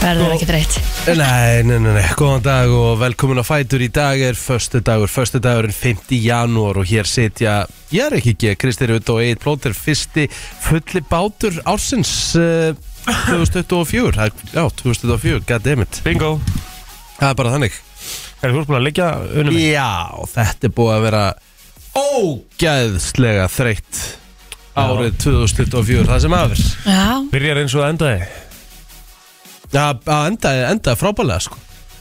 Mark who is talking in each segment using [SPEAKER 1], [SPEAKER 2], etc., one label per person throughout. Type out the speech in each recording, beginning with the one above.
[SPEAKER 1] verður ekki dreitt
[SPEAKER 2] Nei, nei, nei, nei, góðan dag og velkomin á Fætur Í dag er förstu dagur, förstu dagurinn 5. janúar og hér sitja Ég er ekki ekki, Kristi Rutt og Egil Plóter Fyrsti fulli bátur ársins uh, 2024 Það er- Já, 2024, goddammit
[SPEAKER 3] Bingo
[SPEAKER 2] Það er bara þannig
[SPEAKER 3] Er þú ert búin að leggja unum mig?
[SPEAKER 2] Já, þetta er búið að vera ógæðslega þreytt árið 2024, það sem aður
[SPEAKER 1] Já,
[SPEAKER 3] Byrjar eins og það endaði
[SPEAKER 2] Já, að enda, enda frábælega sko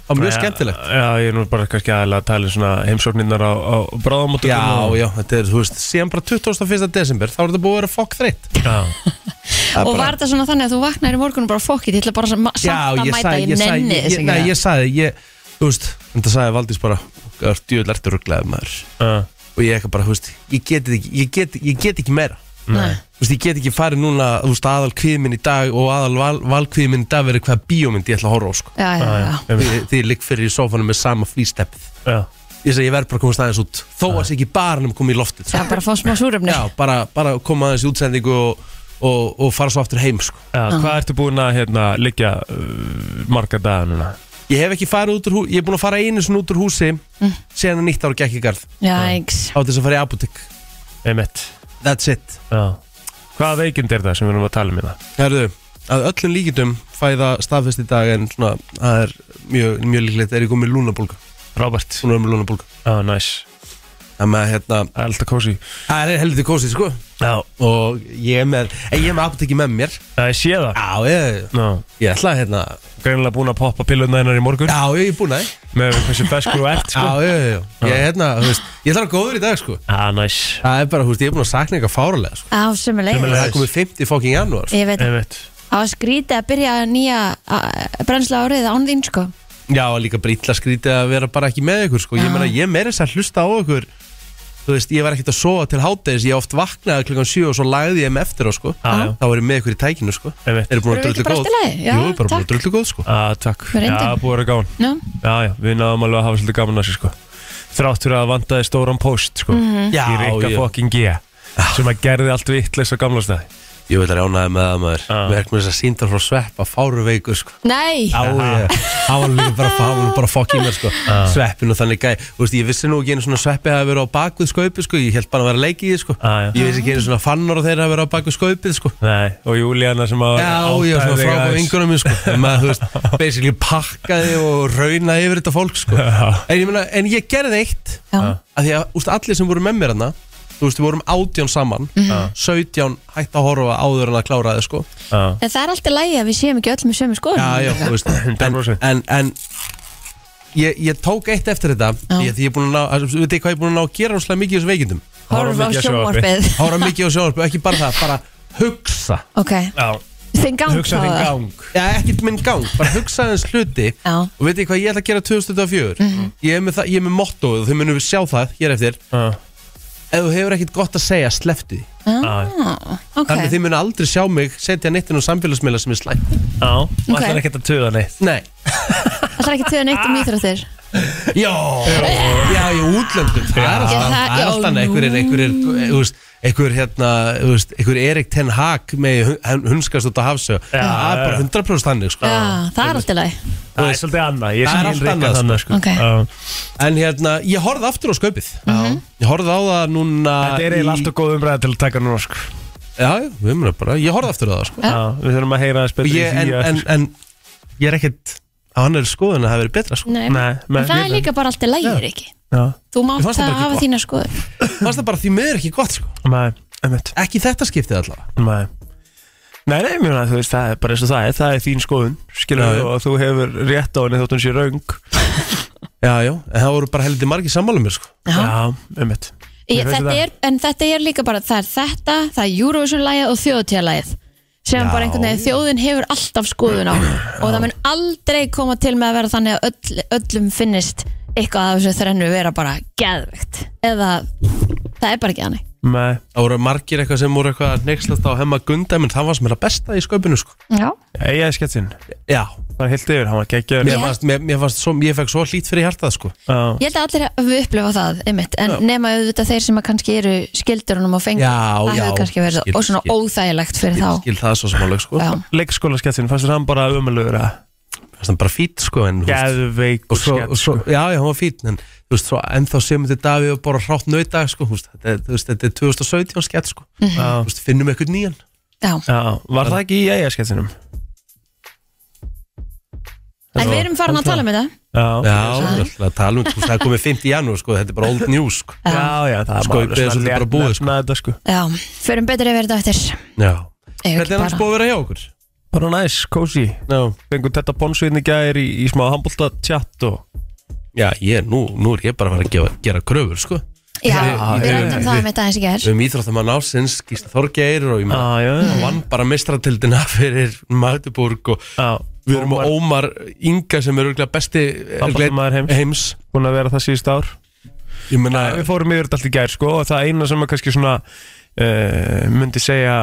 [SPEAKER 2] Það var mjög skemmtilegt
[SPEAKER 3] Já, ég er nú bara kannski aðeins að tala um svona heimsóknirnar á, á bráðamóttökum
[SPEAKER 2] Já,
[SPEAKER 3] og-
[SPEAKER 2] já, þetta er, þú veist, síðan bara 21. desember þá er þetta búið að vera fokk þreytt
[SPEAKER 3] já
[SPEAKER 2] Það er
[SPEAKER 1] og
[SPEAKER 2] bara-
[SPEAKER 1] var þetta svona þannig að þú vaknar í morgunum bara fokkið, ég ætla bara samt
[SPEAKER 2] Já,
[SPEAKER 1] að
[SPEAKER 2] ég
[SPEAKER 1] mæta ég
[SPEAKER 2] sagði,
[SPEAKER 1] nenni
[SPEAKER 2] ég sagði,
[SPEAKER 1] þess
[SPEAKER 2] ég,
[SPEAKER 1] ekki
[SPEAKER 2] nei,
[SPEAKER 1] það.
[SPEAKER 2] ég sagði, ég, þú veist, en það sagði Valdís bara, það er djöðlertur rugglaðið maður
[SPEAKER 3] Já,
[SPEAKER 2] og ég eitthvað bara, þú veist, ég get þetta ekki, ég get, ég get ekki meira,
[SPEAKER 1] Nei.
[SPEAKER 2] þú veist, ég get ekki farið núna, þú veist, aðal kviðminn í dag og aðal val, valkviðminn í dag verið hvaða bíómynd ég ætla að horfa á, sko,
[SPEAKER 1] Já, já, já,
[SPEAKER 2] því, því ég ligg fyrir í sofanum með sama flýsteppið,
[SPEAKER 3] já
[SPEAKER 2] ég sagði, ég verð bara að komast aðeins út, þó að sé ekki baranum komið í loftið,
[SPEAKER 1] já,
[SPEAKER 2] sko.
[SPEAKER 1] bara að fá smá súröfni
[SPEAKER 2] já, bara, bara koma aðeins í útsendingu og, og, og fara svo aftur heim, sko.
[SPEAKER 3] Já, hvað ertu búin að hérna, liggja uh, marga daga núna?
[SPEAKER 2] Ég hef ekki farið út úr húsi, ég er búin að fara einu svona út úr húsi mm. síðan að nýtt ára gekk í garð
[SPEAKER 1] Já, yngs
[SPEAKER 2] á til þess að fara í apotek
[SPEAKER 3] Einmitt
[SPEAKER 2] That's it
[SPEAKER 3] Já Hvaða veikind er það sem við erum að tala um hérna?
[SPEAKER 2] Herðu, að öllum líkindum fæða staðfest í dag en svona, það er mjög, mjög líklegt er ég komið lúnabólga
[SPEAKER 3] Robert
[SPEAKER 2] Svona er með lúnabólga
[SPEAKER 3] Já, næs
[SPEAKER 2] Það með hérna,
[SPEAKER 3] Það er Alltaf kósi
[SPEAKER 2] það er heldur kósið sko
[SPEAKER 3] Já
[SPEAKER 2] og ég er með, en ég er með apoteki með mér
[SPEAKER 3] Það er séða
[SPEAKER 2] Já, ég,
[SPEAKER 3] Já
[SPEAKER 2] ég ætla að hérna
[SPEAKER 3] Greinilega búin að poppa pilluna hennar í morgun
[SPEAKER 2] Já, ég er búin að sko.
[SPEAKER 3] Með hversu beskur þú ert sko
[SPEAKER 2] Já, já, já, já, ég er hérna, þú veist, ég ætla að vera góður í dag sko
[SPEAKER 3] Já, næs
[SPEAKER 2] Það er bara, þú veist, ég er búin að sakna eitthvað fárulega sko
[SPEAKER 1] Á, sömuleið
[SPEAKER 2] Það er komið 50 fokking janúar sko.
[SPEAKER 1] Ég veit,
[SPEAKER 3] Einmitt
[SPEAKER 1] á að skrítið að byrja nýja a- brennsla árið án þín, sko
[SPEAKER 2] Já, og líka brítla skrítið að vera bara ekki með ykkur sko. Ég
[SPEAKER 1] Já.
[SPEAKER 2] meina, ég meira þess að hlusta á ykkur Þú veist, ég var ekkert að sofa til hátæðis Ég oft vaknaði klukkan 7 og svo lagði ég með eftir á sko.
[SPEAKER 3] Já, já.
[SPEAKER 2] Þá var ég með ykkur í tækinu sko.
[SPEAKER 3] Einmitt.
[SPEAKER 2] Eru búin að
[SPEAKER 1] Erum við ekki
[SPEAKER 2] drullu
[SPEAKER 1] bara
[SPEAKER 2] góð
[SPEAKER 1] allt í lagi? Já,
[SPEAKER 2] Jú, bara búin
[SPEAKER 1] takk.
[SPEAKER 2] að drullu góð sko.
[SPEAKER 3] Já, takk
[SPEAKER 1] Við reyndum.
[SPEAKER 3] Já, búið að vera gáðan
[SPEAKER 1] Nú,
[SPEAKER 3] Já, já, við náðum alveg að hafa svolítið gaman að sér sko Þrátt fyrir að vandaði stóran post sko
[SPEAKER 1] Mhm.
[SPEAKER 2] Já,
[SPEAKER 3] Í reyka
[SPEAKER 2] ég,
[SPEAKER 3] fokking G Sem að gerði allt vittlis á gamla staði
[SPEAKER 2] ég vil að ránaði með það maður
[SPEAKER 3] Já.
[SPEAKER 2] Við erum þess að sínda frá sveppa fáru veiku sko.
[SPEAKER 1] nei,
[SPEAKER 2] Já, ég, hann var líka bara, hann var bara fokk í mér sko. Sveppin og þannig gæ Þú veist, ég vissi nú ekki einu svona sveppi hafi verið á bakvið skaupi sko. Ég held bara að vera að leika í því sko.
[SPEAKER 3] Já, já.
[SPEAKER 2] Ég vissi ekki einu svona fannar og þeirra hafi verið á bakvið skaupið sko.
[SPEAKER 3] Nei, og Júlíana sem að
[SPEAKER 2] Já, já,
[SPEAKER 3] áttaði
[SPEAKER 2] svona
[SPEAKER 3] þig
[SPEAKER 2] frábæð
[SPEAKER 3] aðeins.
[SPEAKER 2] vingunum minn, sko. En maður, þú veist, basically pakkaði og raunaði yfir þetta fólk, sko
[SPEAKER 3] Já.
[SPEAKER 2] En ég meina, en ég gerði eitt
[SPEAKER 1] já,
[SPEAKER 2] að Því að, úst, allir sem voru með mér hana Þú veist, við vorum átján saman 17 hætt að horfa áður en að klára þið, sko
[SPEAKER 3] Já,
[SPEAKER 1] En það er alltaf lægi að við séum ekki öll með sömu skoðun
[SPEAKER 2] Já, já, þú veist En,
[SPEAKER 3] 100%.
[SPEAKER 2] en, en ég, ég tók eitt eftir þetta
[SPEAKER 1] Já.
[SPEAKER 2] Því að ég er búin að ná, að- þú veit hvað ég er búin að ná að gera Róslega mikið í þessum veikindum
[SPEAKER 1] Horfa á
[SPEAKER 3] mikið að
[SPEAKER 1] sjónvarpið
[SPEAKER 2] Hára mikið á sjónarspöð, ekki bara það, bara hugsa
[SPEAKER 1] Ok,
[SPEAKER 3] Já,
[SPEAKER 1] þinn gang
[SPEAKER 3] hugsa
[SPEAKER 1] þá
[SPEAKER 3] þinn
[SPEAKER 1] eða?
[SPEAKER 3] gang
[SPEAKER 2] Já, ekkert minn gang, bara hugsaði hans hluti
[SPEAKER 1] Já. Mhm.
[SPEAKER 2] og veit ég hvað ég ætla að gera 2024 ég er með, það- ég er með mottóið og þau munum við sjá það hér eftir,
[SPEAKER 3] Já,
[SPEAKER 2] ef þú hefur ekkert gott að segja slepptu því,
[SPEAKER 3] já,
[SPEAKER 1] Ah, Ok,
[SPEAKER 2] þannig að þið munum aldrei sjá mig setja nettin og samfélagsmiðla sem er slæmt
[SPEAKER 3] já Það er ekkert að tuða neitt
[SPEAKER 2] Nei,
[SPEAKER 1] það er ekki til að neitt um íþróttir
[SPEAKER 2] já Já, ég er útlöndum Það er
[SPEAKER 1] Já,
[SPEAKER 2] alltaf-
[SPEAKER 1] það-
[SPEAKER 2] það er
[SPEAKER 1] já,
[SPEAKER 2] alltaf annað. einhver er, einhver er, þú veist, einhver hérna, þú veist, einhver Erik Ten Hag með hunskast út á hafsög
[SPEAKER 3] Já,
[SPEAKER 2] það er bara
[SPEAKER 3] já.
[SPEAKER 2] 100% þannig sko.
[SPEAKER 1] Já, það er alltaf lægi
[SPEAKER 3] Það er svolítið annað, ég
[SPEAKER 2] Það er allt
[SPEAKER 3] sem hinn
[SPEAKER 2] annað,
[SPEAKER 3] reyngar þannig sko
[SPEAKER 1] Ok.
[SPEAKER 3] Já.
[SPEAKER 2] En hérna, ég horfði aftur á sköpið Ég horfði á það núna
[SPEAKER 3] Þetta er
[SPEAKER 2] í-
[SPEAKER 3] eiginlega alltaf góð umræða til að taka núna sko
[SPEAKER 2] Já, já, við munum bara, ég horfði aftur á það sko.
[SPEAKER 1] Já.
[SPEAKER 3] Já, við þurfum að heyra aðeins
[SPEAKER 2] Og
[SPEAKER 3] betur
[SPEAKER 2] ég, en,
[SPEAKER 3] í því sko.
[SPEAKER 2] en, en ég er ekkert á hann er skoðun að það hafi verið betra sko.
[SPEAKER 1] Nei,
[SPEAKER 3] Nei,
[SPEAKER 1] en
[SPEAKER 3] menn-
[SPEAKER 1] það er líka bara alltaf lægir ekki
[SPEAKER 3] Já,
[SPEAKER 1] Þú
[SPEAKER 2] Mér
[SPEAKER 1] mátt að
[SPEAKER 2] fannst það bara ekki
[SPEAKER 1] hafa
[SPEAKER 2] gott.
[SPEAKER 1] þína skoðun
[SPEAKER 2] Fannst það bara því miður ekki gott sko.
[SPEAKER 3] maður, einmitt
[SPEAKER 2] Ekki í þetta skiptið allavega
[SPEAKER 3] Nei, nei, nei mjörna, þú veist, það er bara eins og það er, það er þín skoðun, skilur
[SPEAKER 2] Já, já.
[SPEAKER 3] við, og þú hefur rétt á henni þótt hún sé raung.
[SPEAKER 2] Já, já, en það voru bara heldur margir sammála mér sko.
[SPEAKER 1] Já.
[SPEAKER 3] einmitt.
[SPEAKER 1] Ég,
[SPEAKER 3] Mér finnst
[SPEAKER 1] þetta
[SPEAKER 3] það.
[SPEAKER 1] er, En þetta er líka bara, það er þetta Það er Eurovision-lægið og þjóðtíðalægið sem
[SPEAKER 2] Já.
[SPEAKER 1] bara einhvern veginn þjóðin hefur alltaf skoðun á og það mun aldrei koma til með að vera þannig að öll, öllum finnist eitthvað af þessu þrennu vera bara geðvegt eða það er bara ekki hannig
[SPEAKER 3] Nei,
[SPEAKER 2] Það voru margir eitthvað sem voru eitthvað að neykslast á hemma gundæmin Það var sem er að besta í sköpinu sko.
[SPEAKER 1] Já,
[SPEAKER 3] eiga sketsinn,
[SPEAKER 2] Já,
[SPEAKER 3] bara heilt yfir, hann var geggjör.
[SPEAKER 2] mér fannst, mér, mér fannst svo, ég fekk svo hlýtt fyrir hjartað sko.
[SPEAKER 3] Já,
[SPEAKER 1] Ég held að allir hafi upplifað það, einmitt, en nema auðvitað þeir sem að kannski eru skildurunum og fengur, það
[SPEAKER 2] Já, já,
[SPEAKER 1] hefur kannski verið
[SPEAKER 2] skil,
[SPEAKER 1] og svona
[SPEAKER 2] skil.
[SPEAKER 1] óþægilegt fyrir
[SPEAKER 2] Ég
[SPEAKER 1] þá.
[SPEAKER 2] skil það svo samála sko.
[SPEAKER 1] Já.
[SPEAKER 3] leikskóla sketsinn, fannst þér hann bara ömulegur að?
[SPEAKER 2] fannst hann bara fít sko en, þú veist, og
[SPEAKER 3] Geðveikur
[SPEAKER 2] svo,
[SPEAKER 3] skell,
[SPEAKER 2] og svo, já, já, hann var fít en þú veist, svo ennþá semur til Davíð og bara hrátt nöyta sko, þú veist, þetta, er- þú veist, þetta er 2017 skett sko,
[SPEAKER 3] Já.
[SPEAKER 2] þú veist, finnum eitthvað nýjan
[SPEAKER 1] Já.
[SPEAKER 3] Já, var það ekki í eigaskettinum?
[SPEAKER 1] En við erum farin að tala um þetta
[SPEAKER 3] Já,
[SPEAKER 2] Já, það tala um, þú veist, það er komið 50 janúar sko, þetta er bara old news sko
[SPEAKER 3] já, já, það er
[SPEAKER 2] Sko, ég beðið svolítið bara búið, sko.
[SPEAKER 3] Nefna þetta sko
[SPEAKER 1] Já, förum betur yfir þetta eftir
[SPEAKER 2] Já,
[SPEAKER 1] Eigum
[SPEAKER 2] hvernig
[SPEAKER 1] ekki
[SPEAKER 2] er hans
[SPEAKER 1] bara-
[SPEAKER 2] búið að vera hjá okkur?
[SPEAKER 3] Bara næs, kósi
[SPEAKER 2] Já,
[SPEAKER 3] Fengum þetta bonsveitni gæðir í, í smá handbólta tjatt og
[SPEAKER 2] já ég, nú, nú er ég bara að fara að gefa, gera kröfur sko
[SPEAKER 1] Já,
[SPEAKER 2] Við-
[SPEAKER 1] við
[SPEAKER 2] við-
[SPEAKER 1] rættum það
[SPEAKER 2] við-
[SPEAKER 1] með þetta eins og gerð
[SPEAKER 2] Um íþróttamann ásins, Gísla Þorgeir og ég maður
[SPEAKER 3] Já, já,
[SPEAKER 2] Hann vann bara mistratildina fyrir Magdeburg og
[SPEAKER 3] já
[SPEAKER 2] við erum með Ómar Inga sem er örgulega besti
[SPEAKER 3] Handboltamaður heims.
[SPEAKER 2] heims.
[SPEAKER 3] Búin að vera það síðust ár
[SPEAKER 2] Ég meina,
[SPEAKER 3] Við fórum yfir þetta allt í gær sko og það eina sem er kannski svona uh, myndi segja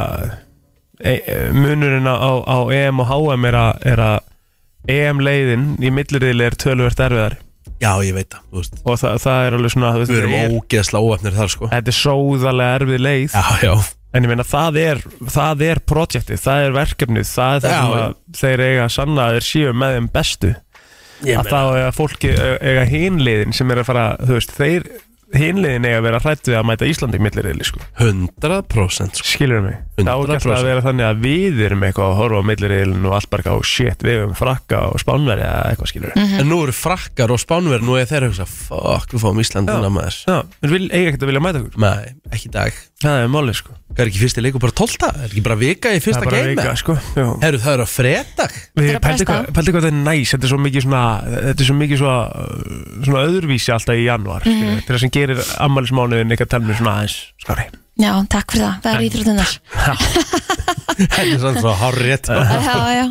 [SPEAKER 3] e, munurinn á, á EM og HM er að, er að EM leiðin í millirriðli er tölvert erfiðar
[SPEAKER 2] já ég veit það, þú veist
[SPEAKER 3] og það, það er alveg svona þú veist,
[SPEAKER 2] Við erum
[SPEAKER 3] þetta er-
[SPEAKER 2] ógeðslega óefnir þar sko
[SPEAKER 3] Þetta er sóðalega erfið leið
[SPEAKER 2] Já, já,
[SPEAKER 3] En ég meina það er, það er projektið, það er verkefnið, það er það
[SPEAKER 2] Já,
[SPEAKER 3] sem
[SPEAKER 2] já.
[SPEAKER 3] að þeir eiga að sanna að þeir séu með þeim bestu að þá eiga fólki, e, eiga hinliðin sem er að fara, þú veist, þeir hinliðin eiga að vera hrætt við að mæta Íslandi í millirriðli, sko,
[SPEAKER 2] 100% sko
[SPEAKER 3] skilur mig þá er ekki alltaf
[SPEAKER 2] 100%.
[SPEAKER 3] að vera þannig að við erum eitthvað að horfa á millirriðlin og allt bara eitthvað, oh shit, við erum frakka og spánverja eða eitthvað, skilur mig
[SPEAKER 2] En nú eru frakkar og spánverð, nú er þeir að hugsa Fuck, við fáum Íslandina maður
[SPEAKER 3] Já, en vil, eiga ekkert að vilja mæta okkur
[SPEAKER 2] Nei, ekki í dag
[SPEAKER 3] það er máli, sko,
[SPEAKER 2] Það er ekki fyrsti leikur bara 12. Það er ekki bara vika í
[SPEAKER 3] það
[SPEAKER 2] fyrsta
[SPEAKER 3] er bara
[SPEAKER 2] geima
[SPEAKER 3] vika, sko Já.
[SPEAKER 2] Herru, það eru að fredag
[SPEAKER 1] Þetta
[SPEAKER 3] Við
[SPEAKER 1] er að
[SPEAKER 3] pældi
[SPEAKER 1] presta.
[SPEAKER 3] hvað, pældi hvað þetta er næs, þetta er svo mikið svona, þetta er svo mikið svona, uh, svona öðruvísi alltaf í januar,
[SPEAKER 1] Mhm.
[SPEAKER 3] mm -hmm. þetta sem gerir ammælismánuðin eitthvað telmur svona aðeins, skári.
[SPEAKER 1] Já, takk fyrir það, það eru íþróttunar
[SPEAKER 2] Þetta er svona svo sko. hárétt Það
[SPEAKER 1] Já, já,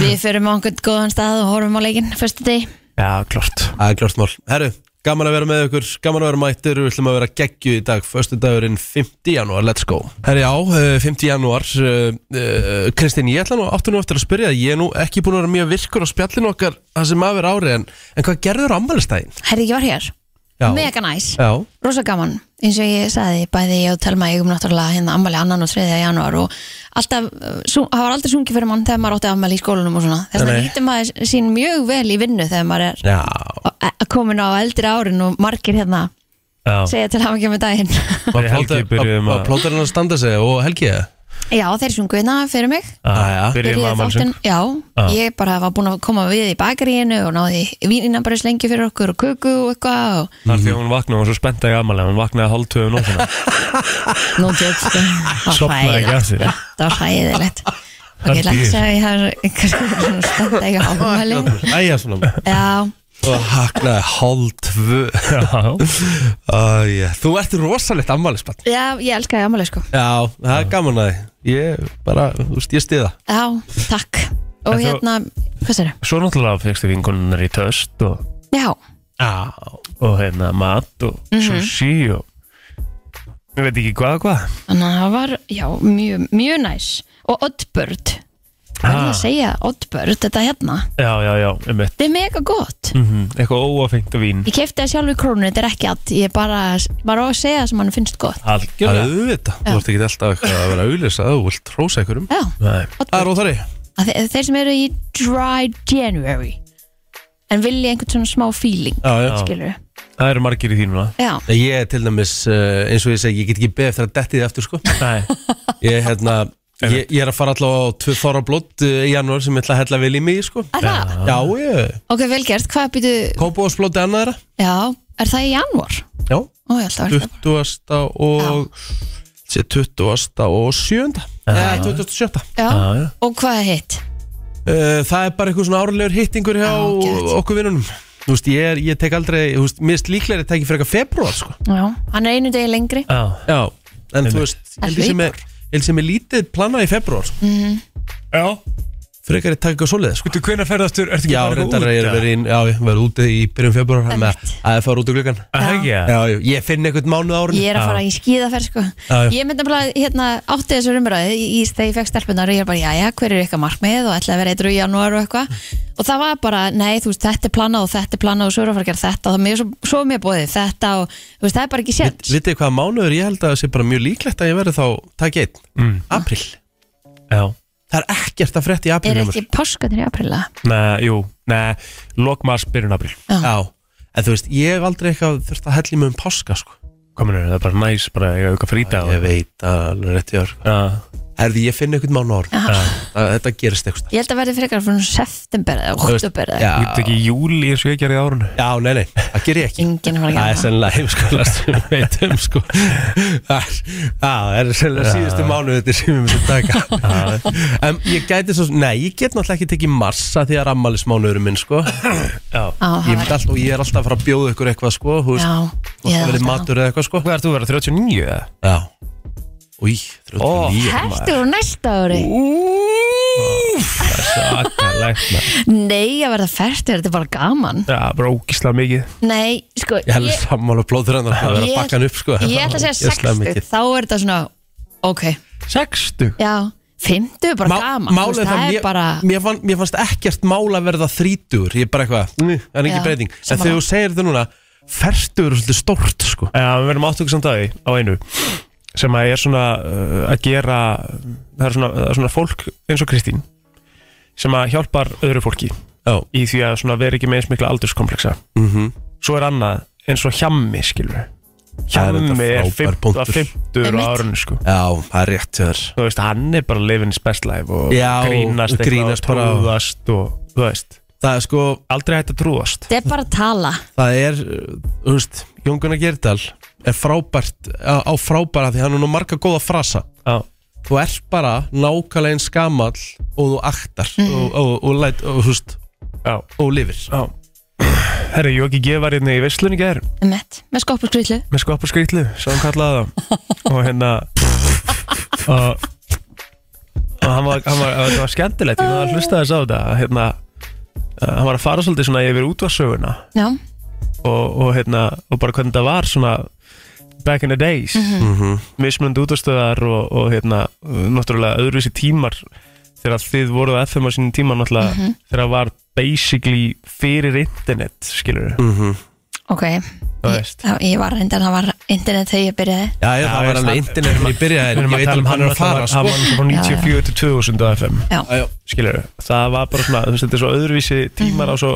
[SPEAKER 1] við förum á einhvern góðan stað og horfum á leikinn, fyrstu deg
[SPEAKER 3] Já, klart.
[SPEAKER 2] er klart mál Herru, gaman að vera með ykkur Gaman að vera mættir Við ætlum að vera geggju í dag Föstu dagurinn 5. janúar Let's go Herru, já, eh, 5. janúar eh, eh, Kristín, ég ætla nú áttu nú eftir að spyrja þig. Ég er nú ekki búin að vera mjög virkur á spjallinu okkar Það sem maður ári En, en hvað gerður ammælistæðin?
[SPEAKER 1] Herri, ég var hér,
[SPEAKER 2] Já
[SPEAKER 1] mega næs
[SPEAKER 2] Já
[SPEAKER 1] rosa gaman, eins og ég sagði bæði ég og Telma, ég um náttúrulega hérna ammali annan og 3. janúar og alltaf uh, sung- það var aldrei sungið fyrir mann þegar maður átti ammali í skólanum og svona, þess vegna
[SPEAKER 2] Nei.
[SPEAKER 1] nýttum maður sín mjög vel í vinnu þegar maður er
[SPEAKER 2] Já
[SPEAKER 1] á- e- komin á eldri árin og margir hérna
[SPEAKER 3] Já.
[SPEAKER 1] segja til hafa ekki með daginn
[SPEAKER 3] Fyrir helgi byrjuðum að-
[SPEAKER 2] Plótarinn um að standa sig og helgi eða?
[SPEAKER 1] Já, þeir sungu hérna fyrir mig
[SPEAKER 3] Ah,
[SPEAKER 2] já.
[SPEAKER 3] Byrjum
[SPEAKER 1] Byrjuðu
[SPEAKER 3] að ammælisum.
[SPEAKER 1] þáttinn- Já, ég bara var búin að koma við í bakaríinu og náði vínina bara slengi fyrir okkur og köku og eitthvað og
[SPEAKER 3] Þar því að hún vaknaði, hún var svo spennt að ég ammæli, hún vaknaði hálf tvöðu nóttina.
[SPEAKER 1] Nú tjóks Það var
[SPEAKER 3] Sofnaði ekki að
[SPEAKER 1] hræðilegt
[SPEAKER 3] því.
[SPEAKER 1] Það var hræðilegt Ok,
[SPEAKER 3] Það
[SPEAKER 1] ég lagt
[SPEAKER 3] býr.
[SPEAKER 1] að ég hef kannski svona spennt ekki ámæli
[SPEAKER 2] Æja svona
[SPEAKER 1] Já,
[SPEAKER 2] Og haknaði hálf tvö uh, yeah. Þú ert rosalegt ammælisbann
[SPEAKER 1] já, ég elska ég ámæli sko
[SPEAKER 2] Já, það er gaman að þið Ég bara, þú veist, ég stiða
[SPEAKER 1] Já, takk Og
[SPEAKER 3] En þú-
[SPEAKER 1] hérna, hvað sér það?
[SPEAKER 3] Svo náttúrulega fegstu vinkunnar í töst og,
[SPEAKER 1] Já,
[SPEAKER 2] Já,
[SPEAKER 3] og hérna mat og sushi og ég veit ekki hvað og hvað.
[SPEAKER 1] þannig að það var, já, mjög, mjög næs Og oddbörd Það er
[SPEAKER 3] Ah.
[SPEAKER 1] að segja oddbörd, þetta hérna
[SPEAKER 3] Já, já, já, einmitt.
[SPEAKER 1] Þetta er mega gott
[SPEAKER 3] Mm Eitthvað óafengt og vín.
[SPEAKER 1] Ég kefti það sjálf í krónu, þetta er ekki allt Ég er bara, bara á að segja það sem mann finnst gott
[SPEAKER 2] það er
[SPEAKER 3] Algjörlega.
[SPEAKER 2] auðvitað Þú ert ekki alltaf eitthvað að vera auðlýsa Þú vilt rósa ykkur um
[SPEAKER 1] Já,
[SPEAKER 3] Nei.
[SPEAKER 2] Það er óþari
[SPEAKER 1] að þe þeir sem eru í dry January en vilja einhvern svona smá feeling
[SPEAKER 2] Já, já
[SPEAKER 1] skilur
[SPEAKER 3] Það eru margir í þínum, að?
[SPEAKER 1] já,
[SPEAKER 2] Ég er til dæmis, uh, eins og ég segi, ég get ekki beðið eftir að detti þið eftir sko
[SPEAKER 3] Nei.
[SPEAKER 2] Ég, hérna, ég, ég er að fara allavega á tvö þorra blótt uh, í janúar sem ég ætla að hella vel í mig sko
[SPEAKER 1] er það?
[SPEAKER 2] Já, ég,
[SPEAKER 1] ok, vel gert, hvað býtu
[SPEAKER 2] kópóðsblótti annað þeirra
[SPEAKER 1] já, er það í janúar?
[SPEAKER 2] Já,
[SPEAKER 1] ó, ég ætla að vera
[SPEAKER 2] 20. og sé, 20. og 7. Eða
[SPEAKER 1] já,
[SPEAKER 2] 27.
[SPEAKER 3] Já, já.
[SPEAKER 1] og hvað er hitt?
[SPEAKER 2] Uh, það er bara eitthvað svona árlegur hittingur hjá
[SPEAKER 1] Ágætt.
[SPEAKER 2] okkur vinnunum Þú veist, ég, er, ég tek aldrei, þú veist, mist líklega að teki fyrir eitthvað februar, sko
[SPEAKER 1] já, hann er einu degi lengri
[SPEAKER 3] Já.
[SPEAKER 2] Já, en þú veist, ég held ég sem er, ég held sem er lítið planað í februar,
[SPEAKER 1] Mm.
[SPEAKER 2] sko
[SPEAKER 3] Já.
[SPEAKER 2] Frekar ég taka eitthvað svoleiðið, sko
[SPEAKER 3] Þú, hvenær ferðastur, ertu ekki
[SPEAKER 2] Já,
[SPEAKER 3] bara
[SPEAKER 2] reyndar að ég er verið inn, já, ég verið úti í byrjun februar Þannig að
[SPEAKER 1] Einmitt.
[SPEAKER 2] það er fara út úr glöggan
[SPEAKER 3] Það ekki, já.
[SPEAKER 2] Já, já, ég finn eitthvað mánuð á árinu
[SPEAKER 1] ég er að fara í skíðaferð sko
[SPEAKER 2] Já, já.
[SPEAKER 1] ég myndi bara hérna átti þessu umræði í, í þegar ég fekk stelpunar og ég er bara já, já, hver er ykkar markmið og ætla að vera eitthvað í janúar og eitthvað og það var bara, nei, þú veist, þetta er planað og þetta er planað og svo er að fara að gera þetta og það er mér svo, svo mér bóðið þetta og þú veist, það er bara ekki séns
[SPEAKER 2] Vitið þið hvaða mánuður, ég held að það sé bara mjög líklegt að ég verið þá, takk einn, mm. april
[SPEAKER 3] Já.
[SPEAKER 2] Það er ekkert að frétta í apríl
[SPEAKER 1] Er
[SPEAKER 2] Emil.
[SPEAKER 1] ekki páskanir í apríla?
[SPEAKER 3] Nei, jú, nei, lokmars byrjun april
[SPEAKER 1] Já.
[SPEAKER 2] Já, en þú veist, ég hef aldrei eitthvað þurft að hella í mig um páska sko.
[SPEAKER 3] Kominu, það er bara næs, bara ég auka frítag
[SPEAKER 2] Ég veit að alveg rétt í ár
[SPEAKER 3] Já,
[SPEAKER 2] Herði, ég finn eitthvað mánu orð
[SPEAKER 1] Aha.
[SPEAKER 2] Þetta gerist eitthvað
[SPEAKER 1] Ég held að verði frekar frá september eða
[SPEAKER 2] veist,
[SPEAKER 1] oktober eða
[SPEAKER 3] ég get ekki júli eins og ég gerði í árun
[SPEAKER 2] Já, nei, nei, það ger ég ekki
[SPEAKER 1] enginn var að
[SPEAKER 2] Það
[SPEAKER 1] gera
[SPEAKER 2] er sennilega heimskolega sem við veitum sko Það er- það er sennilega síðustu mánuð þetta sem við myndum taka En ég gæti svo, nei, ég get náttúrulega ekki tekið massa því að rammalismánuður minn sko
[SPEAKER 3] Já
[SPEAKER 1] Á, það var-
[SPEAKER 2] Ég myndi alltaf, og ég er alltaf að fara að bjóða ykkur eitthvað sko Hú veist,
[SPEAKER 1] Já,
[SPEAKER 2] hvort
[SPEAKER 1] ég
[SPEAKER 2] það
[SPEAKER 1] held
[SPEAKER 2] verið
[SPEAKER 1] að-
[SPEAKER 2] matur eða eitthvað sko
[SPEAKER 3] Hvað ertu að vera, 39 eða?
[SPEAKER 2] Já Új, 39
[SPEAKER 1] Hertur og næsta ári
[SPEAKER 3] Úf, það er sakalegt maður.
[SPEAKER 1] Nei, að verða fertur, þetta er bara gaman
[SPEAKER 3] Já, bara ógislega mikið
[SPEAKER 1] Nei, sko
[SPEAKER 2] Ég held sammála plóður hann að vera að
[SPEAKER 1] Ég-
[SPEAKER 2] bakka hann upp sko
[SPEAKER 1] ég ætla að segja 60 Þá er þetta svona, ok
[SPEAKER 3] 60
[SPEAKER 1] Já, 50 er bara gaman þú veist,
[SPEAKER 2] Málið það,
[SPEAKER 1] það
[SPEAKER 2] mér,
[SPEAKER 1] er bara
[SPEAKER 2] mér, fann, mér fannst ekkert mál að verða þrítur Ég er bara eitthvað, "Mm, það er
[SPEAKER 1] Já,
[SPEAKER 2] engin breyting En
[SPEAKER 1] sammála.
[SPEAKER 2] þegar þú segir þetta núna, fertur er svolítið stórt sko
[SPEAKER 3] Já, við verðum áttökum samt að því á einu sem að er svona uh, að gera það er svona, það er svona fólk eins og Kristín sem að hjálpar öðru fólki
[SPEAKER 2] Já,
[SPEAKER 3] í því að svona vera ekki með eins mikla aldurskompleksa
[SPEAKER 2] mhm
[SPEAKER 3] svo er annað eins og hjammi skilur
[SPEAKER 2] Það er þetta
[SPEAKER 3] hjammi er
[SPEAKER 2] frábær
[SPEAKER 3] 50
[SPEAKER 2] punktur.
[SPEAKER 3] að 50 á
[SPEAKER 1] Einmitt.
[SPEAKER 3] árunni sko
[SPEAKER 2] Já, það er rétt hjá þér
[SPEAKER 3] þú veist, hann er bara living his best life og
[SPEAKER 2] Já,
[SPEAKER 3] grínast eitthvað
[SPEAKER 2] grínast
[SPEAKER 3] og
[SPEAKER 2] bara á-
[SPEAKER 3] trúðast og þú veist,
[SPEAKER 2] Það er sko,
[SPEAKER 3] aldrei hægt að trúðast
[SPEAKER 1] Þetta er bara að tala
[SPEAKER 2] það er, uh, þú veist, Jón Gunnar Gerdal er frábært, á, á frábæra því hann er nú marga góða frasa
[SPEAKER 3] Já,
[SPEAKER 2] Þú ert bara nákvæmlega eins gamall og þú aktar
[SPEAKER 1] Mm.
[SPEAKER 2] og, og, og, læt, og, þú veist,
[SPEAKER 3] já,
[SPEAKER 2] og lifir
[SPEAKER 3] já Herri, Jóki G var hérna í veislunni gær
[SPEAKER 1] Mett, með skoppuskrýtlu
[SPEAKER 3] með skopparskrýtlu svo hann kallaði það og hérna og, og hann var, hann var, það var skemmtilegt ég var að hlusta þess á þetta hérna, uh, hann var að fara svolítið svona yfir útvarsöguna
[SPEAKER 1] Já,
[SPEAKER 3] og, og hérna og bara hvernig það var svona back in the days mismunandi útvarstöðar og, og hérna uh, náttúrulega öðruvísi tímar þegar þið voruð á FM á sínum tíma náttúrulega þegar það var basically fyrir internet skilur
[SPEAKER 2] mm -hmm.
[SPEAKER 1] ok
[SPEAKER 3] Þú
[SPEAKER 1] Ég,
[SPEAKER 3] veist.
[SPEAKER 1] já, ég var reyndar, það var internet þegar ég byrjaði
[SPEAKER 2] Já, ég, það
[SPEAKER 3] Já,
[SPEAKER 2] var
[SPEAKER 3] veist,
[SPEAKER 2] alveg
[SPEAKER 3] hann-
[SPEAKER 2] internet en ég byrjaði en ég veit alveg hann er að fara
[SPEAKER 3] um hann
[SPEAKER 2] sko.
[SPEAKER 3] var náttúrulega frá 94 til 2000 á FM
[SPEAKER 2] Já, já.
[SPEAKER 3] skilur, það var bara svona þú veist, þetta er svo öðruvísi tímar á svo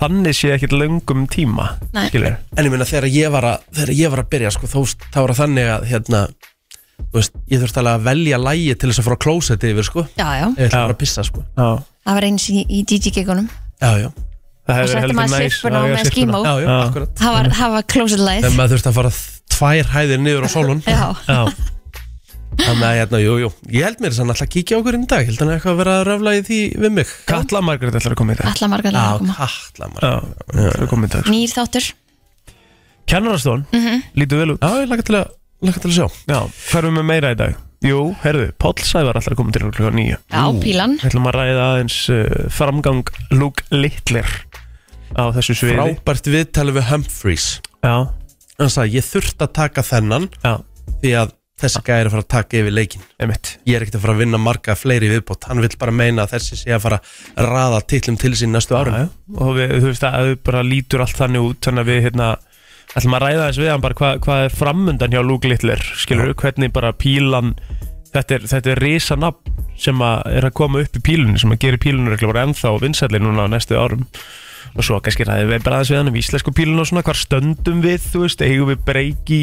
[SPEAKER 3] þannig sé ekkert löngum tíma
[SPEAKER 1] Mhm. Nei.
[SPEAKER 3] skilur,
[SPEAKER 2] En ég meina þegar ég var að, þegar ég var að byrja sko, þá, þá var það þannig að hérna, þú veist, ég þurfti alveg að velja lægi til þess að fara á klósetti yfir sko.
[SPEAKER 1] Já, já,
[SPEAKER 2] Ég ætla
[SPEAKER 3] Já.
[SPEAKER 2] bara að pissa sko.
[SPEAKER 3] já,
[SPEAKER 1] það var eins í, í DJ-gigunum
[SPEAKER 2] Já, já,
[SPEAKER 3] það
[SPEAKER 1] Og
[SPEAKER 3] hefur
[SPEAKER 1] settum
[SPEAKER 3] heldur
[SPEAKER 1] að
[SPEAKER 3] næs
[SPEAKER 1] sirpuna
[SPEAKER 3] að eiga
[SPEAKER 1] með
[SPEAKER 3] syrpuna.
[SPEAKER 1] skímó
[SPEAKER 2] já, já,
[SPEAKER 3] Já.
[SPEAKER 2] akkurat
[SPEAKER 1] Það var, það var closed light
[SPEAKER 2] En maður þurfti að fara tvær hæðir niður á sólun
[SPEAKER 1] Já,
[SPEAKER 3] já,
[SPEAKER 2] Þannig að hérna, jú, jú Ég held mér þess að hann ætla að kíkja á okkur inn í dag Ég Held hann eitthvað að vera að röfla í því við mig
[SPEAKER 3] Katla Margrét ætlar að koma í dag
[SPEAKER 1] alla margar
[SPEAKER 2] Ah,
[SPEAKER 1] að koma
[SPEAKER 2] kallar maður
[SPEAKER 3] já, ætlar að koma í dag
[SPEAKER 1] Nýr þáttur
[SPEAKER 3] Kennarastón,
[SPEAKER 1] Mhm.
[SPEAKER 3] lítur vel út
[SPEAKER 2] Já, ég laka til að, laka til að sjá
[SPEAKER 3] já, hverfum við meira í dag Jú, herðu, Páll Sævar ætlar að koma til okkur klukkan nýju
[SPEAKER 1] Já, pílan
[SPEAKER 3] Við ætlum að ræða aðeins uh, framgang Luke Littler á þessu sviði
[SPEAKER 2] Frábært viðtalið við Humphreys
[SPEAKER 3] Já,
[SPEAKER 2] Hann sagði, ég þurfti að taka þennan
[SPEAKER 3] já,
[SPEAKER 2] Því að þessi gæri er að fara að taka yfir leikin
[SPEAKER 3] emitt
[SPEAKER 2] Ég er ekkert að fara að vinna marga fleiri í viðbót Hann vill bara meina að þessi sé að fara að raða titlum til sín næstu árum
[SPEAKER 3] Já, já. og við, þú veist að þau bara lítur allt þannig út þannig að við hérna ætlum að ræða þess við hann bara hvað, hvað er framundan hjá Luke Littler skilur hvernig bara pílan þetta er, þetta er risa nafn sem að er að koma upp í pílunni sem að gera pílunur bara ennþá vinsæli núna á næstu árum og svo kannski ræðum við bara aðeins við hann um íslensku pílun og svona hvar stöndum við þú veist, eigum við breyki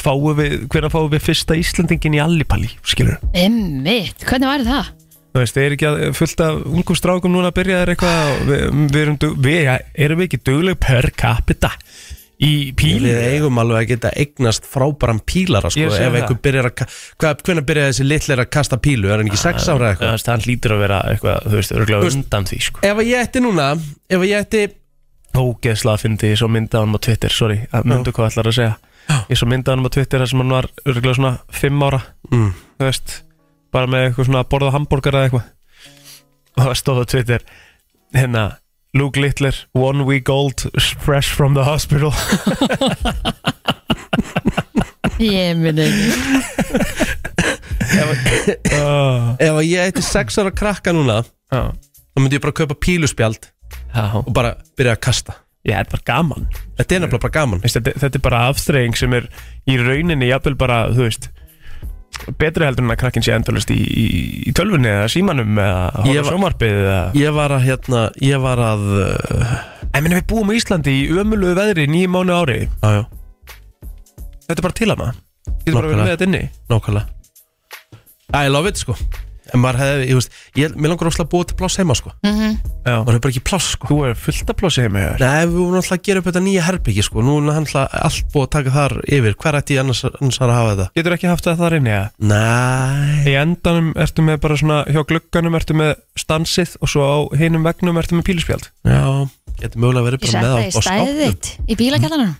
[SPEAKER 3] fáum við, hvernig fáum við fyrsta Íslandingin í Allipalli, skilur
[SPEAKER 1] Emmitt, hvernig var það?
[SPEAKER 3] Þú veist, er ekki að eh, fullt af ungum strákum núna að byrja þér eitthvað og við, við, erum, dug- við ja, erum við ekki dugleg per capita í pílu
[SPEAKER 2] Við eigum alveg að geta eignast frábæran pílara sko,
[SPEAKER 3] Ég segi
[SPEAKER 2] ef
[SPEAKER 3] það.
[SPEAKER 2] einhver byrjar að ka- hvað, hvenær byrjaði þessi litlir að kasta pílu er hann ekki sex ára eða
[SPEAKER 3] Þú
[SPEAKER 2] eitthvað
[SPEAKER 3] veist, hann hlýtur að vera eitthvað, þú veist,
[SPEAKER 2] Þú
[SPEAKER 3] örgulega
[SPEAKER 2] veist-
[SPEAKER 3] undan því sko.
[SPEAKER 2] ef að ég ætti núna ef að ég ætti
[SPEAKER 3] Ógeðslega fyndi ég svo mynda hann á Twitter, sorry, að myndu hvað ætlar að segja Ég svo mynda hann á Twitter þar sem hann var örgulega svona fimm ára,
[SPEAKER 2] mm.
[SPEAKER 3] þú veist bara með eitthvað svona að borða hambúrgar eða eitthvað og það stóð á Twitter hérna, Luke Littler one week old, fresh from the hospital
[SPEAKER 1] Ég muni ekki
[SPEAKER 3] oh.
[SPEAKER 2] ef að ég ætti sex ára krakka núna þá
[SPEAKER 3] Já,
[SPEAKER 2] myndi ég bara kaupa píluspjald
[SPEAKER 3] já
[SPEAKER 2] og bara byrja að kasta
[SPEAKER 3] Já, þetta er bara gaman
[SPEAKER 2] þetta er nefnilega bara gaman
[SPEAKER 3] Veist, þetta, þetta er bara afþreying sem er í rauninni jafnvel bara, þú veist betri heldur en að krakkin sé endalist í, í, í tölvunni eða símanum eða
[SPEAKER 2] Ég
[SPEAKER 3] hóra
[SPEAKER 2] var-
[SPEAKER 3] sjómarpið eða
[SPEAKER 2] Ég var að, hérna, ég var að uh,
[SPEAKER 3] En minna við búum í Íslandi í ömulugu veðri nýjum mánu ári
[SPEAKER 2] á, já,
[SPEAKER 3] Þetta er bara til hana Getur bara verið
[SPEAKER 2] Nákvæmlega.
[SPEAKER 3] með þetta inni
[SPEAKER 2] nákvæmlega I love it, sko En maður hefði, ég veist, ég, mér langar óslega að búa til pláss heima, sko
[SPEAKER 1] mm
[SPEAKER 3] Já.
[SPEAKER 2] Maður hefur bara ekki pláss, sko
[SPEAKER 3] Þú er fullt af plássi heima hjá þér
[SPEAKER 2] Nei, við vorum alltaf að gera upp þetta nýja herbyggi, sko Nú er alltaf allt búið að taka þar yfir Hver ætti ég annars, annars að hafa þetta?
[SPEAKER 3] Getur ekki haft það þar inni eða?
[SPEAKER 2] Nei
[SPEAKER 3] Í endanum ertu með bara svona hjá glugganum ertu með stansið og svo á hinum vegnum ertu með píluspjald
[SPEAKER 2] Já, getur mögulega verið
[SPEAKER 1] Ég
[SPEAKER 2] bara
[SPEAKER 1] sett
[SPEAKER 2] með
[SPEAKER 1] það í
[SPEAKER 2] á- á
[SPEAKER 1] stæðið
[SPEAKER 2] skápnum.
[SPEAKER 1] þitt í bílakjallanum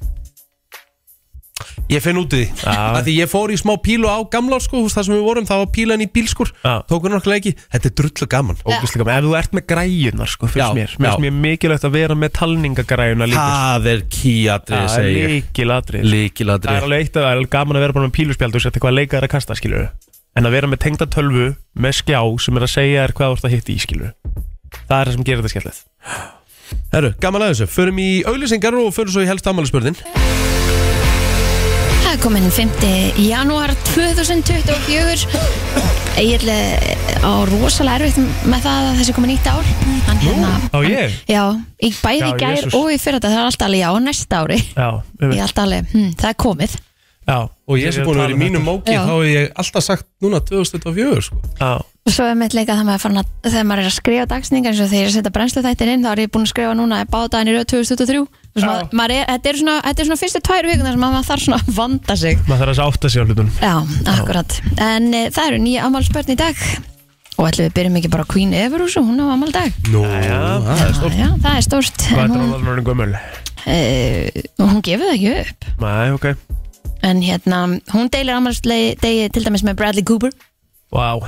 [SPEAKER 2] Ég finn út í því
[SPEAKER 3] Já.
[SPEAKER 2] Af Því ég fór í smá pílu á gamla sko hús þar sem við vorum, það var pílan í bílskur
[SPEAKER 3] Já.
[SPEAKER 2] Tók hún okkur ekki, þetta er drullu gaman
[SPEAKER 3] Ógustlega, ef þú ert með græjunar sko,
[SPEAKER 2] Já,
[SPEAKER 3] fyrst mér, mér
[SPEAKER 2] já.
[SPEAKER 3] finnst mér mikilvægt að vera með talningagræjuna líka sko.
[SPEAKER 2] Það er kýatrið,
[SPEAKER 3] Það er
[SPEAKER 2] segi ég
[SPEAKER 3] líkilatrið Það er
[SPEAKER 2] Líkilatrið
[SPEAKER 3] alveg eitt að það er gaman að vera bara með píluspjald og setja eitthvað leikar að kasta skilur En að vera með tengda tölvu með skjá sem er að segja þér hvað þú ert að hitta í skilur Það er það sem gerir þetta skellið
[SPEAKER 2] Herru, gaman að þessu, förum í auglýsingar og förum svo í helst afmælisbörðin
[SPEAKER 1] Það er komin 5. janúar 2024 Ég ætla á rosalega erfitt með það að þessi komin nýtt ár Hann hérna
[SPEAKER 3] Á ég?
[SPEAKER 1] Já, í bæði
[SPEAKER 3] Já,
[SPEAKER 1] í gær
[SPEAKER 3] Jesús.
[SPEAKER 1] og í fyrir þetta það er alltaf alveg já á næsta ári
[SPEAKER 3] Já,
[SPEAKER 1] Ég er alltaf alveg, hm, það er komið
[SPEAKER 3] já
[SPEAKER 2] Og ég sem búin að vera í mínum
[SPEAKER 3] um
[SPEAKER 2] móki,
[SPEAKER 1] Já.
[SPEAKER 2] þá hef ég alltaf sagt núna 2024 sko
[SPEAKER 3] Já,
[SPEAKER 1] Og svo er mitt leika þegar maður, er farinn að, þegar maður er að skrifa dagsningar eins og þegar ég er að setja brennslu þættin inn þá er ég búin að skrifa núna báðdæðin í röð 2023 Þú veist, maður- maður er- Þetta er svona- þetta er svona fyrstu tvær vikundar sem maður þarf svona að vanda sig
[SPEAKER 3] maður þarf að átta sig á hlutunum
[SPEAKER 1] Já, akkurat En e, það eru nýja afmálspörn í dag Og ætlum við byrjum ekki bara á Queen Everúsu Hún á afmál í dag
[SPEAKER 2] Nú,
[SPEAKER 3] já.
[SPEAKER 2] það er stórt
[SPEAKER 1] Já, það er stórt
[SPEAKER 3] Hvað
[SPEAKER 1] En
[SPEAKER 3] er
[SPEAKER 1] hún,
[SPEAKER 3] dróðan orðin gömul?
[SPEAKER 1] e, hún gefur það ekki upp
[SPEAKER 3] Nei, ok
[SPEAKER 1] En hérna, hún deilir afmálsdegi til dæmis með Bradley Cooper
[SPEAKER 3] Vá,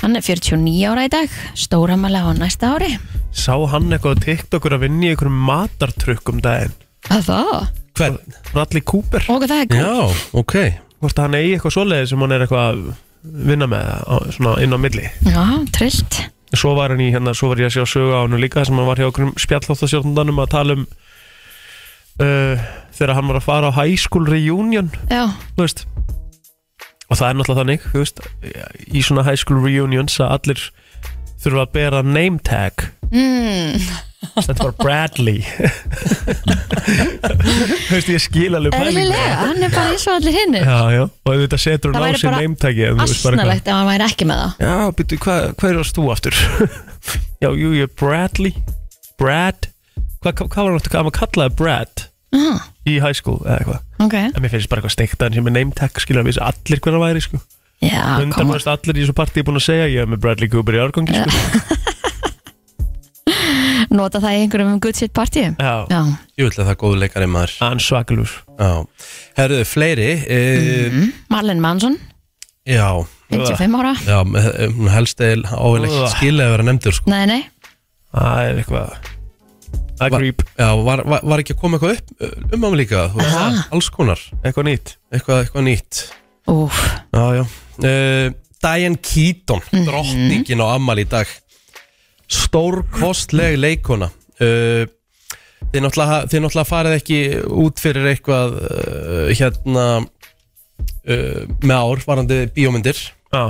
[SPEAKER 1] Hann er 49 ára í dag Stóramæla á næsta ári
[SPEAKER 3] sá hann eitthvað á TikTokur að vinna í einhverjum matartrykk um daginn
[SPEAKER 1] Að það?
[SPEAKER 2] Hvern?
[SPEAKER 3] Bradley Cooper,
[SPEAKER 1] Og það er góð
[SPEAKER 2] Já, ok
[SPEAKER 3] hvort að hann eigi eitthvað svoleiði sem hann er eitthvað að vinna með á, svona inn á milli
[SPEAKER 1] Já, trillt
[SPEAKER 3] svo var hann í hérna, svo var ég að sjá sögu á hann líka þar sem hann var hjá okkur spjallóttasjórnundanum að tala um uh, þegar hann var að fara á high school reunion
[SPEAKER 1] Já,
[SPEAKER 3] þú veist og það er náttúrulega þannig, þú veist í svona high school reunions að allir þurfa að bera name tag
[SPEAKER 1] mm,
[SPEAKER 3] þetta var Bradley þú veist ég skil alveg pælinguna.
[SPEAKER 1] eðlilega Hann er bara eins og allir hinnir
[SPEAKER 3] já, já, og þetta setur
[SPEAKER 1] Það
[SPEAKER 3] hann á
[SPEAKER 1] væri
[SPEAKER 3] sig
[SPEAKER 1] bara
[SPEAKER 3] name tagi
[SPEAKER 1] Asnalegt ef hann væri ekki með það
[SPEAKER 3] Já, byrju, hvað hva er þú aftur? já, jú, ég er Bradley Brad Hvað hva, hva var hann aftur, hvað maður kallaði Brad
[SPEAKER 1] Já,
[SPEAKER 3] í high school eða eitthvað
[SPEAKER 1] ok
[SPEAKER 3] En mér finnst bara eitthvað steikt að hann sem er name tag skilur að vissi allir hvernig væri sko
[SPEAKER 1] Já, koma
[SPEAKER 3] Undanvægst allir í þessu partí búin að segja ég er með Bradley Cooper í árgangi sko
[SPEAKER 1] Nota það í einhverjum good shit partíum
[SPEAKER 3] Já,
[SPEAKER 1] Já,
[SPEAKER 2] Ég vil að það er góð leikari maður
[SPEAKER 3] hann svakalur
[SPEAKER 2] Já. Herruðu, fleiri e,
[SPEAKER 1] Marlon Manson,
[SPEAKER 2] Já,
[SPEAKER 1] 55 ára
[SPEAKER 2] Já, eh, hún helst eða ávegileg
[SPEAKER 3] Ugh.
[SPEAKER 2] skilja að vera nefndur sko.
[SPEAKER 1] Nei, nei,
[SPEAKER 3] Það er eitthvað Það er
[SPEAKER 2] Va-
[SPEAKER 3] gríp,
[SPEAKER 2] Já, var, var, var ekki að koma eitthvað upp eh, um hann líka, þú veist það, alls konar
[SPEAKER 3] eitthvað nýtt
[SPEAKER 2] eitthvað, eitthvað nýtt
[SPEAKER 1] úf
[SPEAKER 2] Já, já uh, Diane Keaton, drottningin á Amal í dag stórkostleg leikona uh, þið, náttúrulega, þið náttúrulega farið ekki út fyrir eitthvað uh, hérna uh, með ár varandi bíómyndir
[SPEAKER 3] Já,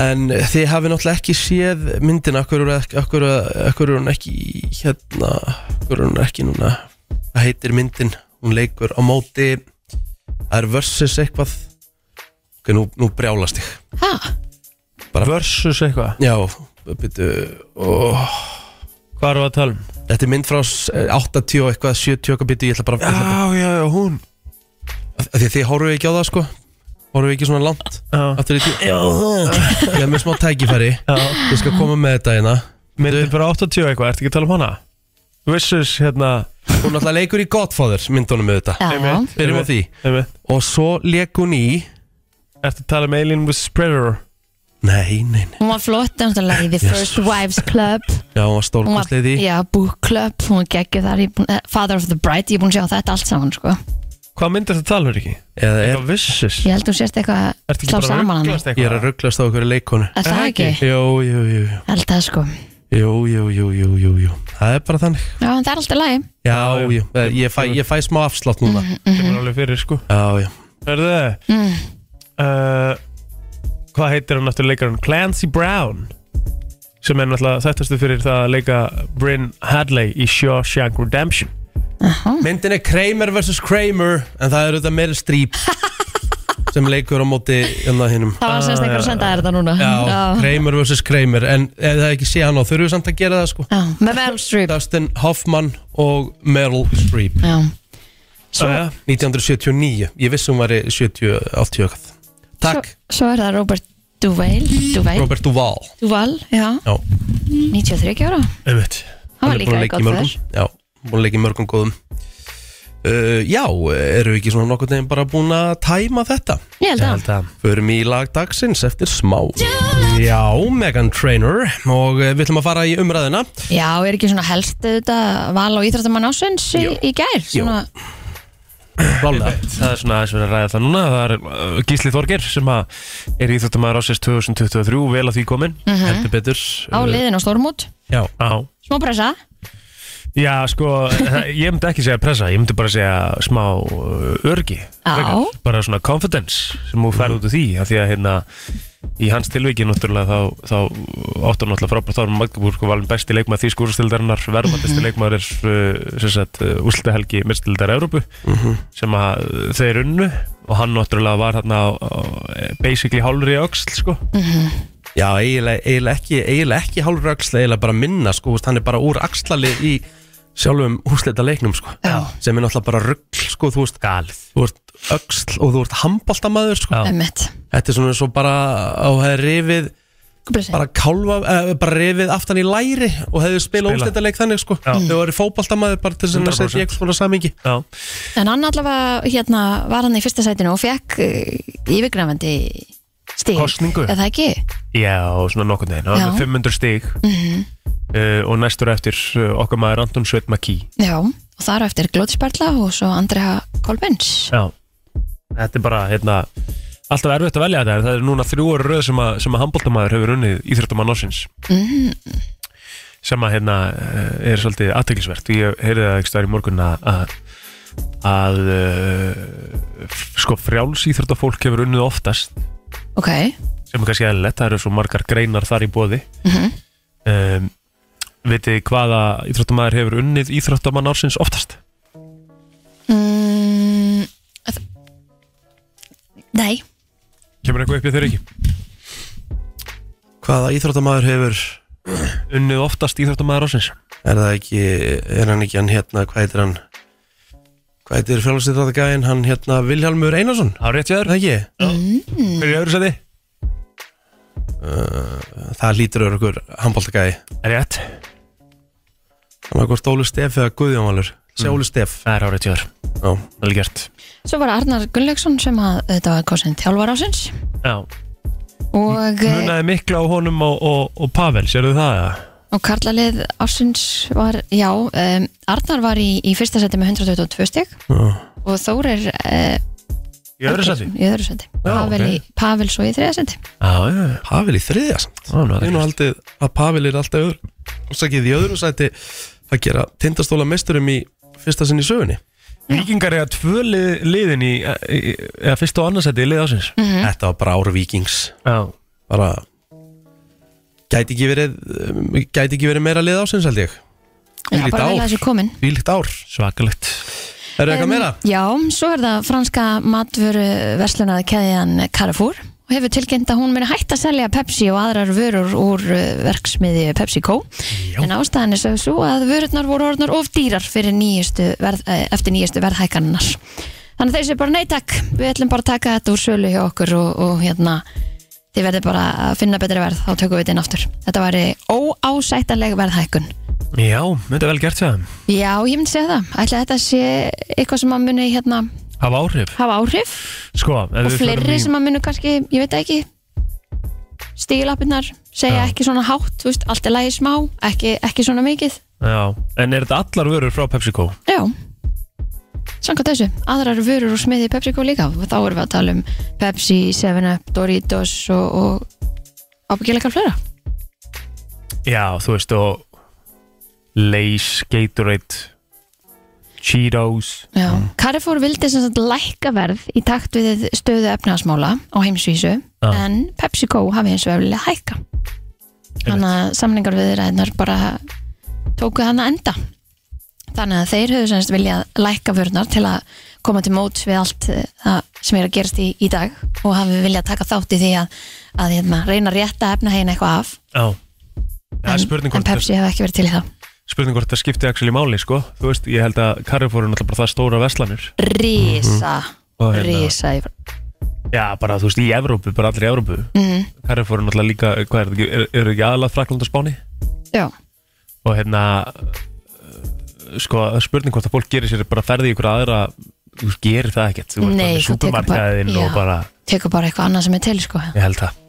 [SPEAKER 2] En þið hafi náttúrulega ekki séð myndina Akkur er, akkur, akkur er hún ekki í- Hérna Akkur er hún ekki núna Það heitir myndin, hún leikur á móti Það er versus eitthvað Ok, nú, nú brjálast ég
[SPEAKER 1] Ha,
[SPEAKER 3] versus eitthvað
[SPEAKER 2] Já, byrju oh.
[SPEAKER 3] Hvað erum við að tala um?
[SPEAKER 2] Þetta er mynd frá s- 80 og eitthvað 70 og eitthvað byrju, ég ætla bara að
[SPEAKER 3] já, já, hún
[SPEAKER 2] Því þið horfum ekki á það sko Horfum ekki svona langt
[SPEAKER 3] Já,
[SPEAKER 2] Aftur í tíu Já, ég er með smá tækifæri
[SPEAKER 3] já
[SPEAKER 2] Ég skal koma með þetta hérna
[SPEAKER 3] Myndin fyrir 80 og eitthvað, ertu ekki að tala um hana? Versus hérna
[SPEAKER 2] Hún náttúrulega leikur í Godfather myndunum með þetta
[SPEAKER 1] já, já
[SPEAKER 3] einmitt,
[SPEAKER 2] Byrjum á því
[SPEAKER 3] einmitt.
[SPEAKER 2] Og svo leik hún í
[SPEAKER 3] Ertu að tala um Alien with Predator
[SPEAKER 2] Nei, nei, nei
[SPEAKER 1] Hún var flott, náttúrulega í The First Wives Club
[SPEAKER 2] Já, hún var
[SPEAKER 1] Hún var,
[SPEAKER 2] stórkostleði
[SPEAKER 1] já, Book Club Hún var geggjur þar, ég er búin, eh, Father of the Bride Ég er búin að sjá þetta allt saman, sko
[SPEAKER 3] Hvað mynd er þetta að tala um ekki?
[SPEAKER 2] Eða er,
[SPEAKER 3] Eitthvað Versus
[SPEAKER 1] Ég held hún sérst eitthvað að slá
[SPEAKER 3] Ertu ekki bara að
[SPEAKER 1] saman hann
[SPEAKER 3] rugglast
[SPEAKER 2] ég er að
[SPEAKER 3] eitthvað?
[SPEAKER 2] rugglast á okkur leikonu
[SPEAKER 1] Er það
[SPEAKER 3] Er
[SPEAKER 1] ekki?
[SPEAKER 3] ekki?
[SPEAKER 2] Jú, jú, jú, jú.
[SPEAKER 1] Held það, sko
[SPEAKER 2] jú, jú, jú, jú, jú, jú Það er bara þannig
[SPEAKER 1] Já, en það er alltaf lagi
[SPEAKER 2] Já,
[SPEAKER 3] Já,
[SPEAKER 2] jú,
[SPEAKER 3] já.
[SPEAKER 1] Mhm.
[SPEAKER 2] Eh, ég fæ, ég fæ smá afslátt núna
[SPEAKER 3] Ég var alveg fyrir sko
[SPEAKER 2] Já, já
[SPEAKER 3] Hörðu,
[SPEAKER 1] Mm-hmm. mm.
[SPEAKER 3] uh, Hvað heitir hann aftur leikarinn? Clancy Brown sem er náttúrulega þettastu fyrir það að leika Bryn Hadley í Shawshank Redemption
[SPEAKER 2] Myndin er Kramer vs. Kramer En það er auðvitað Meryl Streep Sem leikur á móti hérna hinnum
[SPEAKER 1] Það var semst einhver að senda þér þetta núna
[SPEAKER 2] Já, Kramer vs. Kramer En ef það ekki sé hann á þurfum við samt að gera það sko
[SPEAKER 1] Já, Með Meryl Streep
[SPEAKER 2] Dustin Hoffman og Meryl Streep
[SPEAKER 1] Já.
[SPEAKER 3] Svo, uh,
[SPEAKER 2] 1979, ég vissi hún var í 70, 80 eitthvað Takk,
[SPEAKER 1] Svo, svo er það Robert Duval Duval,
[SPEAKER 2] Robert Duvall
[SPEAKER 1] Duval já,
[SPEAKER 2] Já,
[SPEAKER 1] 93 ára
[SPEAKER 3] einmitt
[SPEAKER 1] Hann var
[SPEAKER 2] er búinn
[SPEAKER 1] líka í
[SPEAKER 2] að leika í mörgum
[SPEAKER 1] Godfather
[SPEAKER 2] Já, búin að leika í mörgum góðum uh, Já, eru við ekki svona nokkuð neginn bara búin að tæma þetta
[SPEAKER 1] Ég held að
[SPEAKER 3] að
[SPEAKER 2] Förum í lag dagsins eftir smá Já, Megan Trainor Og eh, við ætlum að fara í umræðina
[SPEAKER 1] Já, er ekki svona helst þetta val á íþróttamann ásins í,
[SPEAKER 2] Jú.
[SPEAKER 1] í gær svona,
[SPEAKER 2] Rálega
[SPEAKER 3] Það er svona aðeins verið að ræða það núna Það er uh, Gísli Þorgir sem að er íþjóttamæður ásins 2023 vel að því komin
[SPEAKER 2] Heldur betur
[SPEAKER 1] Mhm. á liðin og stórmút
[SPEAKER 2] Já,
[SPEAKER 3] Já
[SPEAKER 1] Smá pressa
[SPEAKER 3] Já, sko, það- ég myndi ekki segja pressa, ég myndi bara segja smá uh, örgi
[SPEAKER 1] Já.
[SPEAKER 3] frekar. Bara svona confidence sem þú ferð út úr því af Því að hérna, í hans tilviki náttúrulega þá, þá áttu hann náttúrulega frábært Þá er Magdeburg og valin besti leikmaður því skúrstildarinnar Verðmættist leikmaður er uh, sem sagt úrslitahelgi mistildar Evrópu Sem að uh, þeir unnu og hann náttúrulega var þarna á, á, eh, basically hálfri öxl, sko
[SPEAKER 2] já eiginlega, eiginlega ekki, eiginlega ekki hálfur axla Eiginlega bara minna, sko, veist, hann er bara úr axlali í sjálfum húsleita leiknum, sko
[SPEAKER 1] Já.
[SPEAKER 2] Sem er náttúrulega bara rugl, sko, þú veist
[SPEAKER 3] Galið
[SPEAKER 2] Þú ert öxl og þú ert handbóltamaður, sko
[SPEAKER 3] Já.
[SPEAKER 1] Emmett
[SPEAKER 2] Þetta er svona eins og bara á hefði rifið bara kálfa, eh, bara rifið aftan í læri og hefði spilað
[SPEAKER 3] Spila.
[SPEAKER 2] úrstættaleik þannig sko
[SPEAKER 3] Já.
[SPEAKER 2] þau eru fótballtamaður bara til þess að
[SPEAKER 3] 100%.
[SPEAKER 2] setja í eitthvað samingi
[SPEAKER 3] Já,
[SPEAKER 1] En hann allavega hérna, var hann í fyrsta sætinu og eh, fekk yfirgrafandi stíl
[SPEAKER 3] Kosningu.
[SPEAKER 1] Eða ekki?
[SPEAKER 3] Já, svona nokkurn veginn, hann
[SPEAKER 1] Já.
[SPEAKER 3] er með 500 stig uh, og næstur eftir uh, okkar maður Anton Sveit Maki
[SPEAKER 1] Já, og þar á eftir Glótsperla og svo Andrea Kolbens
[SPEAKER 3] Já, þetta er bara hérna, alltaf erfitt að velja þetta en það er núna þrjú orður röð sem að, sem að handbóltamaður hefur unnið íþjóttumann ársins sem að hérna eh, er svolítið aðteglisvert ég heyrði það ekki stær í morgun að að- að uh, sko frjáls íþjóttafólk hefur unnið oftast
[SPEAKER 1] Ok,
[SPEAKER 3] sem er kannski eðlilegt, það eru svo margar greinar þar í bóði mm
[SPEAKER 1] Mhm.
[SPEAKER 3] -hmm. um, Vitið þið hvaða íþróttamæður hefur unnið íþróttamann ársins oftast?
[SPEAKER 1] mm, að- Nei,
[SPEAKER 3] Kemur eitthvað upp í þeirra ekki?
[SPEAKER 2] hvaða íþróttamaður hefur
[SPEAKER 3] Unnið oftast íþróttamæður ársins
[SPEAKER 2] er það ekki, er hann ekki hann hérna, hvað heitir hann hvað heitir frjálfsýþróttagæðin hann hérna Vilhjalmur Einarsson
[SPEAKER 3] Á rétt
[SPEAKER 2] er
[SPEAKER 3] jáður,
[SPEAKER 2] það ekki?
[SPEAKER 1] Mm.
[SPEAKER 3] hver er í öðru seti?
[SPEAKER 2] Það lítur öru okkur handbóltagæði
[SPEAKER 3] Rétt,
[SPEAKER 2] hann var hvort Óli Steff eða Guðjónvalur
[SPEAKER 3] Mm.
[SPEAKER 2] segja Óli Steff
[SPEAKER 3] það er á rétt jáður,
[SPEAKER 2] Já.
[SPEAKER 3] vel gert
[SPEAKER 1] svo var Arnar Gunnlaugsson sem að þetta var kosin þjálfar ásins
[SPEAKER 3] Já,
[SPEAKER 1] og, eh,
[SPEAKER 3] munaði mikla á honum og, og, og Pavel, sérðu það? eða?
[SPEAKER 1] og karlalið ásins var, já, um, Arnar var í, í fyrsta seti með 122 stygg
[SPEAKER 2] Já.
[SPEAKER 1] og Þórir uh,
[SPEAKER 3] Í öðru seti?
[SPEAKER 1] í öðru seti
[SPEAKER 3] Já,
[SPEAKER 1] Pavel, í, Pavel svo í þriða seti
[SPEAKER 3] Já, já, já,
[SPEAKER 2] Pavel í þriðja samt
[SPEAKER 3] það er nú
[SPEAKER 2] ég hef nú
[SPEAKER 3] aðeins
[SPEAKER 2] haldið að Pavel er alltaf öðru og sækið í öðru sæti að gera tindastóla meisturum í fyrsta sinn í sögunni
[SPEAKER 3] Víkingar eiga tvö lið, liðin í, í, eða fyrst og annarsæti í lið ásins
[SPEAKER 2] Þetta var bara ár vikings
[SPEAKER 3] Já,
[SPEAKER 2] bara gæti ekki verið um, gæti ekki verið meira lið ásins held ég
[SPEAKER 1] Já,
[SPEAKER 2] Þvílíkt
[SPEAKER 1] bara vel
[SPEAKER 2] ár.
[SPEAKER 1] að þessu komin
[SPEAKER 2] Vílíkt ár
[SPEAKER 3] svakalegt
[SPEAKER 2] Er það eitthvað
[SPEAKER 1] Em,
[SPEAKER 2] meira?
[SPEAKER 1] Já, svo er það franska matvöru verslunaði keðjan Carrefour og hefur tilkynnt að hún muni hætt að selja Pepsi og aðrar vörur úr eh, verksmiðju PepsiCo
[SPEAKER 3] Já.
[SPEAKER 1] en ástæðan er svo- svo að vörurnar voru orðnar of dýrar fyrir nýjustu verð, eh, eftir nýjustu verðhækannar þannig að þeir séu bara nei takk við ætlum bara að taka þetta úr sölu hjá okkur og, og hérna þið verði bara að finna betri verð þá tökum við þetta inn aftur þetta væri óásættanleg verðhækun
[SPEAKER 3] Já, þetta er vel gert það
[SPEAKER 1] Já, ég myndi segja það. Ætli þetta sé eitthvað sem að muni hérna
[SPEAKER 3] Hafa áhrif
[SPEAKER 1] hafa áhrif
[SPEAKER 3] Sko,
[SPEAKER 1] og fleiri sem að muni kannski, ég veit það ekki, stílappirnar, segja
[SPEAKER 3] Já.
[SPEAKER 1] ekki svona hátt, þú veist, allt er lægi smá, ekki, ekki svona mikið.
[SPEAKER 3] Já, en er þetta allar vörur frá PepsiCo?
[SPEAKER 1] Já, samkvæmt þessu, aðrar vörur og smiði PepsiCo líka, og þá erum við að tala um Pepsi, 7up, Doritos og, og ábyggilega flera.
[SPEAKER 3] Já, þú veist og Lays, Gatorade Cheetos
[SPEAKER 1] Já. Carrefour vildi sem sagt lækka verð í takt við stöðu efnaðasmála á heimsvísu
[SPEAKER 3] Já.
[SPEAKER 1] en PepsiCo hafi eins og eflilega hækka þannig að samningar við reynar bara tóku hann að enda þannig að þeir höfðu semst viljað lækka vörnar til að koma til móts við allt eh, það sem er að gerast í, í dag og hafi viljað taka þátt í því að, að hérna, reyna að rétta efnahegin eitthvað af
[SPEAKER 3] Já Það er
[SPEAKER 1] en,
[SPEAKER 3] spurning
[SPEAKER 1] en
[SPEAKER 3] hvort, þetta-
[SPEAKER 1] Pepsi hefði ekki verið til í það
[SPEAKER 3] spurning hvort það skipti Axel í máli sko Þú veist, ég held að Carrefour er náttúrulega bara það stóra veslanir
[SPEAKER 1] Rísa,
[SPEAKER 3] Mhm. Og hérna-
[SPEAKER 1] rísa í-
[SPEAKER 3] Já, bara þú veist, í Evrópu, bara allir í Evrópu
[SPEAKER 1] mm,
[SPEAKER 3] Carrefour er náttúrulega líka, hvað er þetta ekki, eru er ekki aðlað Frakland og Spáni?
[SPEAKER 1] Já
[SPEAKER 3] Og hérna, uh, sko, það er spurning hvort að fólk gerir sér bara ferði í ykkur aðra Þú veist, gerir það ekkert Þú veist,
[SPEAKER 1] Nei,
[SPEAKER 3] það er
[SPEAKER 1] þú tekur bara-
[SPEAKER 3] supermarkaðin
[SPEAKER 1] Já.
[SPEAKER 3] og bara,
[SPEAKER 1] tekur bara eitthvað annað sem er til sko.
[SPEAKER 3] ég held það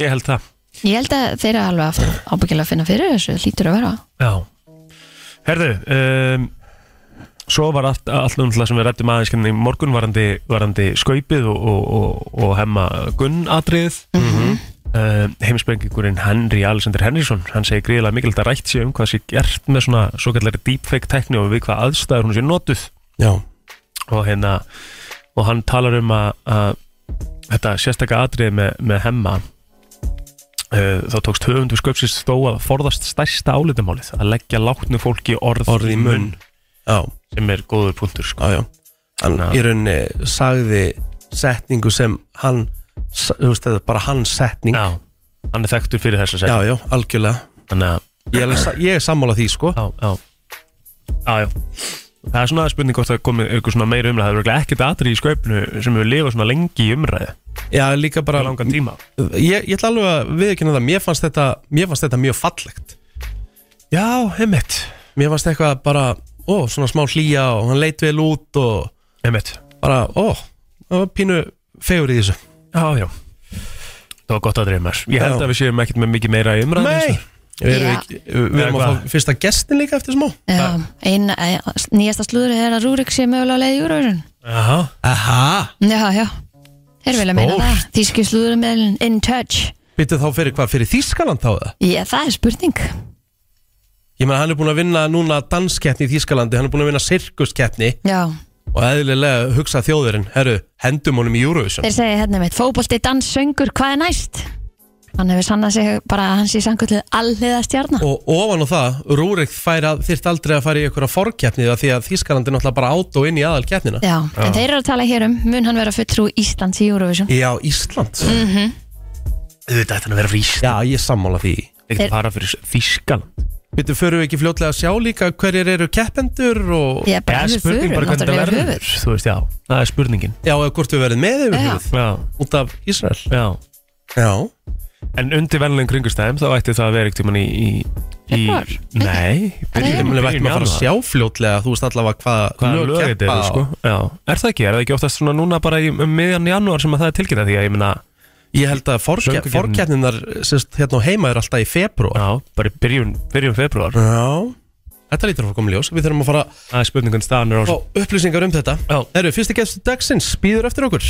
[SPEAKER 3] Ég held það
[SPEAKER 1] ég held að þeir eru alveg aftur ábyggilega að finna fyrir þessu, lítur að vera
[SPEAKER 3] Já Herðu um, Svo var allt, allt um það sem við rættum aðeins hérna í morgun varandi, varandi skaupið og, og, og, og hemma gunnatriðið mm -hmm. heimsbrengingurinn Henry Alexander Henriksson hann segir gríðilega mikilvægt að rætt sér um hvað sé gert með svona svo kallari deepfake tekni og við hvað aðstæður hún sé notuð
[SPEAKER 2] Já,
[SPEAKER 3] og hérna og hann talar um að, að þetta sérstaka atriði með, með hemma uh, þá tókst höfundu sköpsist þó að forðast stærsta álitamálið að leggja látnu fólki orð,
[SPEAKER 2] Orð í munn. já,
[SPEAKER 3] sem er góður punktur sko.
[SPEAKER 2] já, já Hann
[SPEAKER 3] Já.
[SPEAKER 2] í rauninni sagði setningu sem hann sa- þú veist, þetta er bara hans setning
[SPEAKER 3] Já, hann er þekktur fyrir þess að
[SPEAKER 2] Já,
[SPEAKER 3] segja
[SPEAKER 2] já, algjörlega
[SPEAKER 3] þannig að
[SPEAKER 2] Ég er, alveg sa- ég er sammála því, sko
[SPEAKER 3] já, já, já, já. það er svona spurning hvort það komið ykkur svona meira umræð það er örugglega ekkert atrið í sköpnu sem hefur lifað svona lengi í umræði
[SPEAKER 2] Já, líka bara
[SPEAKER 3] á langan tíma
[SPEAKER 2] Ég, ég ætla alveg að viðkynna það Mér fannst þetta, mér fannst þetta mjög fallegt
[SPEAKER 3] Já, heimitt
[SPEAKER 2] Mér fannst eitthvað bara, ó, svona smá hlýja og hann leit vel út og
[SPEAKER 3] heimitt
[SPEAKER 2] bara, ó, það var pínu fegur í þessu
[SPEAKER 3] Já, já Það var gott að dreif mér Ég held
[SPEAKER 2] Já.
[SPEAKER 3] að við séum ekkert með mikið meira í umræðinu
[SPEAKER 2] Nei, við erum,
[SPEAKER 1] Já.
[SPEAKER 2] ekki, við erum
[SPEAKER 3] Eða
[SPEAKER 2] að fá fyrsta gestin líka eftir smá
[SPEAKER 1] Já, ein, ein, nýjasta slúður er að Rúrik sé mögulega á leið í Eurovision
[SPEAKER 3] Jaha
[SPEAKER 2] Aha
[SPEAKER 1] já, já, þeir vilja meina
[SPEAKER 3] Stórt.
[SPEAKER 1] það þíski slúður með in touch
[SPEAKER 2] Byttu þá fyrir hvað, fyrir Þískaland þá það?
[SPEAKER 1] já, það er spurning
[SPEAKER 2] Ég meina, hann er búin að vinna núna danskeppni í Þískalandi Hann er búin að vinna sirkuskeppni
[SPEAKER 1] já,
[SPEAKER 2] Og eðlilega hugsa þjóðurinn Herru, hendum honum í Eurovision
[SPEAKER 1] þeir segja hérna mitt fótbolti, dans, söngur, hvað er næst hann hefur sannað sig bara að hann sé sangullið alliða stjarnar
[SPEAKER 2] Og ofan á það, Rúrik fær að þyrft aldrei að fara í einhverja forkeppni það því að Þískaland er náttúrulega bara át og inn í aðalkeppnina
[SPEAKER 1] já, en þeir eru að tala hér um mun hann vera fulltrú Íslands í Eurovision
[SPEAKER 2] Já, Ísland
[SPEAKER 3] Þetta ætti hann að vera fríst
[SPEAKER 2] Já, ég er sammála því
[SPEAKER 3] Ekkert að fara fyrir Þískaland
[SPEAKER 2] Við förum við ekki fljótlega að sjá líka hverjir eru keppendur og...
[SPEAKER 1] ég er bara
[SPEAKER 3] Já,
[SPEAKER 1] hefur fyrir, náttúrulega yfir höfuð
[SPEAKER 3] Þú veist, já Það er spurningin
[SPEAKER 2] Já, eða hvort við verðum með yfir
[SPEAKER 1] Já.
[SPEAKER 2] höfuð
[SPEAKER 3] Já,
[SPEAKER 2] út af Ísrael
[SPEAKER 3] já
[SPEAKER 2] Já,
[SPEAKER 3] En undir venlegin kringustæðum þá ætti það að vera ekkert um hann í, í, í
[SPEAKER 1] Febrúar?
[SPEAKER 3] Nei
[SPEAKER 1] Nei.
[SPEAKER 2] ég
[SPEAKER 3] byrjun-
[SPEAKER 2] meina við ættum að
[SPEAKER 3] byrjun
[SPEAKER 2] fara að
[SPEAKER 3] janúar.
[SPEAKER 2] sjá fljótlega þú veist allavega hvað,
[SPEAKER 3] Hvaða lög þetta
[SPEAKER 2] keppa
[SPEAKER 3] eru, sko
[SPEAKER 2] á.
[SPEAKER 3] Já Er það ekki? Er það ekki oftast svona núna bara í um miðjan janúar sem að það er tilkynna því að ég minna
[SPEAKER 2] Ég held að forke,
[SPEAKER 3] Söngukeppnin.
[SPEAKER 2] forkeppninar sérst, hérna á heima er alltaf í februar
[SPEAKER 3] Já, bara í byrjun, byrjun februar
[SPEAKER 2] Já Þetta lítur að fara komið ljós, við þurfum að fara að
[SPEAKER 3] Það er spurningun staðan er á
[SPEAKER 2] fá upplýsingar um þetta
[SPEAKER 3] Já.
[SPEAKER 2] Herru, fyrsti gestur dagsins býður eftir okkur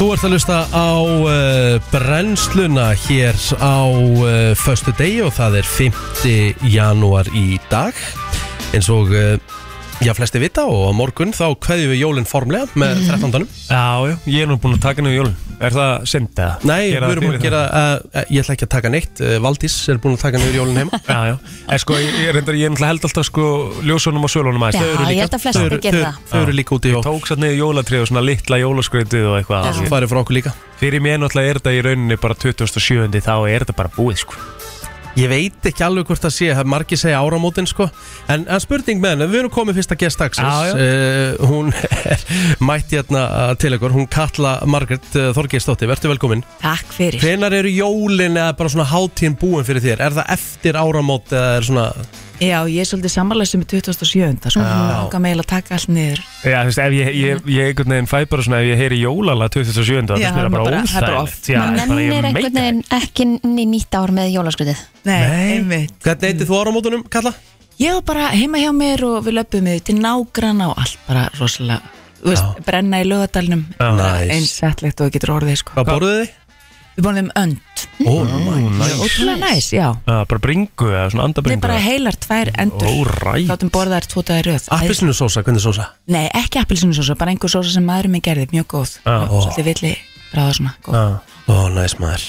[SPEAKER 2] Þú ert að lusta á uh, brennsluna hér á uh, föstu degi og það er 5. janúar í dag eins og uh, já, flesti vita og á morgun þá kveðjum við jólinn formlega
[SPEAKER 3] Mhm.
[SPEAKER 2] með 13.
[SPEAKER 3] Já, já, ég er nú búinn að taka niður jólun Er það synd eða?
[SPEAKER 2] Nei,
[SPEAKER 3] Gera
[SPEAKER 2] við erum
[SPEAKER 3] fyrir
[SPEAKER 2] búin að gera, uh, ég ætla ekki að taka neitt uh, Valdís er búin að taka niður jólun heima
[SPEAKER 3] það? Já, já, en sko, ég, ég reyndar, ég náttúrulega held alltaf sko ljósunum og svölunum
[SPEAKER 1] Já,
[SPEAKER 3] aðeins Þau eru
[SPEAKER 1] ég
[SPEAKER 3] líka-
[SPEAKER 1] held að flestir
[SPEAKER 2] eru-
[SPEAKER 1] gera
[SPEAKER 2] þau,
[SPEAKER 1] það.
[SPEAKER 2] þau eru líka úti í
[SPEAKER 3] Tók satt niður jólatrið og svona litla jólaskreitið og eitthvað
[SPEAKER 1] Já.
[SPEAKER 3] alveg.
[SPEAKER 2] Það er frá okkur líka
[SPEAKER 3] Fyrir mér náttúrulega er þetta í rauninni bara 2007 þá er þetta bara búið sko
[SPEAKER 2] Ég veit ekki alveg hvort það sé, það er margir segja áramótin sko En, en spurning með henni, við erum komið fyrsta gest dagsins
[SPEAKER 3] Já, já.
[SPEAKER 2] uh, Hún er mætt hérna uh, til ykkur, hún kalla Margrét uh, Þorgeistóttir, verður velkomin
[SPEAKER 4] Takk fyrir.
[SPEAKER 2] Hvenar eru jólin eða bara svona hátíðin búin fyrir þér? Er það eftir áramót eða er svona
[SPEAKER 4] Já, ég er svolítið sammálaðis með 2007. Sko, hún langar meila að taka allt niður.
[SPEAKER 3] Já, þú veist, ef ég, ég, ég einhvern veginn fæ bara svona ef ég heyri jólala 2007 þá
[SPEAKER 4] Já,
[SPEAKER 3] finnst mér það
[SPEAKER 4] maður
[SPEAKER 3] bara
[SPEAKER 4] bara- það er
[SPEAKER 3] óþægilegt
[SPEAKER 4] bara off.
[SPEAKER 3] Já,
[SPEAKER 1] maður
[SPEAKER 3] bara ég
[SPEAKER 1] nennir einhvern
[SPEAKER 3] meika
[SPEAKER 1] veginn ekki inn í nýtt ár með jólaskutið
[SPEAKER 4] Nei,
[SPEAKER 3] Nei.
[SPEAKER 4] einmitt.
[SPEAKER 2] Hvernig eittir þú áramótunum, Kalla?
[SPEAKER 4] Ég var bara heima hjá mér og við löpum við til nágrana og allt bara rosalega, þú veist, brenna í lögadalnum.
[SPEAKER 3] Já.
[SPEAKER 4] Bara
[SPEAKER 2] Nice.
[SPEAKER 4] Eins settlegt og það getur orðið, sko.
[SPEAKER 2] Hvað borðuðu þið? Oh
[SPEAKER 4] við borðum önd
[SPEAKER 2] Ó, næ
[SPEAKER 4] Ótrúlega næs, já
[SPEAKER 3] Ah, bara bringu eða svona
[SPEAKER 4] Nei,
[SPEAKER 3] andabringu
[SPEAKER 4] bara heilar tvær endur
[SPEAKER 3] Óræt.
[SPEAKER 4] Þáttum borðaðar tvo dagar í röð
[SPEAKER 2] Appisinu sósa, hvernig sósa?
[SPEAKER 4] Nei, ekki appelsinusósa, bara einhver sósa sem maðurinn minn gerði, mjög góð
[SPEAKER 3] Ah, ó.
[SPEAKER 4] Svolítið villi bráða svona góð.
[SPEAKER 3] ah,
[SPEAKER 2] Ó, næs maður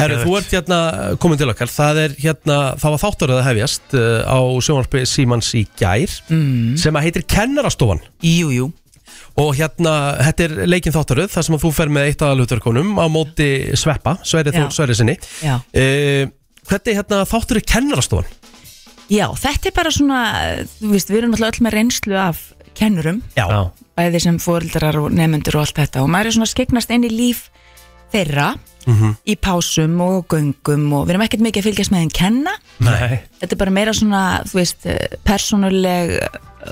[SPEAKER 2] Herru, þú ert hérna komin til okkar Það er hérna, það var þáttaröð að hefjast uh, á sjónvarpi Símans í gær mm. sem að heitir Kennarastofan
[SPEAKER 4] Jú, jú,
[SPEAKER 2] og hérna, þetta er leikin þáttaröð þar sem að þú fer með eitt aðalutverkunum á móti Sveppa, Sverri
[SPEAKER 4] Já.
[SPEAKER 2] Þór Sverri sinni
[SPEAKER 4] já
[SPEAKER 2] uh, Hvernig hérna þáttur er Kennarastofan?
[SPEAKER 4] Já, þetta er bara svona, þú veist, við erum alltaf öll með reynslu af kennurum,
[SPEAKER 2] Já,
[SPEAKER 3] ah,
[SPEAKER 4] bæði sem fóreldrar og nefnendur og allt þetta og maður er svona að skegnast inn í líf þeirra í pásum og göngum og við erum ekkert mikið að fylgjast með þeim kenna,
[SPEAKER 3] Nei
[SPEAKER 4] þetta er bara meira svona, þú veist, persónuleg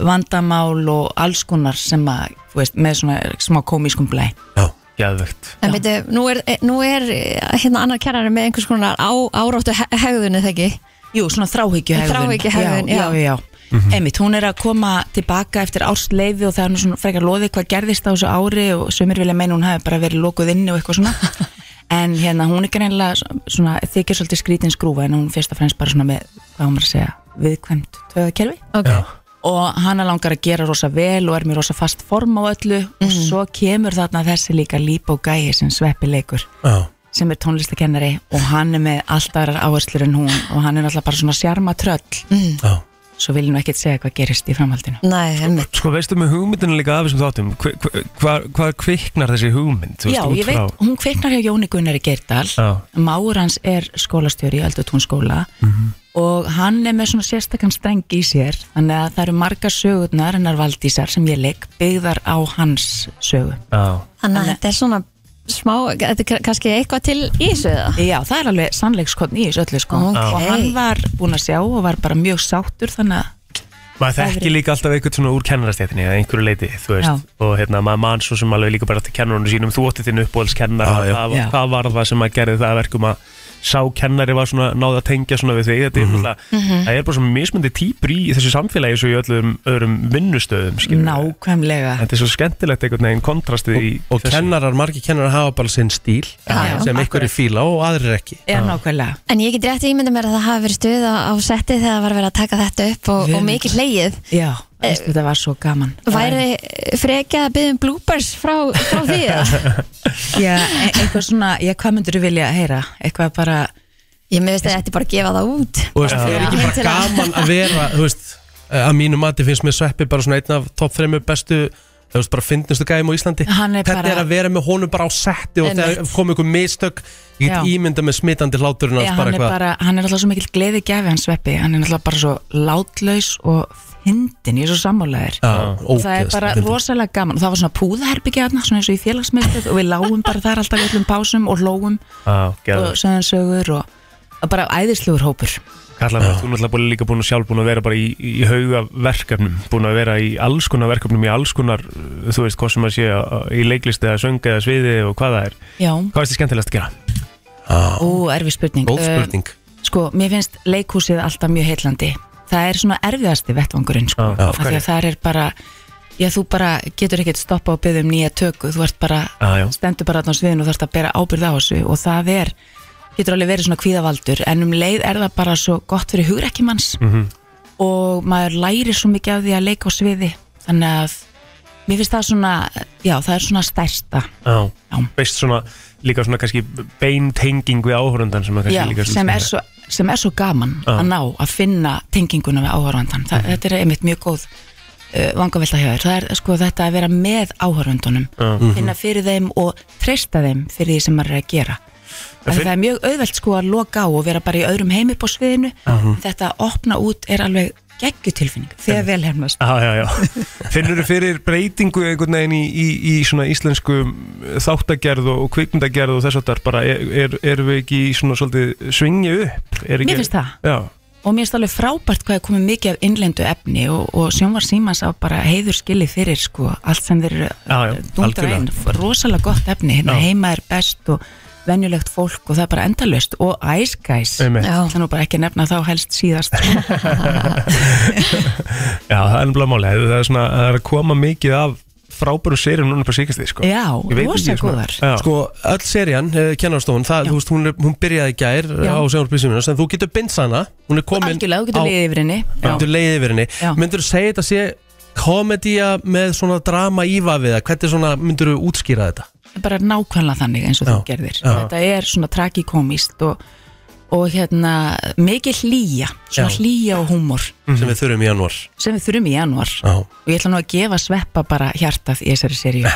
[SPEAKER 4] vandamál og alls konar sem að, þú veist, með svona smá komískum blæ.
[SPEAKER 2] já
[SPEAKER 3] Geðvögt
[SPEAKER 1] En veitu, nú er, nú er eh, hérna annar kennari með einhvers konar á, áráttu he- hegðunni þegar ekki
[SPEAKER 4] Jú, svona þráhyggjuhegðun
[SPEAKER 1] Þráhyggjuhegðun,
[SPEAKER 4] já, já, já. Einmitt, hún er að koma tilbaka eftir ársleifi og það er nú svona frekar loðið hvað gerðist á þessu ári og sömur vilja meina hún hafi bara verið lokuð inni og eitthvað svona en hérna hún er greinlega svona þykir svolítið skrítin skrúfa en hún er fyrst og fremst bara svona með, hvað hún var að segja viðkvæmt töðakerfi
[SPEAKER 1] okay.
[SPEAKER 4] og hana langar að gera rosa vel og er með rosa fast form á öllu og svo kemur þarna þessi líka líp og gæi sem sveppi leikur
[SPEAKER 2] Já,
[SPEAKER 4] sem er tónlistakennari og hann er með allt aðrar áherslur en hún og hann er náttúrulega bara svona sjarma tröll
[SPEAKER 2] já,
[SPEAKER 4] svo vil ég nú ekkert segja hvað gerist í framhaldinu
[SPEAKER 1] Nei, emmitt
[SPEAKER 3] Sko veistu með hugmyndinu líka af þessum þáttum hve- hve- Hvað hva, kviknar þessi hugmynd? þú
[SPEAKER 4] Já,
[SPEAKER 3] út
[SPEAKER 4] ég veit,
[SPEAKER 3] frá-
[SPEAKER 4] hún kveiknar hjá Jóni Gunnari Geirdal
[SPEAKER 3] Já.
[SPEAKER 4] Máur hans er skólastjóri í Öldutún skóla
[SPEAKER 3] Mhm.
[SPEAKER 4] og hann er með svona sérstakann streng í sér þannig að það eru margar sögurnar hennar valdísar sem ég leik byggðar á hans sögu
[SPEAKER 3] Já,
[SPEAKER 1] Þannig að þetta er svona smá, þetta er ka- kannski eitthvað til í þessu eða?
[SPEAKER 4] Já, það er alveg sannleikskotn í þessu öllu sko
[SPEAKER 1] Ókei.
[SPEAKER 4] og hann var búinn að sjá og var bara mjög sáttur þannig að
[SPEAKER 3] maður þekki líka alltaf eitthvað svona úr kennarastættinni eða einhverju leiti, þú veist og hérna, maður mann svo sem alveg líka bara til kennarunum sínum þú ótti þinn uppbóðskennar
[SPEAKER 2] Já, já.
[SPEAKER 3] hvað,
[SPEAKER 4] Já.
[SPEAKER 3] hvað var það sem að gerði það að verkum að sá kennari var svona náða að tengja svona við því þetta
[SPEAKER 2] Mhm.
[SPEAKER 3] er náttúrulega,
[SPEAKER 4] Mhm.
[SPEAKER 3] það er bara svona mismöndi týpur í þessu samfélagi svo í öllum öðrum vinnustöðum, skilur
[SPEAKER 4] nákvæmlega
[SPEAKER 3] þetta er svo skemmtilegt einhvern veginn kontrastið í
[SPEAKER 2] og kennarar, margir kennarar hafa bara sinn stíl
[SPEAKER 1] Já, já,
[SPEAKER 2] sem einhverju fíla og aðrir ekki
[SPEAKER 4] Já, nákvæmlega
[SPEAKER 1] En ég get rétt ímynda mér að það hafi verið stuð á, á setti þegar það var verið að taka þetta upp og,
[SPEAKER 4] Við
[SPEAKER 1] og
[SPEAKER 4] erum
[SPEAKER 1] mikið hleyið
[SPEAKER 4] Já, veistu, þetta var svo gaman
[SPEAKER 1] Væri frekja að byggja um bloopers frá, frá því eða?
[SPEAKER 4] Já, e- eitthvað svona, já, hvað myndur þú vilja heyra? Eitthvað bara,
[SPEAKER 1] Ég með veist að þetta er bara að gefa það út
[SPEAKER 2] og þú veist, það er ekki bara gaman að vera þú veist, eh, að mínu mati finnst mér sveppi bara svona einn af topp þreymur bestu þú veist, bara finnustu gæðum á Íslandi
[SPEAKER 4] Hann er
[SPEAKER 2] þetta
[SPEAKER 4] bara-
[SPEAKER 2] er að vera með honum bara á setti og
[SPEAKER 1] Einmitt.
[SPEAKER 2] þegar kom einhver mistök ég
[SPEAKER 4] Já.
[SPEAKER 2] get ímynda með smitandi hláturinn
[SPEAKER 4] já,
[SPEAKER 2] hans
[SPEAKER 4] hann
[SPEAKER 2] bara
[SPEAKER 4] er
[SPEAKER 2] eitthvað
[SPEAKER 4] bara, hann er alltaf svo mikill gleði gefi hans sveppi, hann er alltaf bara svo látlaus og fyndin, ég er svo sammálaður.
[SPEAKER 2] Já,
[SPEAKER 4] Og það er
[SPEAKER 2] ógeðslega
[SPEAKER 4] bara
[SPEAKER 2] fyndið.
[SPEAKER 4] rosalega gaman og það var svona púðaherbyggja þarna, svona eins og í félagsmyndstöð og við lágum bara þar alltaf í öllum pásum og lógum
[SPEAKER 3] kennar
[SPEAKER 4] og sögðan sögur og, og bara æðislugur hópur.
[SPEAKER 3] Karla, mér, þú er náttúrulega búin, líka búin að sjálf búin að vera bara í, í hauga verkefnum, búin að vera í alls konar verkefnum, í alls konar, uh, þú veist, hvað sem að sé uh, í leiklist eða söng eða sviði og hvað það er.
[SPEAKER 4] Já,
[SPEAKER 3] Hvað er þetta skemmtilegast að gera?
[SPEAKER 4] ó, erfið spurning.
[SPEAKER 2] góð
[SPEAKER 4] Uh,
[SPEAKER 2] spurning
[SPEAKER 4] Sko, mér finnst leikhúsið alltaf mjög heillandi Það er svona erfiðasti vettvangurinn sko.
[SPEAKER 3] Já, já,
[SPEAKER 4] Af því að það er bara Já, þú bara getur ekkert stoppa og byggja um nýja töku Þú ert bara,
[SPEAKER 3] Já, já.
[SPEAKER 4] stendur bara þarna á sviðinu og þarfst að bera ábyrð á þessu og það er, getur alveg verið svona kvíðavaldur en um leið er það bara svo gott fyrir hugrekkimanns -hmm. og maður lærir svo mikið af því að leika á sviði þannig að mér finnst það svona já, það er svona stærsta
[SPEAKER 3] Já.
[SPEAKER 4] Já.
[SPEAKER 3] Veist svona, líka svona kannski beintenging við áhörundan sem er kannski
[SPEAKER 4] Já,
[SPEAKER 3] líka
[SPEAKER 4] sem, er svo, sem er svo gaman
[SPEAKER 3] Já. Mhm.
[SPEAKER 4] að ná að finna tenginguna við áhörvandan Þa, þetta er einmitt mjög góð uh, vangavelta hjá þér, það er sko þetta að vera með áhörvandunum,
[SPEAKER 3] Mhm.
[SPEAKER 4] finna fyrir þeim og treysta þeim fyrir því sem maður er að gera Af því
[SPEAKER 3] finn-
[SPEAKER 4] Það er mjög auðvelt sko að loka á og vera bara í öðrum heimi på sviðinu
[SPEAKER 3] Mhm.
[SPEAKER 4] Þetta að opna út er alveg geggjutilfinning þegar vel hermast
[SPEAKER 3] Já, já, já. Finnur þú fyrir breytingu einhvern veginn í, í, í svona íslensku um, þáttagerð og kvikmyndagerð og þess að það er bara, er, er, erum við ekki í svona svolítið svingi upp? Er Ekki,
[SPEAKER 4] Mér finnst það.
[SPEAKER 3] Já,
[SPEAKER 4] Og mér finnst alveg frábært hvað er komið mikið af innlendu efni og, og sjónvar símans á bara heiður skilið fyrir sko allt sem þeir eru
[SPEAKER 3] Já, já,
[SPEAKER 4] dundra
[SPEAKER 3] algjörlega.
[SPEAKER 4] einn, rosalega gott efni hérna
[SPEAKER 3] Já.
[SPEAKER 4] heima er best og venjulegt fólk og það er bara endalust og Ice Guys
[SPEAKER 3] einmitt.
[SPEAKER 1] Já.
[SPEAKER 4] Það er nú bara ekki að nefna þá helst síðast sko.
[SPEAKER 3] Já, það er nefnilega máli, það er, svona, það er að koma mikið af frábæru sérum núna på síkastíð sko.
[SPEAKER 4] Já,
[SPEAKER 3] Ég veit
[SPEAKER 4] rosa
[SPEAKER 3] ekki, svona-
[SPEAKER 4] góðar.
[SPEAKER 3] Já.
[SPEAKER 2] Sko, öll serían, uh, kennarstofun það, þú veist, hún, er- hún byrjaði í gær eh,
[SPEAKER 4] Já.
[SPEAKER 2] á sjónarpísumina, en þú getur binds hana hún er komin
[SPEAKER 4] Algjörlega, þú getur
[SPEAKER 2] á-
[SPEAKER 4] liðið yfir henni
[SPEAKER 2] þú getur leiðið yfir henni
[SPEAKER 4] Já.
[SPEAKER 2] myndur þú segja þetta sé komedía með svona drama íva við það hvernig svona myndur þú útskýra þetta
[SPEAKER 4] bara nákvæmlega þannig eins og
[SPEAKER 2] Já,
[SPEAKER 4] þú gerðir
[SPEAKER 2] já.
[SPEAKER 4] þetta er svona tragikomist og, og hérna mikið hlýja, svona
[SPEAKER 2] Já.
[SPEAKER 4] hlýja og húmor
[SPEAKER 2] sem við þurfum í janúar
[SPEAKER 4] sem við þurfum í januar
[SPEAKER 2] Mhm. Já.
[SPEAKER 4] og ég ætla nú að gefa sveppa bara hjartað í þessari seríu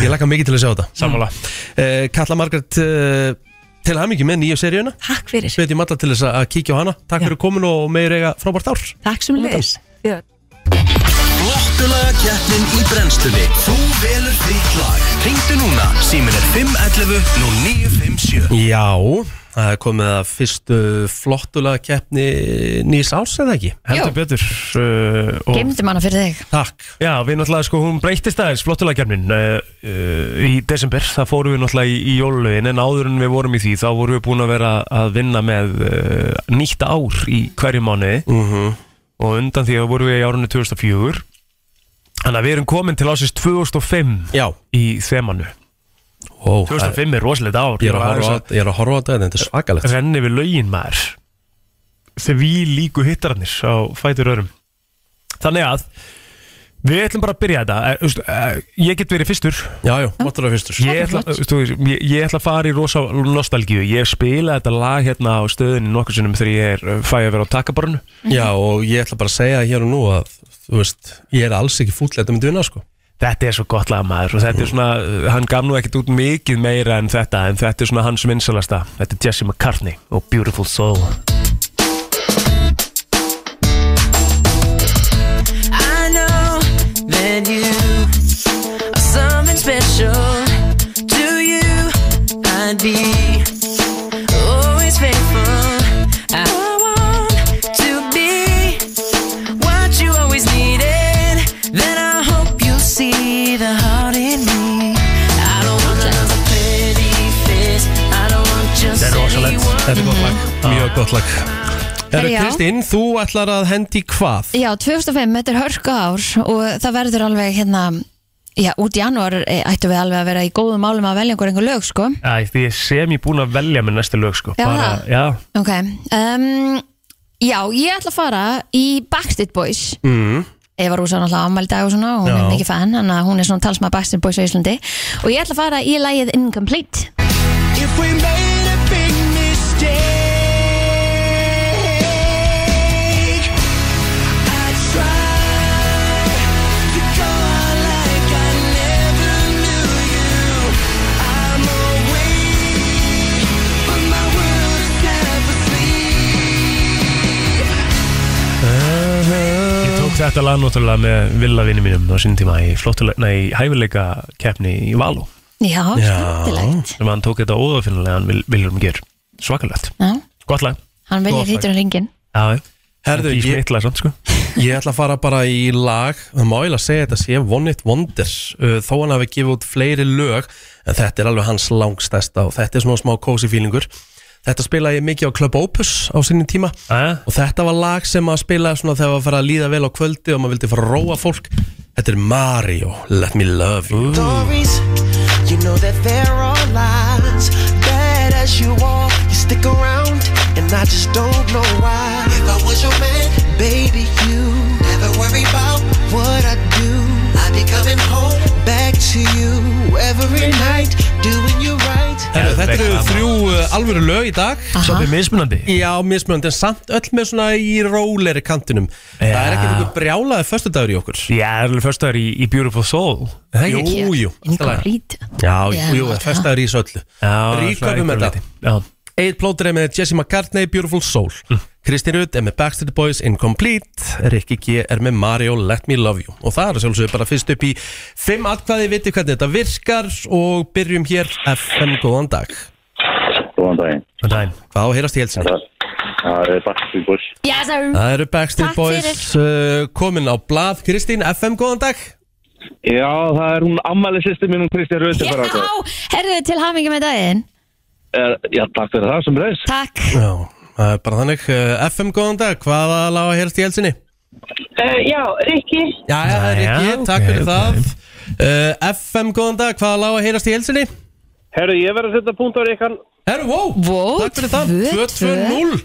[SPEAKER 2] ég laka mikið til að sjá þetta
[SPEAKER 3] Sammála
[SPEAKER 2] uh, Kalla Margrét uh, til hamingi með nýju seríuna
[SPEAKER 4] Takk fyrir,
[SPEAKER 2] hvetjum alla til þess að að kíkja á hana takk
[SPEAKER 4] Já.
[SPEAKER 2] fyrir komin og meður eiga frábært ár
[SPEAKER 4] takk sem leis
[SPEAKER 5] Flottulaga keppnin í brennstunni Þú velur þitt lag Ringdu núna, símin er 511 Nú 957
[SPEAKER 2] já það er komið að fyrstu flottulega keppni nýs árs eða ekki
[SPEAKER 3] Heldur betur uh, og-
[SPEAKER 1] Gemdum hana fyrir þig
[SPEAKER 2] takk
[SPEAKER 3] Já, við náttúrulega sko, hún breyttist aðeins flottulagjarnin uh, uh, í desember, það fórum við náttúrulega í, í jólulögin en áður en við vorum í því, þá vorum við búin að vera að vinna með uh, nýtt ár í hverju mánuði
[SPEAKER 2] Mhm.
[SPEAKER 3] og undan því að vorum við í árunni 2004 þannig að við erum komin til ásins 2005
[SPEAKER 2] já
[SPEAKER 3] í þemanu
[SPEAKER 2] Ó, það-
[SPEAKER 3] 2005 er rosalegt ár
[SPEAKER 2] ég er að horfa á- ég er að horfa á þetta þetta er svakalegt
[SPEAKER 3] renni við lögin maður þegar við líku hittararnir á fætur örum þannig að við ætlum bara að byrja þetta Eh, þú veist, eh, ég get verið fyrstur
[SPEAKER 2] já, já, máttur að fyrstur
[SPEAKER 3] ég ætla, eh,
[SPEAKER 1] flott.
[SPEAKER 3] þú veist, ég, ég ætla að fara í rosa nostalgíu ég spila þetta lag hérna á stöðinni nokkur sinnum þegar ég er eh, fæ að vera á takkabarnu
[SPEAKER 2] Já og ég ætla bara að segja hér og nú að þú veist, ég er alls ekki fúll þetta myndi vinna sko
[SPEAKER 3] þetta er svo gott lag maður og þetta er svona, eh, hann gaf nú ekkert út mikið meira en þetta, en þetta er svona hans vinsalasta þetta er Jesse McCartney og Beautiful Soul
[SPEAKER 6] I know that you are something special to you. I'd be always faithful. I want to be what you always needed. Then I hope you'll see the heart in me. I don't want another pretty face. I don't want just
[SPEAKER 3] Þetta er rosalegt.
[SPEAKER 6] anyone.
[SPEAKER 2] Þetta er gott lag, mjög gott lag Herru
[SPEAKER 1] Já.
[SPEAKER 2] Kristinn, þú ætlar að hendi í hvað?
[SPEAKER 1] Já, 2005, þetta er hörku ár og það verður alveg hérna Já, út í janúar eh, ættum við alveg að vera í góðum málum að velja einhver einhver lög, sko
[SPEAKER 3] Æ, því ég sem ég búin að velja með næstu lög sko,
[SPEAKER 1] Já, það.
[SPEAKER 3] bara, já
[SPEAKER 1] Ok um, Já, ég ætla að fara í Backstreet Boys mm. Eva Rúsa er náttúrulega ámæli dag og svona og hún
[SPEAKER 2] Mhm. Já.
[SPEAKER 1] er mikið fan, hann að hún er svona talsmaður Backstreet Boys á Íslandi og ég ætla að fara í lagið Incomplete
[SPEAKER 5] If we made a big mistake I try to go out like I never knew you I'm awake But my world is half asleep
[SPEAKER 3] Ég tók þetta lag náttúrulega með villavinni mínum á sín tíma í, flottulega- nei, í hæfileika keppni í Való
[SPEAKER 1] Já, skemmtilegt
[SPEAKER 3] sem hann tók þetta óðafinnulega hann vil, viljum ger svakalegt,
[SPEAKER 1] Já,
[SPEAKER 3] gott lag
[SPEAKER 1] Hann
[SPEAKER 2] Gott
[SPEAKER 1] viljið
[SPEAKER 2] lag.
[SPEAKER 1] hýtur um ringin
[SPEAKER 3] Já, já.
[SPEAKER 2] Herðu,
[SPEAKER 3] Í
[SPEAKER 2] ég,
[SPEAKER 3] smittla samt sko
[SPEAKER 2] ég ætla að fara bara í lag það má ég að segja þetta sé One It Wonders uh, þó hann hafi gefið út fleiri lög en þetta er alveg hans langstæsta og þetta er svona smá cozy feelingur Þetta spilaði ég mikið á Club Opus á sinni tíma
[SPEAKER 3] Jæja.
[SPEAKER 2] og þetta var lag sem að spila svona þegar var að fara að líða vel á kvöldi og maður vildi fara að róa fólk Þetta er Mario, Let Me Love You
[SPEAKER 7] stories. You know that there are lies. Bad as you are, you stick around, and I just don't know why. If I was your man, baby, you never worry about what I do. I'd be coming home back to you every night, doing you right.
[SPEAKER 2] Herru, þetta
[SPEAKER 3] Geðveikt
[SPEAKER 2] eru
[SPEAKER 3] gaman.
[SPEAKER 2] þrjú uh, alvöru lög í dag
[SPEAKER 3] Svo er mismunandi
[SPEAKER 2] Já, mismjönd, en samt öll með svona í róleri kantinum
[SPEAKER 3] Já.
[SPEAKER 2] Það er ekkert einhver brjálaði föstudagur í okkur
[SPEAKER 3] Ég er alveg fyrst í, í Beautiful Soul Er það
[SPEAKER 2] Jú,
[SPEAKER 3] ekki?
[SPEAKER 2] jú, allt í lagi.
[SPEAKER 1] Incomplete
[SPEAKER 2] Já, jú, jú,
[SPEAKER 1] Já,
[SPEAKER 2] það föstudagur í þessu öllu
[SPEAKER 3] Já,
[SPEAKER 2] Ríköpum
[SPEAKER 3] svona einhverju
[SPEAKER 2] þetta
[SPEAKER 3] leyti. Já,
[SPEAKER 2] Eitt plótur er með Jesse McCartney, Beautiful Soul Kristín Rutt er með Backstreet Boys, Incomplete Rikki G er með Mario, Let Me Love You Og það er að sjálfsögðu bara fyrst upp í Fimm atkvæði, viti hvernig þetta virkar Og byrjum hér FM, góðan dag
[SPEAKER 8] Góðan daginn.
[SPEAKER 3] svona dæn
[SPEAKER 2] Hvað á að heyrast í helsini?
[SPEAKER 8] Það það er Backstreet Boys.
[SPEAKER 1] Yes, sir
[SPEAKER 2] Það eru Backstreet
[SPEAKER 1] Takk
[SPEAKER 2] Boys uh, komin á blað Kristín, FM, góðan dag
[SPEAKER 8] Já, það er hún ammæli sýstir minn um Kristján Rauður fyrir
[SPEAKER 1] Já,
[SPEAKER 8] þetta.
[SPEAKER 1] herðu til hamingi með daginn
[SPEAKER 8] Eh, Já, takk fyrir það sem reys.
[SPEAKER 1] Takk
[SPEAKER 2] Já, það er bara þannig uh, FM, góðan dag, hvaða lága helst í helsinni?
[SPEAKER 9] Uh, já, Rikki,
[SPEAKER 2] Jæja, það er
[SPEAKER 3] Jæja,
[SPEAKER 2] ekki, takk
[SPEAKER 3] ok,
[SPEAKER 2] fyrir
[SPEAKER 3] ok.
[SPEAKER 2] það uh, FM, góðan dag, hvað lág að heyrast í helsinni?
[SPEAKER 8] Herru, ég verð að setja punkt á Rikkan.
[SPEAKER 2] Herru, wow,
[SPEAKER 1] Vó,
[SPEAKER 2] takk fyrir það
[SPEAKER 1] 2-2.
[SPEAKER 2] 2-2-0 uh,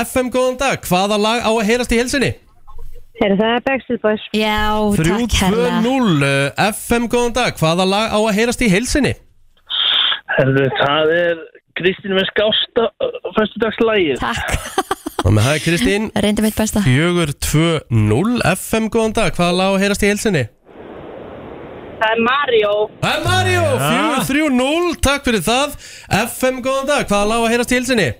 [SPEAKER 2] FM, góðan dag, hvaða lag á að heyrast í helsinni?
[SPEAKER 9] heyrðu það er Backstreet Boys.
[SPEAKER 1] Já, takk hérna. hella
[SPEAKER 2] 3-2-0 uh, FM, góðan dag, hvaða lag á að heyrast í helsinni?
[SPEAKER 8] Herru, það er Kristín með skásta uh, fyrstudagslægir.
[SPEAKER 1] Takk,
[SPEAKER 2] Og með það er Kristín
[SPEAKER 1] reyndi mitt besta
[SPEAKER 2] 4-2-0 FM, góðan dag, hvaða lag á að heyrast í helsinni?
[SPEAKER 9] Það er Mario.
[SPEAKER 2] Það er Mario, 4-3-0 Takk fyrir það, FM, góðan dag, hvaða lag á að heyrast í helsinni?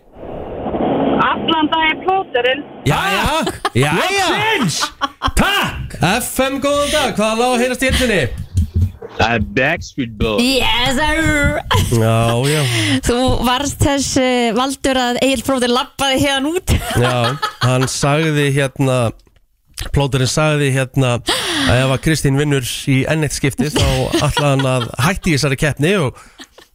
[SPEAKER 9] Allan dag er plóterinn.
[SPEAKER 2] Jæja, jæja Takk FM, góðan dag, hvaða lág að heyrast í hilsinni?
[SPEAKER 8] Það er Backstreet Boys.
[SPEAKER 1] Yes, sir
[SPEAKER 2] Já, já
[SPEAKER 1] Þú varst þess uh, valdur að Egil Fróði lappaði hérna út
[SPEAKER 2] Já, hann sagði hérna Plóterinn sagði hérna að ef að Kristín vinnur í ennett skipti þá ætla hann að hætti í þessari keppni og,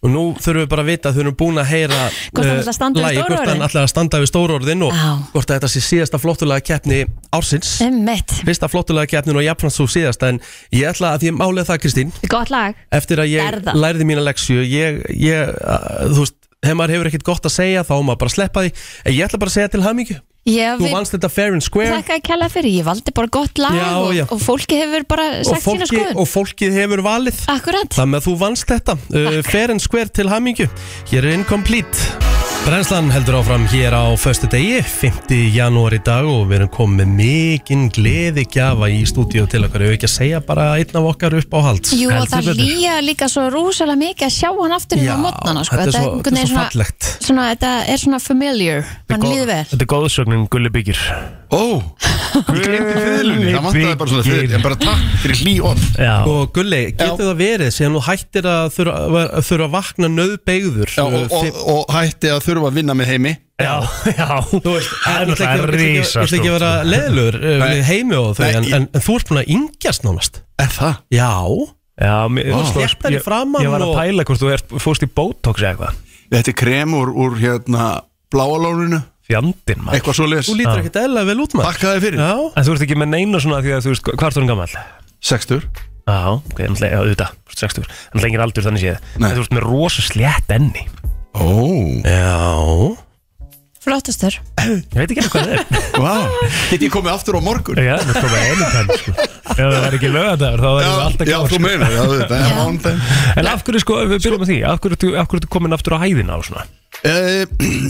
[SPEAKER 2] og nú þurfum við bara að vita að þau erum búin að heyra
[SPEAKER 1] Hvort hann
[SPEAKER 2] eh,
[SPEAKER 1] ætlar að standa við
[SPEAKER 2] lagið,
[SPEAKER 1] stóru
[SPEAKER 2] hvort hann
[SPEAKER 1] orðin?
[SPEAKER 2] ætla að standa við stórorðin og
[SPEAKER 1] Já. Eh.
[SPEAKER 2] hvort að þetta sé síðasta flottulega keppni ársins
[SPEAKER 1] Emmett,
[SPEAKER 2] fyrsta flottulega keppnin og jafnframt svo síðasta en ég ætla að því málega það Kristín
[SPEAKER 1] gott lag
[SPEAKER 2] eftir að ég
[SPEAKER 1] Er það?
[SPEAKER 2] lærði mína leksju ég, ég, að, þú veist ef maður hefur ekkert gott að segja þá á maður bara að sleppa því en ég ætla bara að segja til hamingju
[SPEAKER 1] Ég
[SPEAKER 2] þú
[SPEAKER 1] vil
[SPEAKER 2] vannst þetta fair and square
[SPEAKER 1] þakka að kella fyrir, ég valdi bara gott lag
[SPEAKER 2] Já,
[SPEAKER 1] og,
[SPEAKER 2] já.
[SPEAKER 1] og fólki hefur bara
[SPEAKER 2] og,
[SPEAKER 1] sagt sína
[SPEAKER 2] fólki,
[SPEAKER 1] skoðun
[SPEAKER 2] og fólkið hefur valið
[SPEAKER 1] Akkurat,
[SPEAKER 2] þannig að þú vannst þetta uh, fair and square til hamingju hér er incomplete Brennslan heldur áfram hér á föstu degi, 5. janúar í dag og við erum komið með mikinn gleði gjafa í stúdíu til okkar, ef ekki að segja bara einn af okkar upp á hald
[SPEAKER 1] jú og það lýja líka svo rúsalega mikið að sjá hann aftur inn á mótnana sko.
[SPEAKER 2] þetta er svo,
[SPEAKER 1] einhvern
[SPEAKER 2] þetta er
[SPEAKER 1] veginn
[SPEAKER 2] svo fallegt
[SPEAKER 1] svona, þetta er svona familiar, hann líður vel
[SPEAKER 3] Þetta er góðsögnin Gulli Byggir
[SPEAKER 10] Ó, ég glemdi fiðlunni Það vantaði bara svona fiðl En bara takk fyrir hlý orð
[SPEAKER 3] Já,
[SPEAKER 2] Og Gulli, getur það verið sem þú hættir að þurfa að, þurfa að vakna nöðbeigður
[SPEAKER 3] uh,
[SPEAKER 10] Já, og, og, og hætti að þurfa að vinna mig heimi
[SPEAKER 3] já, já
[SPEAKER 2] Þú veist, ég
[SPEAKER 3] Það er
[SPEAKER 2] ætla ekki-
[SPEAKER 3] náttúrulega
[SPEAKER 2] ég ætla ekki- ég ætla ekki að vera
[SPEAKER 3] risastórt. sko.
[SPEAKER 2] leðlur
[SPEAKER 10] Nei.
[SPEAKER 2] heimi og þau
[SPEAKER 10] Nei,
[SPEAKER 2] en,
[SPEAKER 10] ég-
[SPEAKER 2] en, en þú ert búin að yngjast nánast
[SPEAKER 10] Er það?
[SPEAKER 2] Já,
[SPEAKER 3] Já, mér,
[SPEAKER 10] Vá.
[SPEAKER 3] þú veist,
[SPEAKER 2] Þéttari
[SPEAKER 3] ég,
[SPEAKER 2] framan
[SPEAKER 3] ég var að
[SPEAKER 2] og-
[SPEAKER 3] pæla hvort þú er, fórst í Botox eða eitthvað
[SPEAKER 10] Þetta er krem úr, úr hérna bláalóninu
[SPEAKER 3] Fjandinn maður
[SPEAKER 10] Eitthvað svo leis
[SPEAKER 2] þú lítur ekkert eðla vel út maður
[SPEAKER 10] Takk að þið fyrir
[SPEAKER 2] Já,
[SPEAKER 3] En þú ert ekki með neina svona því að þú veist hvað er þú erum gammal Já,
[SPEAKER 10] Sextur
[SPEAKER 3] ok, náttúrulega, já, auðvitað, þú ert 60 En lengir aldur þannig séð
[SPEAKER 10] Nei.
[SPEAKER 3] En þú ert með rosa slétt enni Ég
[SPEAKER 10] Ó,
[SPEAKER 2] já
[SPEAKER 1] Flottastur
[SPEAKER 3] veit ekki alveg hvað það er
[SPEAKER 10] vá Get ég komið aftur á morgun?
[SPEAKER 3] Já, þú ert komið enni tenn, sko Ef það er ekki lögadagur, þá erum við alltaf
[SPEAKER 10] já
[SPEAKER 3] gammal
[SPEAKER 10] þú
[SPEAKER 3] sko.
[SPEAKER 10] meinar, já þetta er mánudag
[SPEAKER 3] En af hverju, sko, ef við byrjum með því Af hverju ertu- af hverju ertu komin aftur á hæðina og svona
[SPEAKER 10] Eh,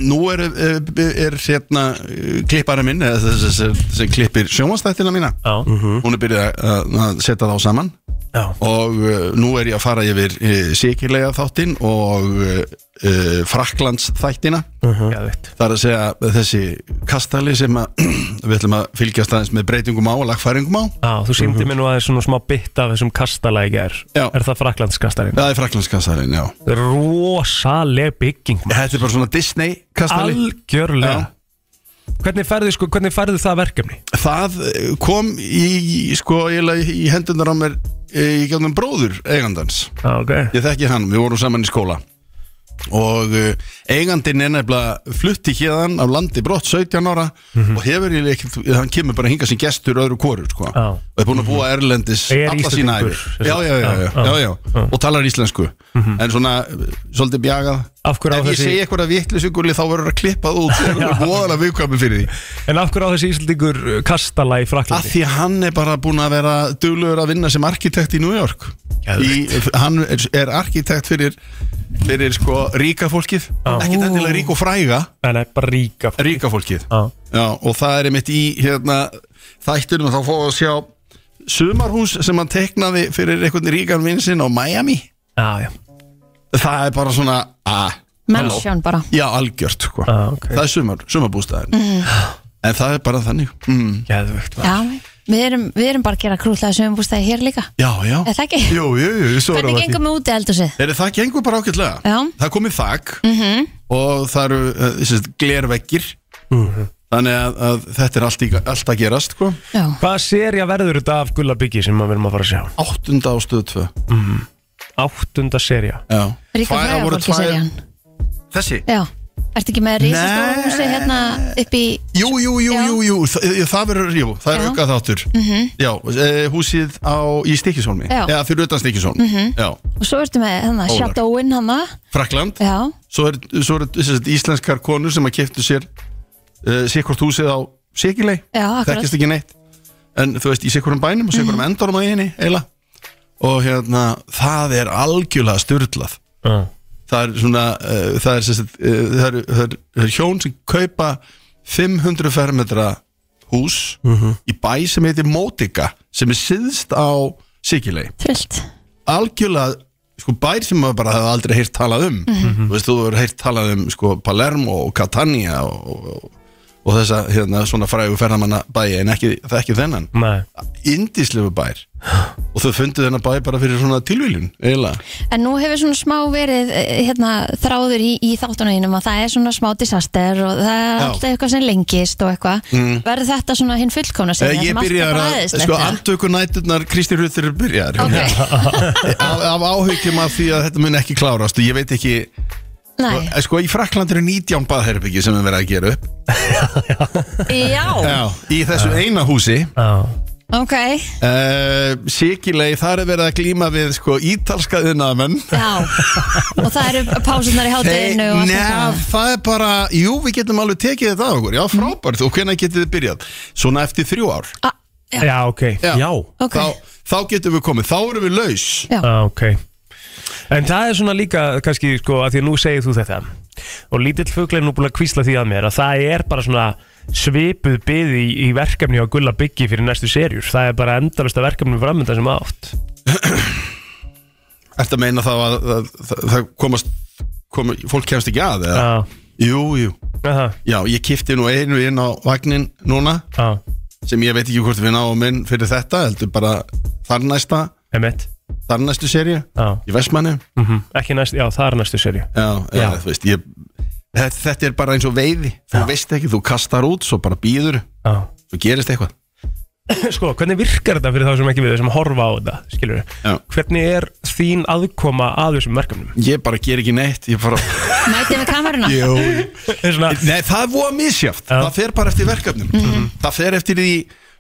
[SPEAKER 10] Nú er, eh, er hérna eh, klippari minn eða þessi sem- sem klippir sjónvastættina mína
[SPEAKER 3] Já,
[SPEAKER 10] hún er byrjað að- að setja þá saman
[SPEAKER 3] já,
[SPEAKER 10] og uh, nú er ég að fara yfir uh, sikirlega þáttinn og uh, uh, Fraklands þættina
[SPEAKER 3] já, veit
[SPEAKER 10] það er að segja þessi kastali sem að, við ætlum að fylgjast aðeins með breytingum á og lagfæringum á
[SPEAKER 3] Já, þú
[SPEAKER 2] Mhm.
[SPEAKER 3] síndi mér nú aðeins svona smá bytt af þessum kastala í gær
[SPEAKER 10] Já.
[SPEAKER 3] Er það Fraklandskastalinn?
[SPEAKER 10] það er Fraklandskastalin, já
[SPEAKER 3] rosaleg bygging maður.
[SPEAKER 10] þetta er bara svona Disney kastali
[SPEAKER 3] algjörlega
[SPEAKER 10] Já.
[SPEAKER 3] hvernig færðu, sko, hvernig færðu það verkefni
[SPEAKER 10] það eh, kom í, sko, eiginlega í hendunar á mér eh, í gæðum bróður eigandans
[SPEAKER 3] okay.
[SPEAKER 10] Ég þekki hann, við vorum saman í skóla Og uh, eigandinn er nefnilega flutti hérðan af landi brott 17 ára
[SPEAKER 3] Mhm.
[SPEAKER 10] Og hefur ég ekki, hann kemur bara hingað sem gestur öðru kóru sko.
[SPEAKER 3] Já. Mhm.
[SPEAKER 10] Og er búin að búa erlendis
[SPEAKER 3] Er
[SPEAKER 10] alla sína ævi
[SPEAKER 3] Íslendingur, sem
[SPEAKER 10] já já
[SPEAKER 3] sagt.
[SPEAKER 10] já, já,
[SPEAKER 3] Já,
[SPEAKER 10] já, já, Og talar íslensku En svona, uh, svolítið bjagað
[SPEAKER 3] Af hverju á
[SPEAKER 10] Ef ég
[SPEAKER 3] þessi-
[SPEAKER 10] segi eitthvað að vitlisugulli þá verður að klippa það út Það verður voðalega viðkvæmi fyrir því
[SPEAKER 3] en af hverju á þessi Íslandingur uh, kastala í
[SPEAKER 10] Af
[SPEAKER 3] Fraklandi
[SPEAKER 10] því að hann er bara búin að vera duglegur að vinna sem arkitekt í New York í, Hann er, er arkitekt fyrir, fyrir sko ríka fólkið Ekkert endilega rík og fræga
[SPEAKER 3] nei, nei, bara ríka fólk.
[SPEAKER 10] Ríka fólkið
[SPEAKER 3] Já.
[SPEAKER 10] Já, Og það er einmitt í hérna, þættunum að þá fóðu að sjá Sumarhús sem hann teknaði fyrir einhvern ríkan vinsinn á Miami
[SPEAKER 3] Ah, já, já,
[SPEAKER 10] Það er bara svona ah,
[SPEAKER 1] Mansion bara
[SPEAKER 10] Já, algjört sko.
[SPEAKER 3] já, Ah, ok
[SPEAKER 10] Það er sumar, sumarbústæðin
[SPEAKER 1] Mm.
[SPEAKER 10] En það er bara þannig mm.
[SPEAKER 3] Geðvögt,
[SPEAKER 1] Já, við erum, við erum bara að gera krútlega sögumbústæði hér líka
[SPEAKER 10] Já, já
[SPEAKER 1] Er það ekki?
[SPEAKER 10] Jú, jú, jú, svo erum
[SPEAKER 1] Hvernig
[SPEAKER 10] við að því.
[SPEAKER 1] gengum við út í eldhúsið?
[SPEAKER 10] Er það gengur bara ágætlega?
[SPEAKER 1] Já.
[SPEAKER 10] Það er komið þak -hmm. og það eru uh, sérst, glerveggir Mhm. þannig að, að þetta er allt, í, allt að gerast sko.
[SPEAKER 1] Já,
[SPEAKER 3] hvað serja verður þetta af Gulla Byggi sem maður verðum að fara að sjá
[SPEAKER 10] áttunda á stöðu tvö
[SPEAKER 3] áttunda serja
[SPEAKER 10] Já.
[SPEAKER 1] ríka
[SPEAKER 10] Tvær- það
[SPEAKER 1] fræga
[SPEAKER 10] voru
[SPEAKER 1] fólki
[SPEAKER 10] tvær-
[SPEAKER 1] sér hann
[SPEAKER 10] Þessi?
[SPEAKER 1] Já, Ertu ekki með risastóra húsi hérna upp í
[SPEAKER 10] Jú, jú, jú, jú, jú, það, það verður, jú, það er
[SPEAKER 1] Já.
[SPEAKER 10] aukað þáttur
[SPEAKER 1] Mhm.
[SPEAKER 10] Já, eh, húsið á, í Stikisólmi
[SPEAKER 1] Já.
[SPEAKER 10] Eða fyrir utan Stikisólm
[SPEAKER 1] Mhm.
[SPEAKER 10] Já,
[SPEAKER 1] Og svo ertu með hana,
[SPEAKER 10] Ólar.
[SPEAKER 1] Shadowin hana
[SPEAKER 10] Frakland
[SPEAKER 1] Já,
[SPEAKER 10] Svo er, svo er sem sagt, íslenskar konur sem að keftu sér uh, Sikkort húsið á Sikilei
[SPEAKER 1] Já, akkurat.
[SPEAKER 10] Þekkist ekki neitt En þú veist, í sikkurum bænum og sikkurum endorum á eini Eila Og hérna, það er algjörlega styrlað
[SPEAKER 3] Já.
[SPEAKER 10] Það er svona uh, Það er, sem sagt, uh, það er, það er, það er hjón sem kaupa 500 fermetra hús Í bæ sem heitir Mótika Sem er síðst á Sikilei
[SPEAKER 1] trillt
[SPEAKER 10] algjörlega sko, bær sem maður bara hefði aldrei heyrt talað um
[SPEAKER 1] Mhm.
[SPEAKER 10] þú veist, þú hefur heyrt talað um sko, Palermo og Catania og, og, og þessa hérna, svona frægu ferðamanna bæi en ekki, það er ekki þennan
[SPEAKER 3] Nei.
[SPEAKER 10] indislegu bær og þau fundu þennan bæ bara fyrir svona tilvíljun eiginlega
[SPEAKER 1] En nú hefur svona smá verið eh, hérna, þráður í, í þáttunum að það er svona smá disaster og það er
[SPEAKER 10] Já.
[SPEAKER 1] alltaf eitthvað sem lengist og eitthvað
[SPEAKER 10] Mm.
[SPEAKER 1] Verður þetta svona hinn fullkomna
[SPEAKER 10] Eh,
[SPEAKER 1] sér?
[SPEAKER 10] Ég byrjar að, sko, andöku nætturnar Kristi Ruther byrjar okay. af, af áhugjum af því að þetta mun ekki klárast og ég veit ekki
[SPEAKER 1] Nei,
[SPEAKER 10] Eh, sko, í Frakland eru 19 baðherbyggi sem er verið að gera upp
[SPEAKER 1] já,
[SPEAKER 10] Já, í þessu eina húsi
[SPEAKER 3] Já
[SPEAKER 1] ok
[SPEAKER 10] Uh, Sikilei, þar er verið að glíma við sko ítalska yðnaðamenn
[SPEAKER 1] Já, og það eru pásunar í hátæðinu og allt
[SPEAKER 10] Nef,
[SPEAKER 1] þetta Mhm.
[SPEAKER 10] það er bara, jú við getum alveg tekið þetta á okkur, já frábært og hvenær getið þið byrjað? Svona eftir þrjú ár
[SPEAKER 1] ah,
[SPEAKER 3] Já, ok
[SPEAKER 10] Já,
[SPEAKER 1] Ok.
[SPEAKER 10] Þá, þá getum við komið, þá erum við laus
[SPEAKER 1] Já.
[SPEAKER 3] Já, ok En það er svona líka kannski sko að því að nú segir þú þetta og lítill fugl er nú búin að kvísla því að mér að það er bara svona svipuð byði í, í verkefni á Gulla Byggi fyrir næstu serjur, það er bara endalasta verkefni framönda sem átt
[SPEAKER 10] Ertu að meina þá að, að, að það komast, kom, fólk kemst ekki að eða?
[SPEAKER 3] Já,
[SPEAKER 10] Jú, jú
[SPEAKER 3] aha,
[SPEAKER 10] Já, ég kipti nú einu inn á vagnin núna
[SPEAKER 3] já,
[SPEAKER 10] sem ég veit ekki hvort við náum inn fyrir þetta, heldur bara þar næsta,
[SPEAKER 3] emitt
[SPEAKER 10] þar næstu serju
[SPEAKER 3] Já,
[SPEAKER 10] í Vestmanni
[SPEAKER 3] mm ekki næst, já, það er næstu serju
[SPEAKER 10] já, já. þú veist ég, þetta, þetta er bara eins og veiði þú veist ekki, þú kastar út, svo bara býður
[SPEAKER 3] Já
[SPEAKER 10] svo gerist eitthvað
[SPEAKER 3] Ah. Sko, hvernig virkar þetta fyrir þá sem ekki við sem horfa á þetta, skilur
[SPEAKER 10] Já.
[SPEAKER 3] Hvernig er þín aðkoma að þessum verkefnum?
[SPEAKER 10] ég bara ger ekki neitt ég bara,
[SPEAKER 1] Mætið með kameruna
[SPEAKER 10] jú, jú.
[SPEAKER 3] Það er svona,
[SPEAKER 10] Nei, það er voða misjáft
[SPEAKER 3] Já.
[SPEAKER 10] það fer bara eftir verkefnum
[SPEAKER 1] Mhm.
[SPEAKER 10] Mhm. það fer eftir því,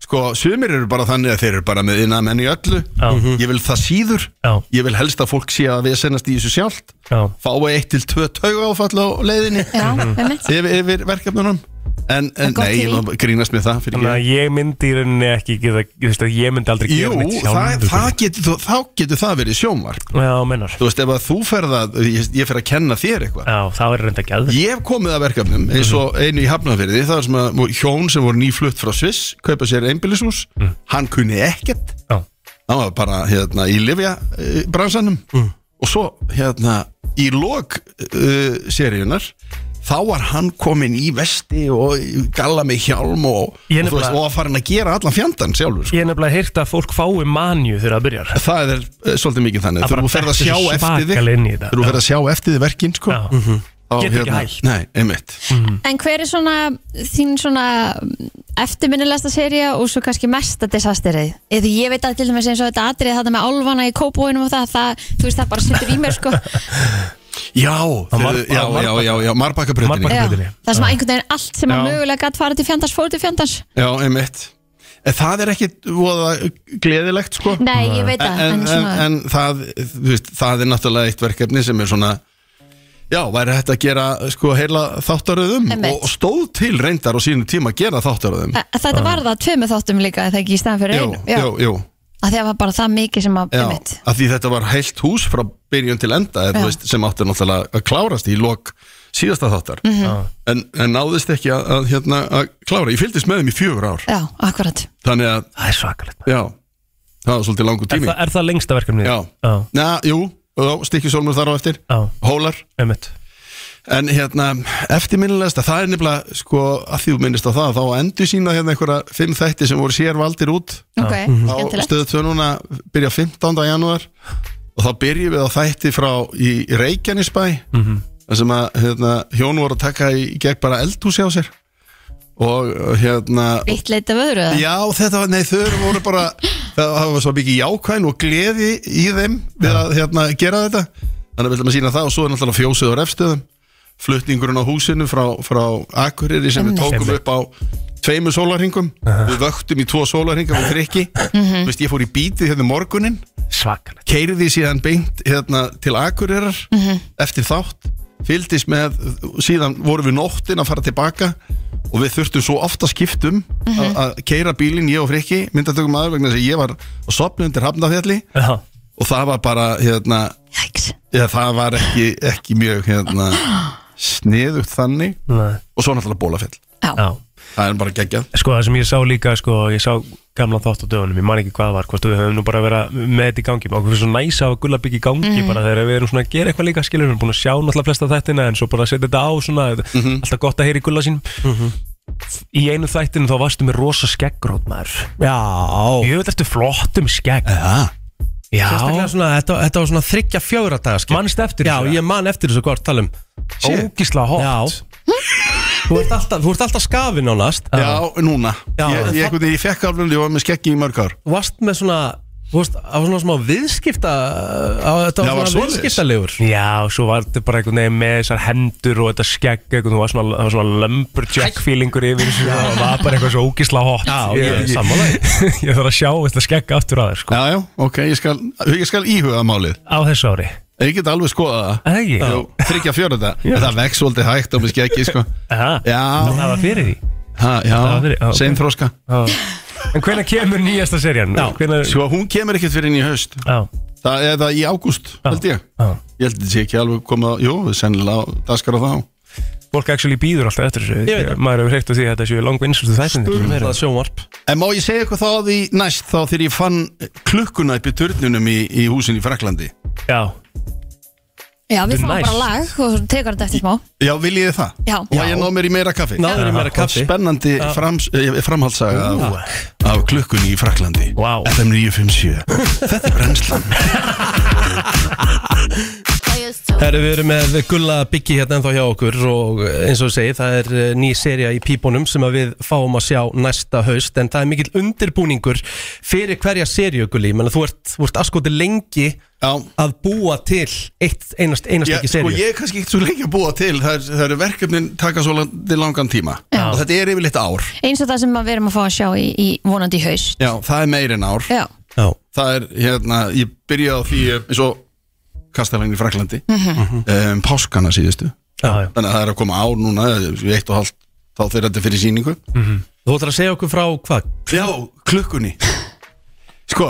[SPEAKER 10] sko, sumir eru bara þannig að þeir eru bara með innan menn í öllu
[SPEAKER 3] Já. Mhm.
[SPEAKER 10] ég vil það síður
[SPEAKER 3] já,
[SPEAKER 10] ég vil helst að fólk sé að við sennast í þessu sjálft
[SPEAKER 3] já,
[SPEAKER 10] fáu eitt til tvö tauga áfall á leiðinni
[SPEAKER 1] Já, einmitt
[SPEAKER 10] yfir, yfir verkefnunum en, en
[SPEAKER 1] En gott
[SPEAKER 10] nei,
[SPEAKER 1] í
[SPEAKER 10] ég
[SPEAKER 1] því.
[SPEAKER 10] má grínast með það fyrir
[SPEAKER 3] Þannig
[SPEAKER 10] ekki
[SPEAKER 3] að ég myndi í rauninni ekki geta, þú veist að ég myndi aldrei
[SPEAKER 10] Jú,
[SPEAKER 3] gera neitt
[SPEAKER 10] það,
[SPEAKER 3] sjálfur.
[SPEAKER 10] það getur, þú- þá getur það verið sjónvarp
[SPEAKER 3] Já, mennar
[SPEAKER 10] Þú veist, ef að þú ferð að, ég, ég fer að kenna þér eitthvað
[SPEAKER 3] Já, það er reynda gæð
[SPEAKER 10] Ég hef komið að verkefnum eins og
[SPEAKER 3] Mhm.
[SPEAKER 10] einu í Hafnarfyrði Það er sem að voru hjón sem voru nýflutt frá Sviss Kaupa sér einbýlishús Hann kunni ekkert
[SPEAKER 3] Mhm. Já,
[SPEAKER 10] Hann var bara hérna í livja uh, bransanum
[SPEAKER 3] Mhm.
[SPEAKER 10] Og svo hérna í lok uh, seríunar Þá var hann komin í vesti og í galla með hjálm og, og,
[SPEAKER 3] Ég
[SPEAKER 10] þú
[SPEAKER 3] nefnilega-
[SPEAKER 10] veist, og að farin að gera allan fjandann sjálfur sko.
[SPEAKER 3] ég er nefnilega heyrt að fólk fái manju þegar það byrjar
[SPEAKER 10] Það er eh, svolítið mikið þannig
[SPEAKER 3] Það
[SPEAKER 10] Þegar
[SPEAKER 3] bara
[SPEAKER 10] þú ferð að
[SPEAKER 3] dettur
[SPEAKER 10] sjá
[SPEAKER 3] svo
[SPEAKER 10] eftir þig
[SPEAKER 3] svakalega inn í þetta.
[SPEAKER 10] Þegar þú ferð að sjá eftir þig verkin sko,
[SPEAKER 3] Já.
[SPEAKER 10] þá hérna-
[SPEAKER 3] Getur ekki hætt.
[SPEAKER 10] Nei, einmitt
[SPEAKER 1] En hver er svona þín svona eftirminnilegsta seria og svo kannski mesta disasterið? Eða ég veit að til dæmis eins og þetta atrið þetta með álfana í kópóinum og það, það, þú veist það bara sittur í mér sko
[SPEAKER 10] Já, þegar,
[SPEAKER 3] Marba-
[SPEAKER 10] já, já, já, já Marbakkabröðinni
[SPEAKER 1] Já,
[SPEAKER 3] Hlutinni.
[SPEAKER 1] það sem einhvern veginn allt sem að
[SPEAKER 10] Já.
[SPEAKER 1] mögulega gætt fara til fjandans fór til fjandans
[SPEAKER 10] Já, einmitt En það er ekki voða gleðilegt sko
[SPEAKER 1] Nei, ég veit
[SPEAKER 10] En,
[SPEAKER 1] það,
[SPEAKER 10] en,
[SPEAKER 1] en
[SPEAKER 10] en,
[SPEAKER 1] svona
[SPEAKER 10] en það, þú veist, það er náttúrulega eitt verkefni sem er svona Já, væri hægt að gera sko heila þáttaröðum
[SPEAKER 1] Einmitt.
[SPEAKER 10] og stóð til reyndar á sínum tíma að gera þáttaröðum
[SPEAKER 1] Að- að Þetta var það tveimu þáttum líka eða ekki í stæðan fyrir
[SPEAKER 10] Jú,
[SPEAKER 1] einu Já,
[SPEAKER 10] jú, jú
[SPEAKER 1] að því að það var bara það mikið sem að
[SPEAKER 10] Já,
[SPEAKER 1] einmitt.
[SPEAKER 10] af því þetta var heilt hús frá byrjun til enda eða, þú
[SPEAKER 1] Já.
[SPEAKER 10] veist, sem átti náttúrulega að klárast í lok síðasta þáttar
[SPEAKER 1] Mhm.
[SPEAKER 3] Já.
[SPEAKER 10] en, en náðist ekki að, að, hérna, að klára ég fylgdist með þeim í fjögur ár
[SPEAKER 1] Já, akkurat
[SPEAKER 10] þannig að,
[SPEAKER 3] Það er svakalegt
[SPEAKER 10] já, það var svolítið langur
[SPEAKER 3] er,
[SPEAKER 10] tími
[SPEAKER 3] það- er það lengsta verkefnið? Ah.
[SPEAKER 10] Já,
[SPEAKER 3] Já,
[SPEAKER 10] na, jú, stikkjusólmur þar á eftir
[SPEAKER 3] já,
[SPEAKER 10] hólar,
[SPEAKER 3] einmitt
[SPEAKER 10] en hérna eftirminnilegast að það er nefnilega sko, að því þú minnist á það, þá endur sína hérna einhverja fimm þætti sem voru sér valdir út
[SPEAKER 1] Ok,
[SPEAKER 3] Mhm.
[SPEAKER 10] á
[SPEAKER 1] skemmtilegt
[SPEAKER 10] stöðu 2 núna byrja 15. janúar og þá byrjum við á þætti frá í Reykjanesbæ mm sem að hérna, hjón voru að taka í gegn bara eldhúsi á sér og hérna
[SPEAKER 1] Eitt leita af öðru eða?
[SPEAKER 10] Já, þetta var, nei, þau voru bara það það var svo mikið jákvæn og gleði í þeim við að hérna, gera þetta þannig að við ætlum að sína það og svo er náttúrulega fjósið á refstöðum flutningurinn á húsinu frá, frá Akureyri sem við
[SPEAKER 1] Einmitt.
[SPEAKER 10] tókum upp á tveimur sólarhingum við vöktum í tvo sólarhinga við krikki
[SPEAKER 1] Mhm.
[SPEAKER 10] Þú veist, ég fór í bítið hérna morgunin
[SPEAKER 3] svakalegt
[SPEAKER 10] keiriði síðan beint hérna, til Akureyrar
[SPEAKER 1] Mhm.
[SPEAKER 10] eftir þátt fylgdist með, síðan vorum við nóttin að fara tilbaka og við þurftum svo ofta skiptum mm
[SPEAKER 1] Mhm.
[SPEAKER 10] að keira bílinn ég og Frikki myndatökum aður vegna þess að ég var að sopna undir hafnafjalli
[SPEAKER 3] Já.
[SPEAKER 10] og það var bara hérna, eða, það var ekki, ekki mjög hérna, sniðugt þannig
[SPEAKER 3] Nei.
[SPEAKER 10] og svo náttúrulega bólafell
[SPEAKER 1] Já.
[SPEAKER 3] Já.
[SPEAKER 10] það er bara geggjað
[SPEAKER 3] Sko það sem ég sá líka, sko, ég sá gamla þátt á dögunum, ég man ekki hvað það var, hvort við höfum nú bara verið að vera með þetta í gangi, okkur fyrir svo næsa og gulla byggja í gangi
[SPEAKER 1] Mhm.
[SPEAKER 3] bara þegar við erum svona að gera eitthvað líka, skilur við erum búin að sjá náttúrulega flesta þættina en svo bara að setja þetta á svona,
[SPEAKER 10] Mhm.
[SPEAKER 3] alltaf gott að heyra í gulla sín. Í einu þættinu þá varstu með rosa skeggrót maður. Já. Ég veit eftir flottum um skegg.
[SPEAKER 10] Já.
[SPEAKER 3] Já.
[SPEAKER 2] Sérstaklega svona, þetta, þetta var svona þryggja fjóra dagarskip
[SPEAKER 3] Manst eftir
[SPEAKER 2] Já, ég man eftir þessu hvort talum
[SPEAKER 3] Ógísla hot
[SPEAKER 2] Já Þú ert alltaf, þú ert alltaf skafin nánast
[SPEAKER 10] Já, núna
[SPEAKER 2] Já.
[SPEAKER 10] ég, ég, ég, ég fekk alveg, ég var með skeggi í mörg ár
[SPEAKER 2] Þú varst með svona, þú varst á svona smá viðskipta á, Þetta
[SPEAKER 10] Já, var
[SPEAKER 2] var svona
[SPEAKER 10] svoleiðis.
[SPEAKER 2] viðskiptalegur
[SPEAKER 3] Já, og svo var þetta bara einhvern veginn með þessar hendur og þetta skegg, einhvern veginn var svona, það var svona lumberjack feelingur yfir þessu og það var bara eitthvað svo ógisla hot
[SPEAKER 2] Já,
[SPEAKER 3] ég,
[SPEAKER 2] ég-
[SPEAKER 3] ég, ég þarf að sjá þetta skegg aftur að þér sko,
[SPEAKER 10] Já, já, ok, ég skal, ég skal íhuga málið
[SPEAKER 3] á þessu ári
[SPEAKER 10] Ég get alveg skoðað það
[SPEAKER 3] Það ekki?
[SPEAKER 10] Jú, Þryggja fjóra þetta
[SPEAKER 3] Já.
[SPEAKER 10] En það vex svolítið hægt á mig skeggi sko.
[SPEAKER 3] Aha,
[SPEAKER 10] Já,
[SPEAKER 3] það var fyrir því
[SPEAKER 10] ha, já,
[SPEAKER 3] var fyrir- já, ok.
[SPEAKER 10] sem þróska
[SPEAKER 3] En hvenær kemur nýjasta serían? Já, hvenær,
[SPEAKER 10] Svo hún kemur ekkert fyrir inn í haust
[SPEAKER 3] já,
[SPEAKER 10] Það er það í ágúst, held ég Ég
[SPEAKER 3] já.
[SPEAKER 10] held að þetta sé ekki alveg komið á Jú, sennilega á- daskar á þá
[SPEAKER 3] Fólk actually býður alltaf eftir þessu
[SPEAKER 2] Ég veit það.
[SPEAKER 3] Maður hefur hreikt á því að þetta séu langvinnslustu þættindir sem
[SPEAKER 2] Það
[SPEAKER 3] eru.
[SPEAKER 2] er sjónvarp
[SPEAKER 10] En má ég segja eitthvað þá að því næst Þá þegar ég fann klukkuna upp í turnunum í, í húsin í Fraklandi
[SPEAKER 3] Já,
[SPEAKER 1] Já, við
[SPEAKER 3] Þetta er
[SPEAKER 1] fáum bara
[SPEAKER 3] næs.
[SPEAKER 1] lag og svo tekur þetta eftir smá
[SPEAKER 10] Já, viljið þið það?
[SPEAKER 1] Já.
[SPEAKER 10] Og ég náð mér í meira kaffi
[SPEAKER 2] Náður í
[SPEAKER 3] Aha,
[SPEAKER 2] meira
[SPEAKER 3] gott
[SPEAKER 2] kaffi
[SPEAKER 10] Spennandi frams, eh, framhaldssaga af, af klukkunni í Fraklandi
[SPEAKER 3] Vá.
[SPEAKER 10] FM 957 Þetta er brennslan
[SPEAKER 2] Herru, við erum með Gulla Byggi hérna ennþá hjá okkur og eins og ég segi, það er eh, ný seria í pípunum sem að við fáum að sjá næsta haust en það er mikill undirbúningur fyrir hverja serju, Gulli, menn að þú ert, þú ert askoti lengi
[SPEAKER 10] Já,
[SPEAKER 2] að búa til eitt, einast, einast
[SPEAKER 10] Já,
[SPEAKER 2] ekki
[SPEAKER 10] sko,
[SPEAKER 2] serju
[SPEAKER 10] ég er kannski ekkert svo lengi að búa til Það er- það eru verkefnin taka svo landi langan tíma
[SPEAKER 1] Já.
[SPEAKER 10] Og þetta er yfirleitt ár
[SPEAKER 1] Eins og það sem að við erum að fá að sjá í, í vonandi í haust
[SPEAKER 10] Já, það er meir en ár
[SPEAKER 1] Já,
[SPEAKER 2] Já,
[SPEAKER 10] Það er, hérna, ég byrjaði á því eh, eins og kastalagin í Fraklandi mm um, Páskana síðustu
[SPEAKER 3] já, já
[SPEAKER 10] Þannig að það er að koma ár núna eh, Eitt og halvt þá þegar þetta er fyrir sýningu
[SPEAKER 2] þú ætlar að segja okkur frá hvað?
[SPEAKER 10] Já, klukkunni Sko,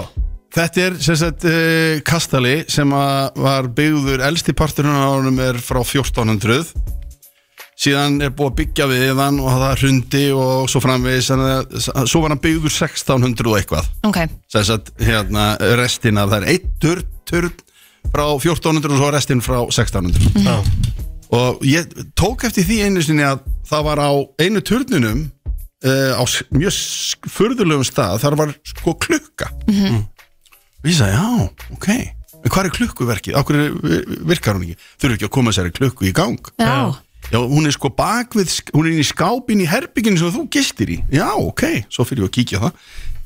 [SPEAKER 10] þetta er sem sagt uh, kastali sem að var byggður elsti parturinn á ánum er frá 1400 síðan er búið að byggja við hann og það hrundi og svo framvegis þannig að- svo var hann byggður 1600 og eitthvað
[SPEAKER 1] ok
[SPEAKER 10] sem sagt hérna restin af það er eitt turn, turn frá 1400 og svo restin frá 1600 og ég tók eftir því einu sinni að það var á einu turnunum uh, á s- mjög s- furðulegum stað þar var sko klukka og ég sagði já, ok en hvað er klukkuverkið, okkur virkar hún ekki þurfi ekki að koma þessari klukku í gang
[SPEAKER 1] Já,
[SPEAKER 10] já, hún er sko bak við sk- hún er inn í skápin í herbygginu sem þú gistir í já, ok, svo fyrir ég að kíkja á það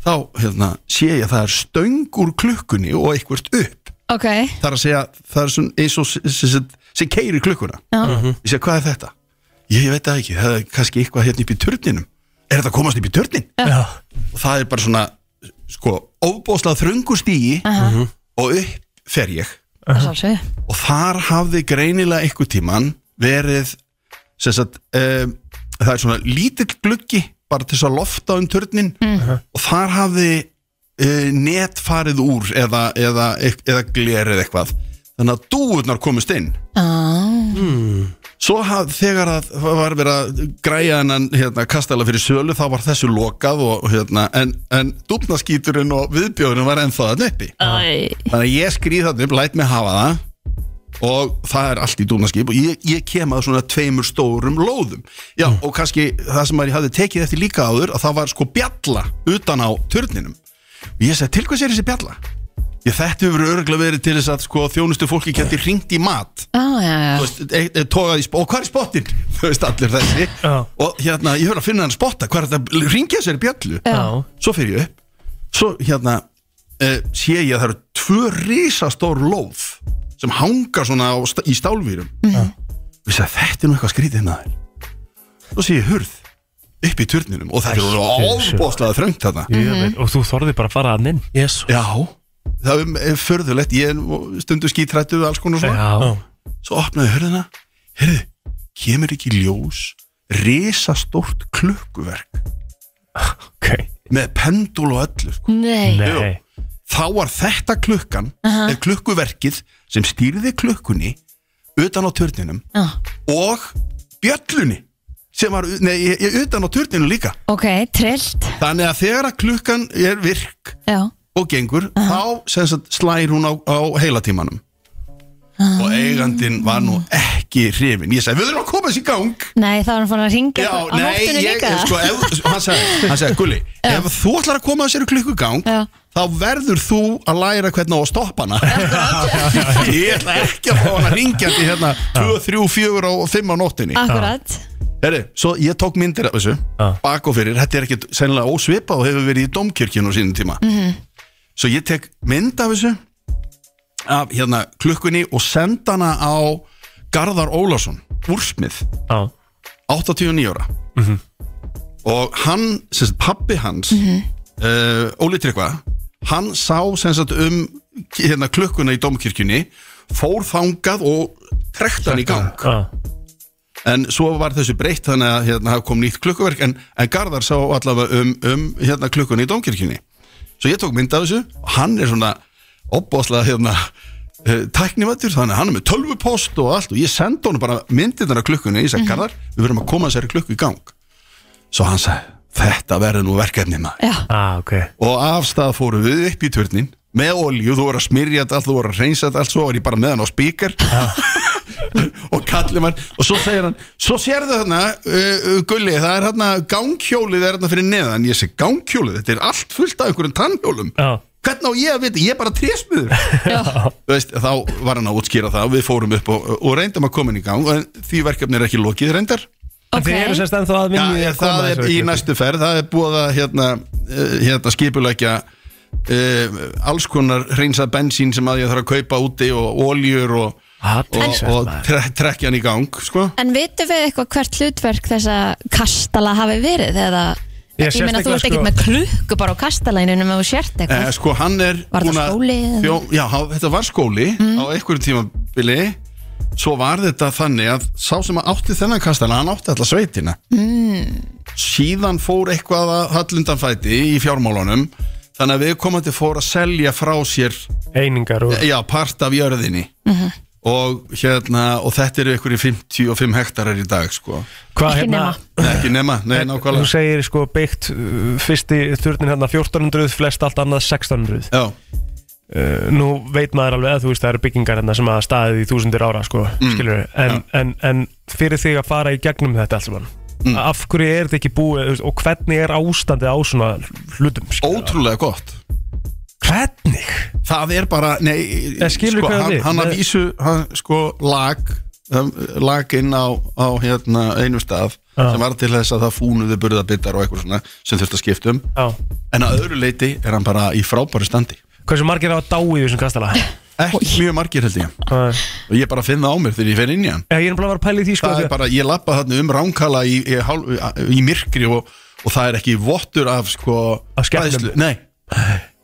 [SPEAKER 10] þá hérna, sé ég að það er stöng úr klukkunni og eitthvert upp
[SPEAKER 1] ok
[SPEAKER 10] það er að segja, það er svona eins og sem- sem- sem- sem keiri klukkuna Mhm.
[SPEAKER 1] Já.
[SPEAKER 10] ég segi, hvað er þetta? ég veit það ekki, það er kannski eitthvað hérna upp í turninum er þetta að komast upp í turnin?
[SPEAKER 3] Já,
[SPEAKER 10] og það er bara svona, sko óbóðslað þröngu stígi og upp fer ég
[SPEAKER 1] Það er svolítið
[SPEAKER 10] og þar hafði greinilega einhver tíman verið sem sagt, um, það er svona lítill gluggi bara til þess að lofta um turnin og þar hafði uh, net farið úr eða, eða, eða glerið eitthvað þannig að dúurnar komust inn
[SPEAKER 1] ah,
[SPEAKER 10] Svo haf, þegar að það var verið að græja hennan hérna, kastala fyrir sölu þá var þessu lokað og, og, hérna, en, en dúfnaskíturinn og viðbjóðurinn var ennþá þarna uppi
[SPEAKER 1] Æ.
[SPEAKER 10] Þannig að ég skrýð þarna upp, læt mig hafa það og það er allt í dúnaskip og ég, ég kem að svona tveimur stórum lóðum já og kannski það sem að ég hafði tekið eftir líka áður að það var sko bjalla utan á turninum og ég segi til hvers er þessi bjalla ég þetta hefur örgulega verið til þess að sko þjónustu fólki geti hringt í mat
[SPEAKER 1] ah, já, já.
[SPEAKER 10] Þú veist, e- e- togað í spott, og hvað er spottinn? Þú veist, allir þessi
[SPEAKER 3] Já.
[SPEAKER 10] Og hérna, ég höfði að finna hann spotta Hvað er þetta, ringja sér í bjallu
[SPEAKER 1] Já.
[SPEAKER 10] Svo fyrir ég upp Svo hérna, uh, sé ég að það eru tvö risastór lóð Sem hanga svona á, sta- í stálvírum vissi að þetta er nú eitthvað skrítið maður svo sé ég hurð upp í turninum og það er
[SPEAKER 3] Ættu,
[SPEAKER 10] óbóðslega þröngt þarna
[SPEAKER 3] Ég veit, og þú þorði bara að fara að inn
[SPEAKER 2] yes.
[SPEAKER 10] já, það er- er förðulegt ég er stundu skítrættu og alls konar svona
[SPEAKER 3] Já.
[SPEAKER 10] svo opnaði hurðina herðu, kemur ekki í ljós risastórt klukkuverk
[SPEAKER 3] ok
[SPEAKER 10] með pendul og öllu sko.
[SPEAKER 1] Nei,
[SPEAKER 10] Jú. þá var þetta klukkan
[SPEAKER 1] Aha.
[SPEAKER 10] eða klukkuverkið sem stýrði klukkunni utan á turninum
[SPEAKER 1] Já.
[SPEAKER 10] og bjöllunni sem var, nei, ég- ég- utan á turninu líka
[SPEAKER 1] ok, trillt
[SPEAKER 10] þannig að þegar að klukkan er virk
[SPEAKER 1] Já,
[SPEAKER 10] og gengur, þá sem sagt slær hún á, á heilatímanum og eigandin var nú ekki hrifin, ég segi, við erum að koma þessi í gang
[SPEAKER 1] nei, þá er hann fann að ringja
[SPEAKER 10] Já,
[SPEAKER 1] á
[SPEAKER 10] nei,
[SPEAKER 1] nóttunni
[SPEAKER 10] ég,
[SPEAKER 1] líka
[SPEAKER 10] sko, ef, hann sagði, hann sagði, Gulli, ef þú ætlar að koma að sér í klukkugang,
[SPEAKER 1] Já.
[SPEAKER 10] þá verður þú að læra hvernig á að stoppa hana. ég ætla ekki að fá hana ringjandi hérna 2, 3, 4 og 5 á nóttinni.
[SPEAKER 1] Akkurat,
[SPEAKER 10] Herri, svo ég tók myndir af þessu, bak og fyrir, þetta er ekkit sennilega ósvipa og hefur verið í domkirkjun á sínum tíma.
[SPEAKER 1] Mhm.
[SPEAKER 10] Svo ég tek mynd af þessu, af hérna klukkunni og senda hana á Garðar Ólason, úrsmið,
[SPEAKER 3] Já,
[SPEAKER 10] 89 ára og hann, sem sagt pappi hans mm Óli Tryggva hann sá sem sagt um hérna, klukkuna í domkirkjunni fór þangað og trekt hann í gang
[SPEAKER 3] já,
[SPEAKER 10] en svo var þessu breytt þannig að hérna hafa kom nýtt klukkuverk en, en Garðar sá allavega um, um hérna, klukkuna í domkirkjunni svo ég tók mynd af þessu og hann er svona opbóðslega hérna eh, tæknivættur, þannig að hann er með tölvupost og allt og ég sendi honum bara myndirnar af klukkunni ég sagði, Garðar, við verðum að koma þessari klukku í gang Svo hann sagði, þetta verður nú verkefni maður.
[SPEAKER 1] já,
[SPEAKER 3] ah, ok
[SPEAKER 10] Og afstæða fóru við upp í turnin með olju, þú voru að smyrja þetta allt, þú voru að reynsa þetta allt, svo var ég bara með hann á spíkar og kallið mann og svo segir hann, svo sérðu þarna uh, uh, gulli, það er þarna ganghjólið er þarna fyrir neðan, ég segi ganghjólið þetta er allt fullt af einhverjum tannhjólum
[SPEAKER 3] Já.
[SPEAKER 10] hvernig á ég að vita, ég er bara trésmiður Þú veist, þá var hann að útskýra það og við fórum upp og, og reyndum að koma inn í gang en því verkefni er ekki lokið reyndar
[SPEAKER 3] okay. Þið eru semst ennþá að vinni
[SPEAKER 10] Já, það er í næstu ferð, það er búið að hérna, eh, hérna skipulækja uh, alls konar reynsað bensín sem að ég þarf að kaupa úti og oljur og, og,
[SPEAKER 3] Athyglisvert,
[SPEAKER 10] og
[SPEAKER 3] maður.
[SPEAKER 10] tre trekkja hann í gang sko.
[SPEAKER 1] En vitum við eitthvað hvert hlutverk þessa kastala hafi verið eða
[SPEAKER 3] Ég
[SPEAKER 1] ég, meina þú
[SPEAKER 3] sérstaklega,
[SPEAKER 1] ert ekkert
[SPEAKER 3] sko-
[SPEAKER 1] með klukku bara á kastalæninu með þú sért
[SPEAKER 10] Eh,
[SPEAKER 1] eitthvað
[SPEAKER 10] sko hann er
[SPEAKER 1] Var það
[SPEAKER 10] búinn að-
[SPEAKER 1] skóli eða? Mm.
[SPEAKER 10] Fjó, já, hann- þetta var skóli á einhverjum tímabili svo var þetta þannig að sá sem að átti þennan kastana, hann átti alltaf sveitina mm. síðan fór eitthvað að hallundanfæti í fjármálunum þannig að við komandi fór að selja frá sér
[SPEAKER 3] Einingar og
[SPEAKER 10] já, part af jörðinni og hérna, og þetta eru ykkur í 55 hektarar í dag, sko
[SPEAKER 3] hvað hérna-
[SPEAKER 1] Ekki nema.
[SPEAKER 10] Nei, ekki nema, nei, nákvæmlega
[SPEAKER 3] Þú segir sko byggt uh, fyrsti þurftin hérna 1400, flest allt annað 1600
[SPEAKER 10] já,
[SPEAKER 3] uh, Nú veit maður alveg að þú veist það eru byggingar hérna sem að hafa staðið í þúsundir ára sko, mm. en, en, en fyrir þig að fara í gegnum þetta alls mann
[SPEAKER 10] Mm.
[SPEAKER 3] Af hverju er þetta ekki búið þú veist, og hvernig er ástandið á svona hlutum? skilurðu?
[SPEAKER 10] ótrúlega gott
[SPEAKER 3] Hvernig?
[SPEAKER 10] það er bara, nei,
[SPEAKER 3] Ég skilur
[SPEAKER 10] sko
[SPEAKER 3] hvað
[SPEAKER 10] hann,
[SPEAKER 3] við-
[SPEAKER 10] hann að
[SPEAKER 3] Nei.
[SPEAKER 10] vísu, hann, sko, lag um, lag inn á, á hérna, einu stað,
[SPEAKER 3] Já.
[SPEAKER 10] sem var til þess að það fúnuðu burðabittar og eitthvað svona sem þurfti að skipta um,
[SPEAKER 3] Já.
[SPEAKER 10] en að öðru leiti er hann bara í frábæri standi
[SPEAKER 3] Hversu margir hafa dáið í þessum kastala?
[SPEAKER 10] ekki mjög margir held ég,
[SPEAKER 3] Uh,
[SPEAKER 10] og ég bara finn það á mér þegar ég fer inn í hann
[SPEAKER 3] ég er bara að vera að pæla í því sko
[SPEAKER 10] það
[SPEAKER 3] því
[SPEAKER 10] er
[SPEAKER 3] að-
[SPEAKER 10] bara, ég lappa þarna um ránkala í, í, hálf- í myrkri og, og það er ekki vottur af sko
[SPEAKER 3] Af skepnum.
[SPEAKER 10] hræðslu. Nei,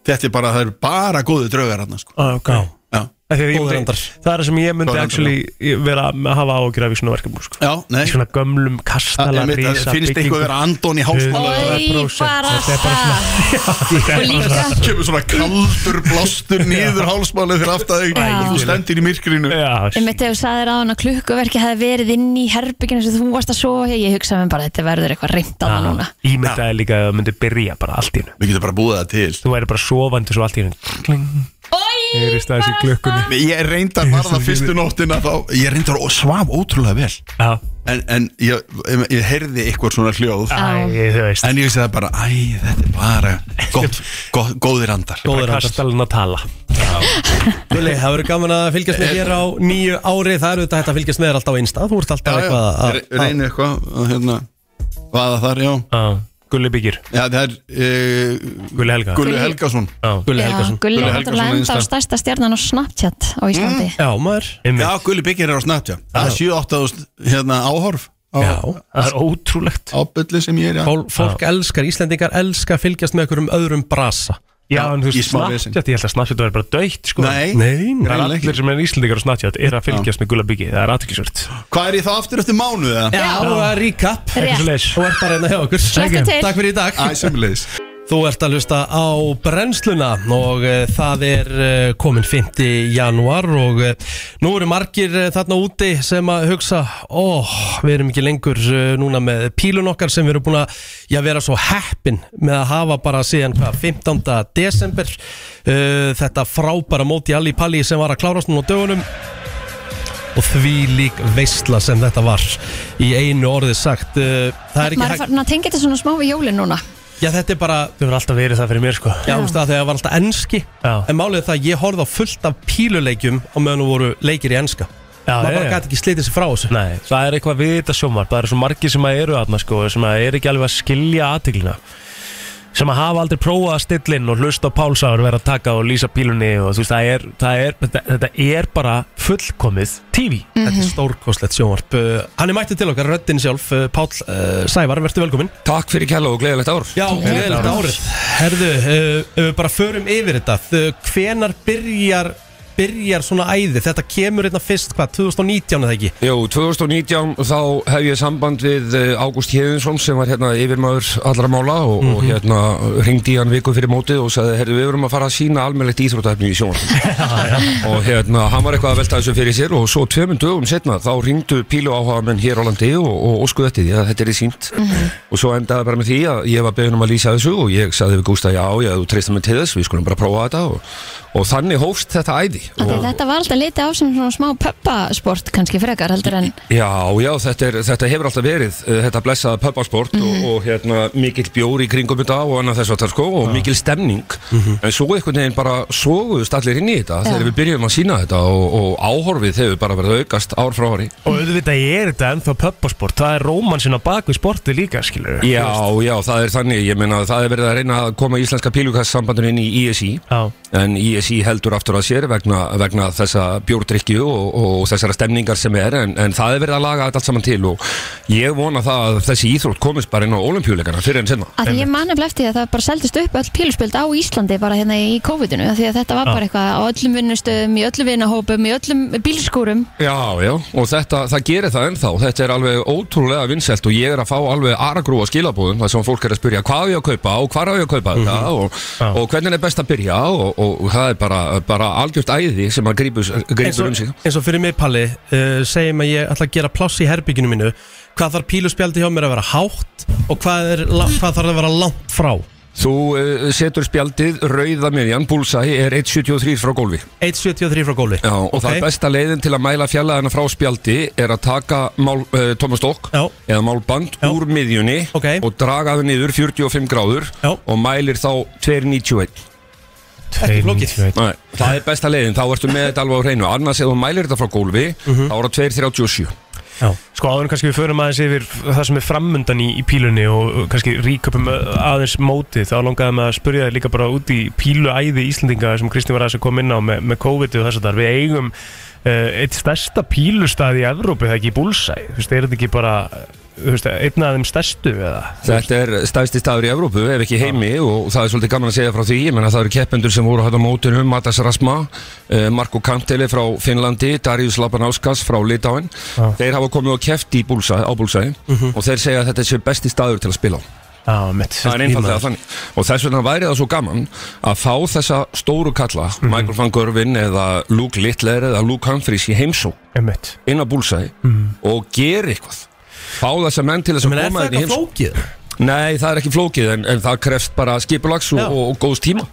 [SPEAKER 10] þetta er bara, það eru bara góðu draugar þarna sko
[SPEAKER 3] Ah, okay.
[SPEAKER 10] Já,
[SPEAKER 3] Af því að ég
[SPEAKER 2] Góðir
[SPEAKER 3] myndi,
[SPEAKER 2] andar.
[SPEAKER 3] það er það sem ég myndi
[SPEAKER 10] Góðir andar,
[SPEAKER 3] actually vera að hafa ágjur af í svona verkefnum sko.
[SPEAKER 10] já nei
[SPEAKER 3] í svona gömlum kastala
[SPEAKER 10] Einmitt, það
[SPEAKER 3] rísa
[SPEAKER 10] Finnst eitthvað að vera Andón í hálsmála
[SPEAKER 3] Hundra.
[SPEAKER 1] Oi,
[SPEAKER 3] 100%
[SPEAKER 1] bara
[SPEAKER 3] þetta er bara
[SPEAKER 1] það Og líka
[SPEAKER 10] Kemur svona kaldur blástur nýður hálsmála fyrir aftaðeg og þú stendir í myrkrinu
[SPEAKER 1] Ég mitt hefur sagðið á hann að klukkuverki hefði verið inn í herbygginu sem þú varst að sofa hér Ég hugsaði mér bara þetta verður eitthvað reynd að það núna
[SPEAKER 3] Ímyndaði líka að það myndi byrja bara allt í hennu
[SPEAKER 10] Við getum bara búið það til
[SPEAKER 3] Þú væri bara sofandi svo allt í hennu Kling,
[SPEAKER 1] Oi,
[SPEAKER 3] heyrist það þessi klukkunni
[SPEAKER 10] Ég reyndar var það fyrstu nóttina þá, Ég reyndar og svaf ótrúlega vel
[SPEAKER 3] Já,
[SPEAKER 10] En, en ég, ég, ég heyrði eitthvað svona hljóð
[SPEAKER 3] æ, þú veist
[SPEAKER 10] En ég vissi það bara, æ, þetta er bara gott, gott, góðir andar
[SPEAKER 2] Góður
[SPEAKER 3] Bara
[SPEAKER 2] andar.
[SPEAKER 3] kastalinn að tala
[SPEAKER 2] Vili, það verður gaman að fylgjast
[SPEAKER 10] Eh,
[SPEAKER 2] með þér á nýju ári Það er auðvitað hægt að fylgjast með þér alltaf á einsta Þú ert alltaf
[SPEAKER 10] Já, já,
[SPEAKER 2] eitthvað að-
[SPEAKER 10] re- reyni eitthvað að hérna, vaða þar, já
[SPEAKER 3] Já. Gulli byggir
[SPEAKER 7] Já, það er
[SPEAKER 10] eh,
[SPEAKER 7] uh,
[SPEAKER 3] Gulli Helga
[SPEAKER 7] Gulli Helgason
[SPEAKER 1] Já, Gulli er náttúrulega enda á stærsta stjarnan á Snapchat á Íslandi
[SPEAKER 2] Já, maður
[SPEAKER 7] Já, Gulli Byggir er á Snapchat Það er 7-8 hérna áhorf á, Já,
[SPEAKER 3] það er ótrúlegt
[SPEAKER 7] Á byllu sem ég er, já
[SPEAKER 2] Fól, Fólk elskar, Íslendingar elskar að fylgjast með einhverjum öðrum brasa
[SPEAKER 3] Já, en þú
[SPEAKER 7] í
[SPEAKER 3] veist,
[SPEAKER 7] smá vesen.
[SPEAKER 3] Snapchat, ég held að Snapchat verður bara döitt, sko
[SPEAKER 7] Nei,
[SPEAKER 2] Nei,
[SPEAKER 3] Það er
[SPEAKER 7] greinilega ekki.
[SPEAKER 3] allir sem er íslendingar á Snapchat er að fylgjast með Gulli byggi, það er aðtækisvert
[SPEAKER 7] Hvað er ég þá aftur eftir mánuð? eða?
[SPEAKER 2] Já, það er recap
[SPEAKER 1] Rétt.
[SPEAKER 3] Svo leis
[SPEAKER 2] Þú ert bara hérna hjá okkur
[SPEAKER 1] Slökktu til.
[SPEAKER 2] Takk fyrir í dag
[SPEAKER 7] Æ, semulegis
[SPEAKER 2] Þú ert að hlusta á brennsluna og uh, það er uh, komin 5. januar og uh, nú eru margir uh, þarna úti sem að hugsa ó, við erum ekki lengur uh, núna með pílun okkar sem við erum búin að já, vera svo heppin með að hafa bara síðan hvað, 15. desember uh, þetta frábæra móti Alli Palli sem var að klárast núna á dögunum og því lík veistla sem þetta var í einu orði sagt uh, það er
[SPEAKER 1] Maður
[SPEAKER 2] ekki
[SPEAKER 1] er
[SPEAKER 2] hægt
[SPEAKER 1] farin að tengja þetta svona smá við jólin núna
[SPEAKER 2] já, þetta er bara
[SPEAKER 3] Þau verður alltaf verið það fyrir mér, sko
[SPEAKER 2] Já, þú veist það þegar það var alltaf enski
[SPEAKER 3] Já.
[SPEAKER 2] En málið er það að ég horfði á fullt af píluleikjum á meðan þú voru leikir í enska
[SPEAKER 3] Já,
[SPEAKER 2] Maður
[SPEAKER 3] já,
[SPEAKER 2] bara
[SPEAKER 3] já.
[SPEAKER 2] gæti ekki slitið sér frá þessu
[SPEAKER 3] Nei, það er eitthvað við þetta sjómarp Það eru svo margir sem að eru aðna sko sem að er ekki alveg að skilja aðteglina sem að hafa aldrei prófað að stilla inn og hlusta á pálsáður vera að taka og lýsa pílunni og þú veist, það er, það er, þetta, þetta er bara fullkomið TV
[SPEAKER 2] Þetta er stórkostlegt sjónvarp uh, Hann er mættið til okkar, röddinn sjálf, uh, Páll uh, Sævar, verður velkominn
[SPEAKER 10] Takk fyrir kæla og gleðilegt ár
[SPEAKER 2] Já, gleðilegt árið Herðu, uh, uh, bara förum yfir þetta Þ- Hvenær byrjar, byrjar svona æði? Þetta kemur hérna fyrst, hvað, 2019 eða ekki?
[SPEAKER 10] Jó, 2019 þá hef ég samband við eh, Ágúst Hjeðinsson sem var hérna yfirmaður allra mála og, og hérna ringdi í hann viku fyrir mótið og sagði, herru, við verum að fara að sína almennlegt íþróttahefni í sjónvarpinu." og hérna, hann var eitthvað að velta þessu fyrir sér og svo tveimund dögum setna þá ringdu pílu áhagamenn hér á landi og, og, og eftir því að þetta er í sínt og svo endaði bara með því að ég var beðin um að lýsa þessu og ég sagði við Gústa, já, já, þú treystum mig til þess, við skulum bara prófa þetta og, og þannig hófst þetta æði
[SPEAKER 1] Af því
[SPEAKER 10] og,
[SPEAKER 1] að Þetta var alltaf litið á sem svona smá pöppasport kannski frekar heldur en
[SPEAKER 10] Já, já, þetta, er, þetta hefur alltaf verið uh, þetta blessaða pöpparsport og, og hérna, mikill bjór í kringum þetta og annað þess að það sko og mikill stemning en svo einhvern veginn bara soguðust allir inn í þetta þegar við byrjum að sína þetta og, og áhorfið hefur bara verið að aukast ár frá ári
[SPEAKER 3] og auðvitað er þetta ennþá pöppasport það er rómansinn á bakvið sporti líka, skilur
[SPEAKER 10] Já, já, það er þannig, ég meina það er verið að reyna að koma íslenska pílukasssambandinu inn í ISI
[SPEAKER 3] Já,
[SPEAKER 10] en ISI heldur aftur að sér vegna, vegna þessa bjórdrykkju og, og þessara stemningar sem er en, en það er verið að laga þetta allt saman til og ég vona það að þessi íþrótt komist bara inn á olimpíuleikana fyrir en sinna
[SPEAKER 1] að því ég manum eftir því að það bara seldist upp öll píluspjöld á Íslandi bara hérna í COVID-inu af því að þetta var bara eitthvað á öllum vinnustöðum í öllum vinnahópum, í öllum bílskúrum
[SPEAKER 10] Já, já, og þetta, það gerir það ennþá Þetta er alveg ótrúlega vinsælt og ég er að fá alveg aragrúa skilabúðum þar sem fólk er að spyrja hvað á ég að kaupa og hvað á ég að kaupa þetta
[SPEAKER 2] Mhm.
[SPEAKER 10] og, og hvernig er best að byrja og, og, það er bara, bara algjört æði sem að grípur,
[SPEAKER 2] Eins
[SPEAKER 10] grípur
[SPEAKER 2] og,
[SPEAKER 10] um sig
[SPEAKER 2] eins og fyrir mig, Palli, uh, segjum að ég ætla að gera pláss í herbygginu mínu Hvað þarf píluspjaldi hjá mér að vera hátt og hvað, er, la- hvað þarf að vera langt frá?
[SPEAKER 10] Þú uh, setur spjaldið, rauða miðjan, búlsæ er 1.73 frá gólfi
[SPEAKER 2] 1.73 frá góli
[SPEAKER 10] Já, og það er besta leiðin til að mæla fjallaðina frá spjaldi er að taka mál, uh, Thomas Dock
[SPEAKER 2] Já.
[SPEAKER 10] eða málband
[SPEAKER 2] Já.
[SPEAKER 10] úr miðjunni
[SPEAKER 2] Ok.
[SPEAKER 10] og draga það niður 45 gráður
[SPEAKER 2] Já.
[SPEAKER 10] og mælir þá 291
[SPEAKER 2] Ekki flókið.
[SPEAKER 10] Nei, það er besta leiðin, þá ertu með þetta alveg á hreinu annars ef þú mælir þetta frá gólfi þá er það 237
[SPEAKER 3] Sko áður en kannski við förum aðeins yfir það sem er framundan í, í pílunni og uh, kannski ríköpum aðeins mótið þá langaði með að spurja þig líka bara út í píluæði Íslendinga sem Kristín var aðeins að koma inn á með, með COVID og þess að þar við eigum uh, eitt stærsta pílustað í Evrópu það er ekki í búlsæ, þú veist, er þetta ekki bara þú veist, einn af þeim stærstu eða?
[SPEAKER 10] Þetta er stæðsti staður í Evrópu, ef ekki heimi og það er svolítið gaman að segja frá því ég menna það eru keppendur sem voru hægt á mótunum Matas Rasma, eh, Marko Kantele frá Finnlandi, Darius Labanauskas frá Litáin, þeir hafa komið og keppt í búlsæ, á búlsæði og þeir segja að þetta sé besti staður til að spila á
[SPEAKER 3] Já, mitt
[SPEAKER 10] það er einfallega þannig og þess vegna væri það svo gaman að fá þessa stóru kalla
[SPEAKER 2] Mhm.
[SPEAKER 10] Michael van Gervin eða Luke Littler eða Luke Humphries í heimsó
[SPEAKER 3] Einmitt.
[SPEAKER 10] inn á búlsæði og gera eitthvað fá þessa menn til þess
[SPEAKER 2] Men
[SPEAKER 10] að
[SPEAKER 2] Mhm. er
[SPEAKER 10] koma
[SPEAKER 2] það
[SPEAKER 10] inn í heimsó
[SPEAKER 2] eitthvað flókið?
[SPEAKER 10] Nei, það er ekki flókið en, en það krefst bara skipulags og,
[SPEAKER 2] Já.
[SPEAKER 10] og, og góðs tíma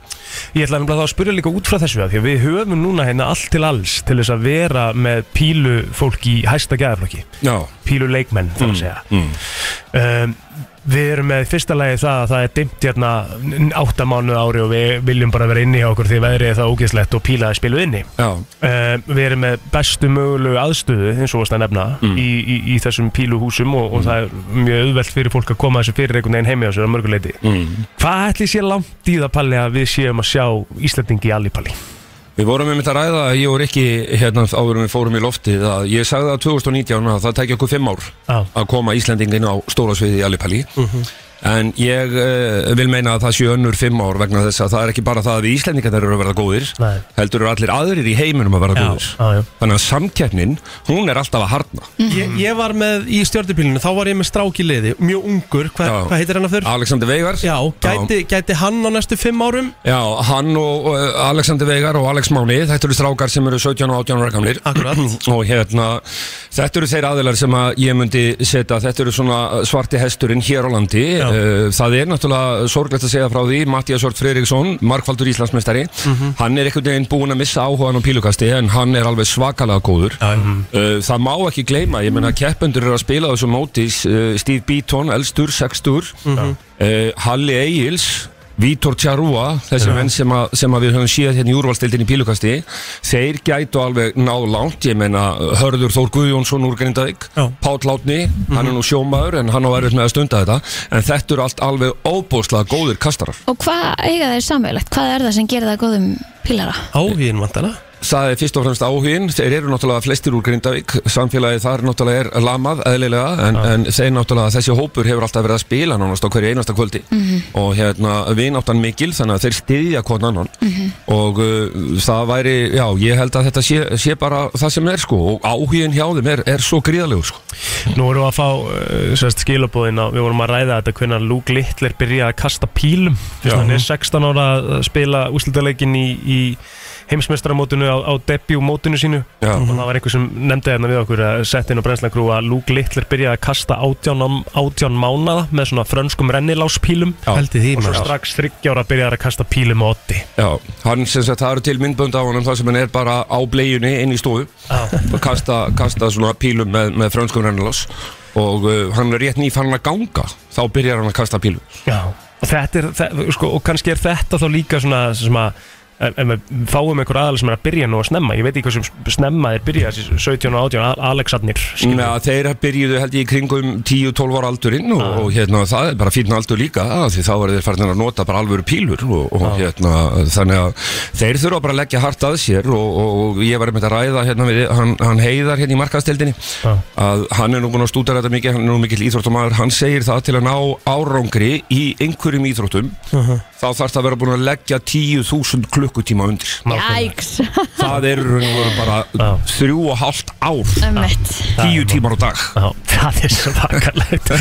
[SPEAKER 3] Ég ætla nefnilega þá að spyrja líka út frá þessu að því að við höfum núna hérna allt til alls til þess að vera með pílufólk í hæsta gæðaflokki
[SPEAKER 10] Já, Mm.
[SPEAKER 3] píluleikmenn þarf að segja um, Við erum með fyrsta lagi það að það er dimmt hérna áttamánuð ári og við viljum bara vera inni hjá okkur því veðrið er það ógeðslegt og pílaði spilu inni. Ehm,
[SPEAKER 10] Já.
[SPEAKER 3] við erum með bestu mögulegu aðstöðu eins og varst að nefna í, í, í þessum píluhúsum og, og það er mjög auðvelt fyrir fólk að koma þessu fyrir einhvern veginn heimi á sér á mörguleiti.
[SPEAKER 10] Mm.
[SPEAKER 3] Hvað ætli sé langt í það palli að við séum að sjá Íslandingi í Alipalli?
[SPEAKER 10] Við vorum einmitt að ræða, ég og Rikki, hérna áður en við fórum í loftið, að ég sagði að 2019 að það tækja okkur fimm ár
[SPEAKER 3] Já.
[SPEAKER 10] að koma Íslendingin á stóra sviði í Alipalli.
[SPEAKER 3] Mhm.
[SPEAKER 10] En ég uh, vil meina að það séu önnur fimm ár vegna þess að það er ekki bara það að við Íslendingarnir eru að verða góðir,
[SPEAKER 3] Nei.
[SPEAKER 10] heldur eru allir aðrir í heiminum að verða
[SPEAKER 3] Já,
[SPEAKER 10] góðir.
[SPEAKER 3] já, Mm. já.
[SPEAKER 10] Þannig að samkeppnin, hún er alltaf að harna.
[SPEAKER 2] Ég, ég var með í stjórnupílinu, þá var ég með strák í liði, mjög ungur, hva,
[SPEAKER 10] Já.
[SPEAKER 2] hvað heitir hann aftur?
[SPEAKER 10] Alexander Veigar.
[SPEAKER 2] Já, gæti, gæti hann á næstu fimm árum?
[SPEAKER 10] Já, hann og uh, Alexander Veigar og Alex Máni, þetta eru strákar sem eru 17 og 18 ára gamlir
[SPEAKER 2] Akkurat.
[SPEAKER 10] og hérna, þetta eru þeir aðilar sem að ég myndi setja, þetta eru svona svarti hesturinn hér á landi uh, það er náttúrulega sorglegt að segja frá því Mattias Hort Fredriksson, markvaldur Íslandsmeistari
[SPEAKER 3] Mhm.
[SPEAKER 10] hann er einhvern veginn búinn að missa áhugan á pílukasti en hann er alveg svakalega góður uh, það má ekki gleyma, ég meina keppendur eru að spila á þessu mótis uh, Steve Beaton, elstur, sextur
[SPEAKER 2] Mhm.
[SPEAKER 10] uh, Halli Egils Vítor Tjarúa, þessi menn sem, að, sem að við höfum síðan hérna í úrvalstildin í pílukasti þeir gætu alveg náð langt ég meina Hörður Þór Guðjónsson úr Grindavík, Páll Látni hann er nú sjómaður en hann á verður með að stunda þetta en þetta eru allt alveg óbóðslega góðir kastarar
[SPEAKER 1] Og hvað eiga þeir samveglegt? Hvað er það sem gerir það góðum pílara?
[SPEAKER 2] Áhugin vantala
[SPEAKER 10] Það er fyrst og fremst áhugin, þeir eru náttúrulega flestir úr Grindavík, samfélagið þar náttúrulega er lamað eðlilega en, en þeir náttúrulega þessi hópur hefur alltaf verið að spila nánast á hverju einasta kvöldi
[SPEAKER 11] Mhm.
[SPEAKER 10] og hérna vináttan mikil þannig að þeir styðja hvort annan
[SPEAKER 11] Mhm.
[SPEAKER 10] og uh, það væri, já, ég held að þetta sé, sé bara það sem er sko og áhugin hjá þeim er, er svo gríðalegur sko.
[SPEAKER 3] Nú erum við að fá uh, sérst, skilabóðin á, við vorum að ræða þetta hvernig Luke Littler byrjaði að kasta pílum Fyrst hann er 16 ára að spila úslitaleikin í, í heimsmestramótinu á, á debjúmótinu sínu
[SPEAKER 10] Já. Mhm.
[SPEAKER 3] og það var einhver sem nefndi hérna við okkur að sett inn á brennslangrú að Luke Littler byrjaði að kasta 18, am- 18 mánada með svona frönskum renniláspílum
[SPEAKER 10] Já. Hældi því,
[SPEAKER 3] og svo
[SPEAKER 10] maður.
[SPEAKER 3] strax 30 ára byrjaði að kasta pílum á 80
[SPEAKER 10] Já, hann sem sagt, það eru til myndbönd á honum þar sem hann er bara á bleiunni inn í stofu og kasta, kasta svona pílum með, með frönskum rennilás og uh, hann er rétt nýfann að ganga þá byrjar hann að kasta pílum
[SPEAKER 3] Já, og þetta er, það, sko, og kannski er þetta þá líka svona, svona ef við fáum einhver aðal sem er að byrja nú að snemma ég veit ekki hvað sem snemma þeir byrja þessi 17 og 18, Al- Alexarnir
[SPEAKER 10] Nei, þeir byrjuðu held ég í kringum 10-12 ára aldurinn og, og hérna það er bara fínna aldur líka að því þá eru þeir farin að nota bara alvöru pílur og, og hérna þannig að þeir þurfa bara að leggja hart að sér og, og, og ég var einmitt að ræða hérna við hann, hann heiðar hérna í markaðsteldinni að hann er nú búin að stúta þetta mikið, hann er nú mikill íþróttamæður, hann segir það til að ná árangri í einhverjum íþróttum þá þarf það að vera búin að leggja 10.000 klukkutíma undir
[SPEAKER 1] Jæks
[SPEAKER 10] það er raun og veru bara þrjú og hálft ár
[SPEAKER 1] Ömmett
[SPEAKER 10] tíu tímar á dag
[SPEAKER 3] Já, það er svo vakarlegt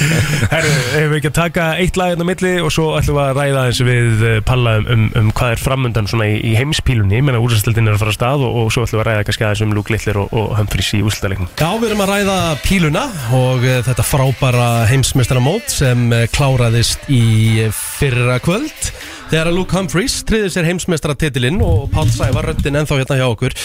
[SPEAKER 3] Herru, hefur við ekki að taka eitt lag hérna á milli og svo ætlum við að ræða eins við eh, Palla um, um, um hvað er framundan svona í, í heimspílunni, menna úrsastöldin er að fara að stað og, og svo ætlum við að ræða kannski aðeins um Luke Littler og, og Humphreys í úrsastöldalegnum
[SPEAKER 2] Já, við erum að ræða píluna og eh, þetta frábæra heimsmeistaramót sem eh, kláraðist í eh, fyrra kvöld þegar að Luke Humphreys triði sér heimsmeistaratitilinn og Pál Sævar röddinn ennþá hérna hjá okkur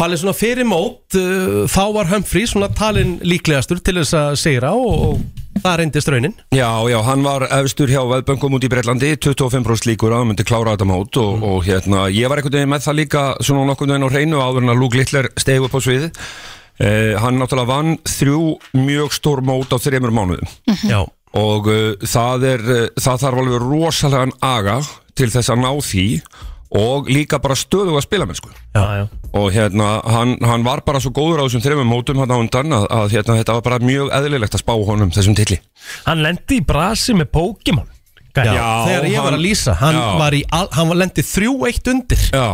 [SPEAKER 2] Palli svona fyrir mót eh, þá var Humphreys svona talinn líklegastur til þess að sigra og, og það reyndist raunin
[SPEAKER 10] Já, já, hann var efstur hjá veðböngum út í Breitlandi, 25% líkur að hann myndi klára þetta mót og, og hérna, ég var einhvern veginn með það líka svona nokkurn veginn á hreinu áður en að Luke Littler stegi upp á sviði. Eh, hann náttúrulega vann þrjú mjög stór mót á þreymur mánuðum
[SPEAKER 3] Mhm.
[SPEAKER 2] Já
[SPEAKER 10] og uh, það, er, uh, það þarf alveg rosalegan aga til þess að ná því og líka bara stöðu að spila mennsku
[SPEAKER 3] Já, já
[SPEAKER 10] og hérna, hann, hann var bara svo góður á þessum þreymum mótum hann á undan að, að hérna, þetta var bara mjög eðlilegt að spá honum þessum tilli
[SPEAKER 3] Hann lendi í brasi með Pokémon
[SPEAKER 10] Já,
[SPEAKER 2] þegar ég var
[SPEAKER 10] hann-
[SPEAKER 2] að lýsa hann,
[SPEAKER 10] Já.
[SPEAKER 2] var, í, al- hann var lendið þrjú eitt undir
[SPEAKER 10] Já.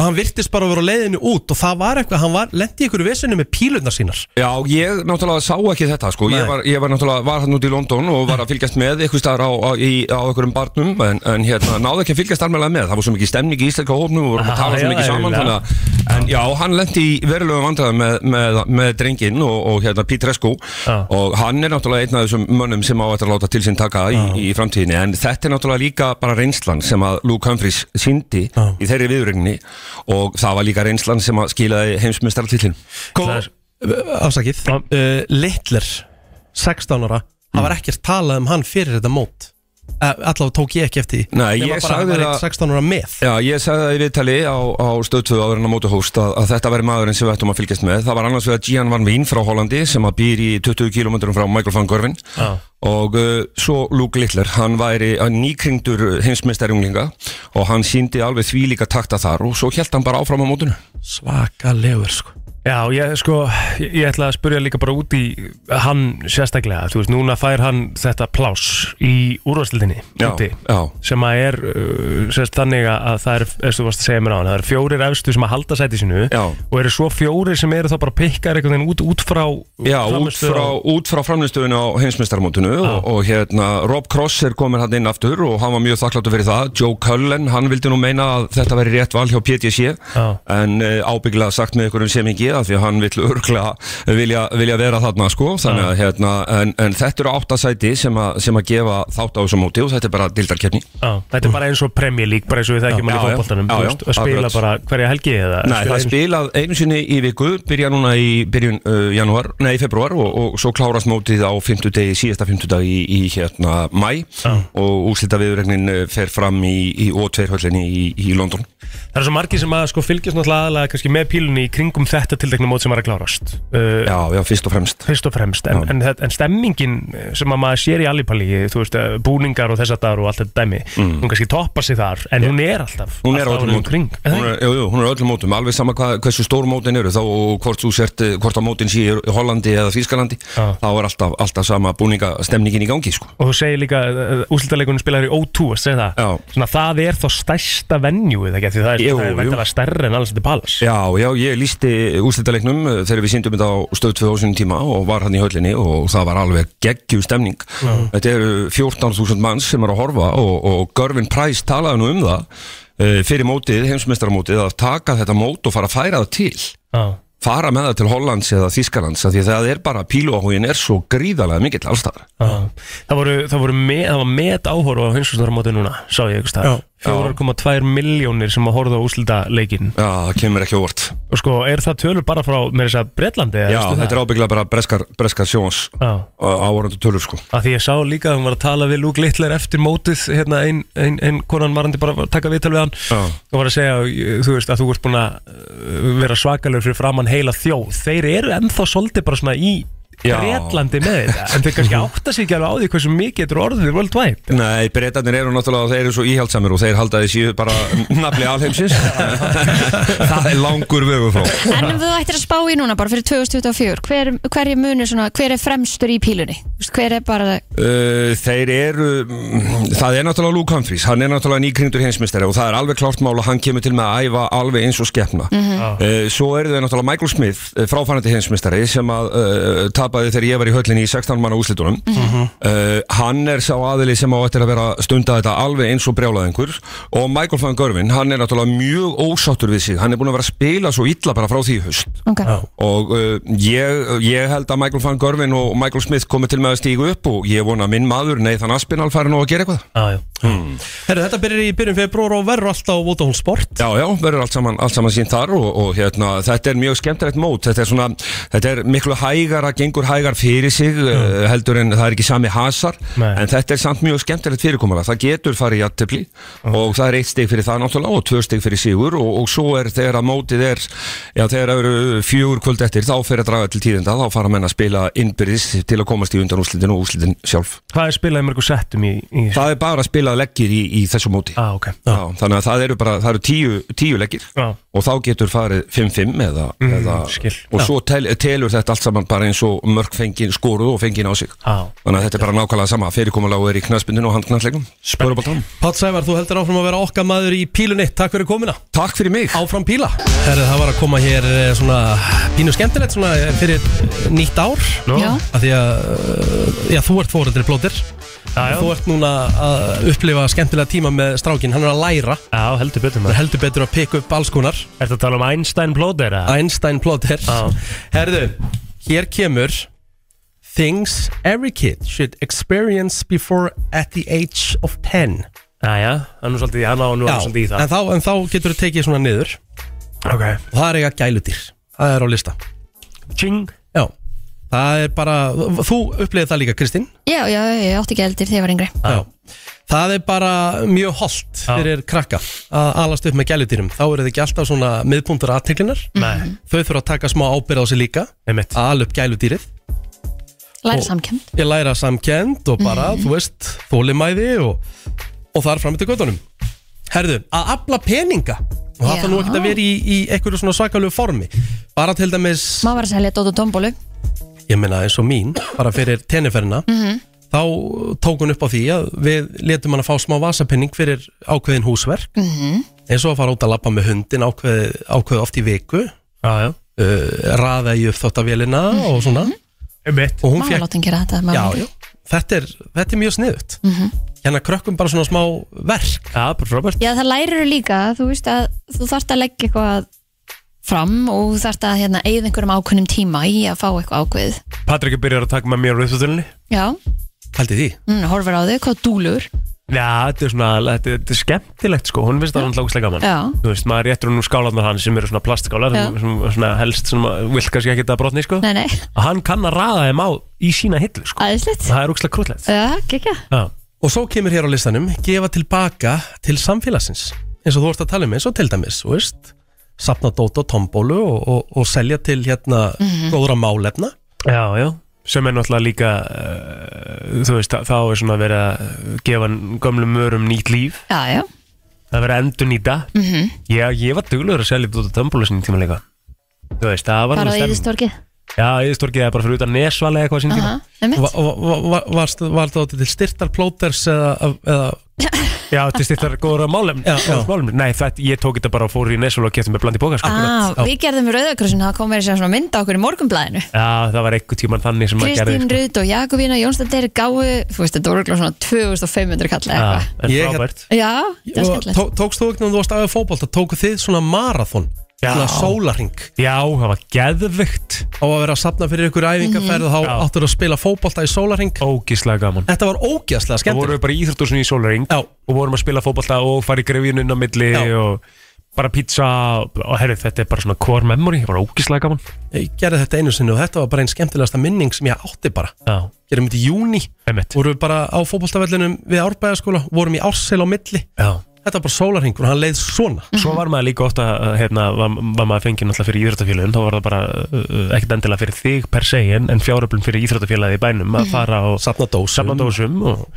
[SPEAKER 2] og hann virtist bara að vera á leiðinu út og það var eitthvað, hann var, lendi í einhverju vesinu með pílunar sínar
[SPEAKER 10] Já, ég náttúrulega sá ekki þetta sko Ég
[SPEAKER 2] Nei.
[SPEAKER 10] var, ég var náttúrulega, var hann út í London og var að fylgjast með eitthvað staðar á, á, í, á einhverjum barnum en, en hérna, náði ekki að fylgjast alveg með Það var svo mikið stemning í íslenska hópnum og vorum að tala svo
[SPEAKER 3] Ah, já,
[SPEAKER 10] mikið saman
[SPEAKER 3] já.
[SPEAKER 10] þannig, að- En já, hann lendi í verulegum vandræðum með, með, með drengin og, og hérna Pítresku og hann er náttúrulega einn af þessum mönnum sem á þetta að láta til sín taka í, í framtíðinni en þetta er náttúrulega líka bara reynslan sem að Luke Humphreys síndi í þeirri viðurregninni og það var líka reynslan sem að skilaði
[SPEAKER 2] Sko,
[SPEAKER 10] heimsmyndstarartillin
[SPEAKER 2] Afsakið, uh, Littler 16 Eh, ára
[SPEAKER 10] Mm.
[SPEAKER 2] það var ekkert talað um hann fyrir þetta mót Eh, allavega tók ég ekki eftir því.
[SPEAKER 10] Nei,
[SPEAKER 2] Nema
[SPEAKER 10] ég
[SPEAKER 2] bara
[SPEAKER 10] sagði
[SPEAKER 2] hann var
[SPEAKER 10] það-
[SPEAKER 2] eitt 16 ára með
[SPEAKER 10] Já, ég sagði það í viðtali á, á stöðtöðu áður en að móti hóst að, að þetta væri maðurinn sem við ættum að fylgjast með. Það var annars vegar Gian Van Vín frá Hollandi sem að býr í 20 km frá Michael van Gorvin
[SPEAKER 2] Já.
[SPEAKER 10] og uh, svo Luke Littler, hann væri uh, nýkringdur heimsmeistarjunglinga og hann síndi alveg því líka takta þar og svo held hann bara áfram á mótinu.
[SPEAKER 2] Svakalegur sko
[SPEAKER 3] Já, ég sko, ég, ég ætla að spurja líka bara út í hann sérstaklega, þú veist, núna fær hann þetta pláss í úrvastildinni
[SPEAKER 10] Já, já.
[SPEAKER 3] sem að er uh, sérst þannig að að það er, eins og þú varst að segja mér á hann, það eru fjórir efstu sem að halda sæti sinu já. og eru svo fjórir sem eru þá bara pikkar einhvern veginn út, út frá
[SPEAKER 10] Já, út
[SPEAKER 3] frammistöðu
[SPEAKER 10] frá, út frá framlistöðinu á heimsmeistarmótinu og, og hérna Rob Cross er komin hann inn aftur og hann var mjög þakkláttur fyrir það Joe Cullen, hann vildi nú meina að þetta væri rétt val hjá PTC en uh, ábyggilega sagt með ykkur um semingi af því að hann vill örglega vilja, vilja vera þarna sko þannig að hérna, en, en þetta eru áttasæti sem, a, sem að gefa þátt á þessu móti og þetta er bara dildarkeppni
[SPEAKER 3] Já, þetta er bara eins og Premier League, bara eins og við þekkjum
[SPEAKER 10] Já,
[SPEAKER 3] hann í
[SPEAKER 10] já,
[SPEAKER 3] fótboltanum,
[SPEAKER 10] já,
[SPEAKER 3] þú
[SPEAKER 10] já,
[SPEAKER 3] veist, að spila
[SPEAKER 10] akkurat.
[SPEAKER 3] bara hverja helgi eða
[SPEAKER 10] Nei, það er spilað einu sinni í viku, byrja núna í byrjun uh, janúar, nei, februar og, og svo klárast mótið á 50 degi, síðasta 50 dagi í, í hérna mæ og úslita viðurregnin fer fram í, í O2 höllinni í, í London.
[SPEAKER 3] Það er svo margir sem að sko fylgjast náttúrulega aðalega kannski með pílunni í kringum þetta tildekna mót sem er að klárast uh,
[SPEAKER 10] Já, já, fyrst og fremst
[SPEAKER 3] Fyrst og fremst, en, en, þetta- en stemmingin eh, sem að maður sér í Alipalli, þú veist, eh, búningar og þess að dagar og allt þetta dæmi
[SPEAKER 10] Mm.
[SPEAKER 3] hún kannski toppar sig þar, en hún er alltaf
[SPEAKER 10] Hún er á
[SPEAKER 3] alltaf
[SPEAKER 10] öllum
[SPEAKER 3] árið
[SPEAKER 10] mótum,
[SPEAKER 3] kring.
[SPEAKER 10] hún er, jú, jú, hún er á öllum mótum, alveg sama hva, hversu stór mótin eru þá og hvort þú sért, eh, hvort að mótin sé í Hollandi eða Þýskalandi, þá er alltaf, alltaf sama búningastemningin í gangi, sko.
[SPEAKER 3] Og þú segir líka, uh, úrslitaleikunum spilar í O2, að segja það
[SPEAKER 10] Já.
[SPEAKER 3] Svona, það er þá stærsta venjúið, ekki, því það er,
[SPEAKER 10] Jú,
[SPEAKER 3] það er
[SPEAKER 10] jú.
[SPEAKER 3] væntanlega stærri en alls þetta palas
[SPEAKER 10] Já, já, ég lísti úrslitaleiknum uh, þegar við síndum þetta á stöð 2000 tíma og var hann í höllinni og það var alveg geggjú stemning.
[SPEAKER 3] Já.
[SPEAKER 10] Þetta eru 14.000 manns sem eru að horfa og, og Görvin Price talaði nú um það uh, fyrir mótið, heimsmeistaramótið, að taka þetta mót og fara að færa það til.
[SPEAKER 3] Já.
[SPEAKER 10] Fara með það til Hollands eða Þískalands af því að það er bara, píluahóin er svo gríðalega mikill allstæðar.
[SPEAKER 3] Já. Það voru, það voru me, það var met áhóru á hinsumstöðarmóti núna, sá ég einhvers staðar. 4,2 miljónir sem að horfa á úslita leikin
[SPEAKER 10] Já, það kemur ekki á óvart
[SPEAKER 3] Og sko, er það tölur bara frá, með þess að Breitlandi?
[SPEAKER 10] Já, þetta er ábyggilega bara breskar, breskar sjóns
[SPEAKER 3] Já.
[SPEAKER 10] ávarandu tölur sko.
[SPEAKER 3] Að því ég sá líka að hún var að tala við Luke Littler eftir mótið, hérna ein, ein, ein konan varandi bara að taka viðtal við hann
[SPEAKER 10] Já.
[SPEAKER 3] og var að segja, þú veist, að þú ert búin að uh, vera svakalur fyrir framann heila þjóð þeir eru ennþá svolítið bara svona í
[SPEAKER 10] Já.
[SPEAKER 3] Breitlandi með þetta, en þeir kannski átta sig ekki alveg á því hversu mikið þetta eru orðið worldwide
[SPEAKER 10] Nei, breytanir eru náttúrulega, þeir eru svo íhaldsamir og þeir halda því síðu bara nafli alheimsins Það er langur vögu frá
[SPEAKER 1] En ef þú ættir að spá í núna bara fyrir 2024 hver, hver, er munur svona, hver er fremstur í pílunni? Þú veist, Hver er bara
[SPEAKER 10] Uh, þeir eru mm, það er náttúrulega Luke Humphries, hann er náttúrulega nýkringdur hinsmisteri og það er alveg klart mál að hann kemur til með að æfa alveg eins og skefna
[SPEAKER 12] Mhm.
[SPEAKER 10] uh, svo eru þau náttúrulega Michael Smith uh, fráfærandi hinsmisteri sem að uh, tapaði þegar ég var í höllinni í 16 manna úslitunum
[SPEAKER 12] Mhm.
[SPEAKER 10] uh, hann er sá aðili sem á eftir að vera stunda þetta alveg eins og brjálaðingur og Michael van Görvin, hann er náttúrulega mjög ósáttur við sig, hann er búin að vera að spila svo illa bara frá því í haust
[SPEAKER 1] okay.
[SPEAKER 10] og uh, ég, ég held að Michael van Görvin og Michael Smith komið til með að stígu upp og ég vona að minn maður, nei þann Aspinall fari nú að gera eitthvað
[SPEAKER 3] ah,
[SPEAKER 10] hmm.
[SPEAKER 2] Herru, þetta byrjar í byrjun februar og verður alltaf á Votahól Sport
[SPEAKER 10] Já, já, verður allt saman, allt saman sín þar og, og hérna, þetta er mjög skemmtilegt mót þetta er, svona, þetta er miklu hægara, gengur hægar fyrir sig uh, heldur en það er ekki sami hasar
[SPEAKER 3] Nei.
[SPEAKER 10] en þetta er samt mjög skemmtilegt fyrirkomulega það getur farið í aðtefli og það er eitt stig fyrir það náttúrulega og tvö stig fyrir sigur og, og svo er þegar að mótið er já, þegar það eru fjögur kvöld eftir þá fer að draga til tíðinda, þá fara menn að spila innbyrðis til að komast í undan úslitin og úslitin sjálf
[SPEAKER 3] Hvað er spilaði mörgum settum í, í
[SPEAKER 10] Það er bara að spila leggir í, í þessu móti
[SPEAKER 3] ah, okay.
[SPEAKER 10] Já, Þannig að það eru bara það eru tíu, tíu leggir
[SPEAKER 3] Já.
[SPEAKER 10] og þá getur farið 5-5 eða,
[SPEAKER 3] Mm,
[SPEAKER 10] eða
[SPEAKER 3] skil.
[SPEAKER 10] og
[SPEAKER 3] Já.
[SPEAKER 10] svo tel, telur þetta allt saman bara eins og mörg fengin skoruð og fengin á sig
[SPEAKER 3] Já.
[SPEAKER 10] Þannig að þetta er bara nákvæmlega sama fyrirkomulega er í knaspindinu og handknarsleikum Spöruboltan
[SPEAKER 2] Pátt Sævar, þú heldur áfram að vera okkar maður í pílunni Takk fyrir komina
[SPEAKER 10] Takk fyrir mig
[SPEAKER 2] Áfram píla Herru, það var að koma hér eh, svona pínu skemmtilegt svona eh, fyrir nýtt ár
[SPEAKER 3] Nú. Já.
[SPEAKER 2] Af því að, eh, já, þú ert fóreldri plótir
[SPEAKER 3] já.
[SPEAKER 2] Þú ert núna að upplifa skemmtilega tíma með strákin Hann er að læra
[SPEAKER 3] Já, heldur betur maður
[SPEAKER 2] Heldur betur að pikka upp alls konar
[SPEAKER 3] Ertu að tala um Einstein plóter?
[SPEAKER 2] Einstein plóter Herru, hér kemur Things every kid should experience before at the age of 10
[SPEAKER 3] Æja, hann er svolítið í hann á og nú er hann svolítið í það
[SPEAKER 2] en þá, en þá getur þú tekið svona niður
[SPEAKER 3] Ok
[SPEAKER 2] Og það er eiga gæludýr Það er á lista
[SPEAKER 3] Ching
[SPEAKER 2] Já Það er bara, þú upplifið það líka Kristín
[SPEAKER 1] Já, já, ég átti ekki eldir þegar ég var yngri
[SPEAKER 2] Já. Það er bara mjög holdt fyrir krakka að alast upp með gæludýrum þá eru þið ekki alltaf svona miðpuntur aðteklinar
[SPEAKER 3] Nei.
[SPEAKER 2] þau þurfa að taka smá ábyrð á sig líka
[SPEAKER 3] Einmitt.
[SPEAKER 2] að ala upp gæludýrið
[SPEAKER 1] Læra
[SPEAKER 2] Og-
[SPEAKER 1] samkjönd
[SPEAKER 2] ég læra samkend og bara,
[SPEAKER 1] Mhm.
[SPEAKER 2] þú veist, þólimæði og, og þar fram til göttunum Herðu, að afla peninga og það
[SPEAKER 1] Já.
[SPEAKER 2] þarf nú ekkert að vera í, í einhverju svona svakalegu formi bara til dæmis,
[SPEAKER 1] Má var að selja Dóttu Tómbólu
[SPEAKER 2] ég meina eins og mín bara fyrir tenniferina
[SPEAKER 1] Mhm.
[SPEAKER 2] þá tók hún upp á því að við letum hann að fá smá vasapenning fyrir ákveðin húsverk
[SPEAKER 1] Mhm.
[SPEAKER 2] eins og að fara út að lappa með hundin ákveð, ákveð oft í viku
[SPEAKER 3] já, já.
[SPEAKER 2] Uh, raða í uppþóttavélina og svona
[SPEAKER 3] Einmitt.
[SPEAKER 2] og
[SPEAKER 1] Mhm.
[SPEAKER 2] hún
[SPEAKER 1] Má var
[SPEAKER 2] fekk
[SPEAKER 1] látin gera þetta mamma
[SPEAKER 2] já,
[SPEAKER 1] mín.
[SPEAKER 2] já, þetta, er, þetta er mjög sniðut
[SPEAKER 1] Mhm.
[SPEAKER 2] hérna krökkum bara svona smá verk
[SPEAKER 3] já, bara Robert
[SPEAKER 1] Já, það lærir líka, þú veist að þú þarft að leggja eitthvað fram og þú þarft að hérna, eigða einhverjum ákveðnum tíma í að fá eitthvað ákveð
[SPEAKER 3] Patrik er byrjar að taka með mér á rauðfjöldunni
[SPEAKER 1] Já,
[SPEAKER 2] Haldið því?
[SPEAKER 1] mm, horfir á þau, hvað dúlur
[SPEAKER 3] Já, þetta er svona, þetta, þetta er skemmtilegt sko, hún finnst það hann lókslega gaman
[SPEAKER 1] Já.
[SPEAKER 3] Þú veist, maður réttur hún úr skálanar hann sem eru svona plastskálar
[SPEAKER 1] Já.
[SPEAKER 3] sem, sem, svona helst sem maður vill kannski ekki að brotni sko
[SPEAKER 1] Nei, nei,
[SPEAKER 3] að hann kann að raða þeim á í sína hillu sko.
[SPEAKER 1] aðeinslegt
[SPEAKER 3] Það er úkslega krútlegt
[SPEAKER 1] Já, kekja
[SPEAKER 2] og svo kemur hér á listanum gefa tilbaka til samfélagsins eins og þú vorst að tala um eins og til dæmis þú veist, sapna dót og tombólu og, og, og selja til hérna
[SPEAKER 3] Mhm.
[SPEAKER 2] góðra málefna
[SPEAKER 3] Já, já sem er náttúrulega líka uh, þú veist, þá- þá er svona verið að gefa gömlum mörum nýtt líf
[SPEAKER 1] Já, já,
[SPEAKER 3] það er verið að endur nýta
[SPEAKER 1] Mhm.
[SPEAKER 3] Já, ég var duglegur að selja út á tömbúlu sinni tíma líka Þú veist, það var
[SPEAKER 1] bara á
[SPEAKER 3] alveg stemning.
[SPEAKER 1] yðistorkið
[SPEAKER 3] Já, Íðistorkið er bara fyrir utan nesvalega eitthvað sín
[SPEAKER 1] Aha,
[SPEAKER 3] tíma
[SPEAKER 1] einmitt.
[SPEAKER 2] Va- va- va- va- varst- Var það til styrtar plóters eða, eða
[SPEAKER 3] Já, til styrtar góðra málefni
[SPEAKER 2] Já, já.
[SPEAKER 3] málefni. Nei, þetta, ég tók þetta bara og fór í nesvalega og kefti með bland í bóka sko.
[SPEAKER 1] ah, Við gerðum í Rauðakrossin, það kom verið sér svona mynd á okkur í morgunblæðinu
[SPEAKER 3] Já, það var eitthvað tíman þannig sem maður gerði sko.
[SPEAKER 1] Kristín Rut og Jakobína Jónsdóttir gáu, þú veist, þetta voru örugglega svona 2500 kalla
[SPEAKER 3] Ah.
[SPEAKER 1] eitthvað
[SPEAKER 3] en
[SPEAKER 2] Ég-
[SPEAKER 3] frábært
[SPEAKER 1] Já, það er
[SPEAKER 2] Og
[SPEAKER 1] skemmtilegt
[SPEAKER 2] tó- Tókst þú ekki náttúrulega að staða fótbolta Tóku þið svona marathon
[SPEAKER 3] Já.
[SPEAKER 2] Svona sólaring
[SPEAKER 3] Já, það var geðvikt
[SPEAKER 2] Á að vera að safna fyrir ykkur
[SPEAKER 1] Mhm.
[SPEAKER 2] æfingaferð mm
[SPEAKER 3] Já.
[SPEAKER 2] Þá áttur að spila fótbolta í sólaring
[SPEAKER 3] Ógíslega gaman
[SPEAKER 2] Þetta var ógeðslega
[SPEAKER 3] Það vorum
[SPEAKER 2] skemmtilegt
[SPEAKER 3] við bara í íþróttusunni í sólaring
[SPEAKER 2] Já.
[SPEAKER 3] og vorum að spila fótballta og fara í grefinun á milli
[SPEAKER 2] Já.
[SPEAKER 3] og bara pizza og, og herri, þetta er bara svona core memory, bara ógíslega gaman
[SPEAKER 2] Ég gerði þetta einu sinni og þetta var bara einn skemmtilegasta minning sem ég átti bara
[SPEAKER 3] Já,
[SPEAKER 2] Gerum þetta í júni
[SPEAKER 3] einmitt
[SPEAKER 2] Vorum við bara á fótboltavellinum við árbæðaskóla Vorum í ársel á milli
[SPEAKER 3] Já.
[SPEAKER 2] Þetta var bara sólaring og hann leið svona
[SPEAKER 3] Svo var maður líka ofta, hérna, var, var maður fengið náttúrulega fyrir íþróttafélagin, þá var það bara uh, ekkert endilega fyrir þig per se en, en fjáröflum fyrir íþróttafélagi í bænum
[SPEAKER 1] Mhm.
[SPEAKER 3] að fara og
[SPEAKER 2] Safna dósum
[SPEAKER 3] safna dósum og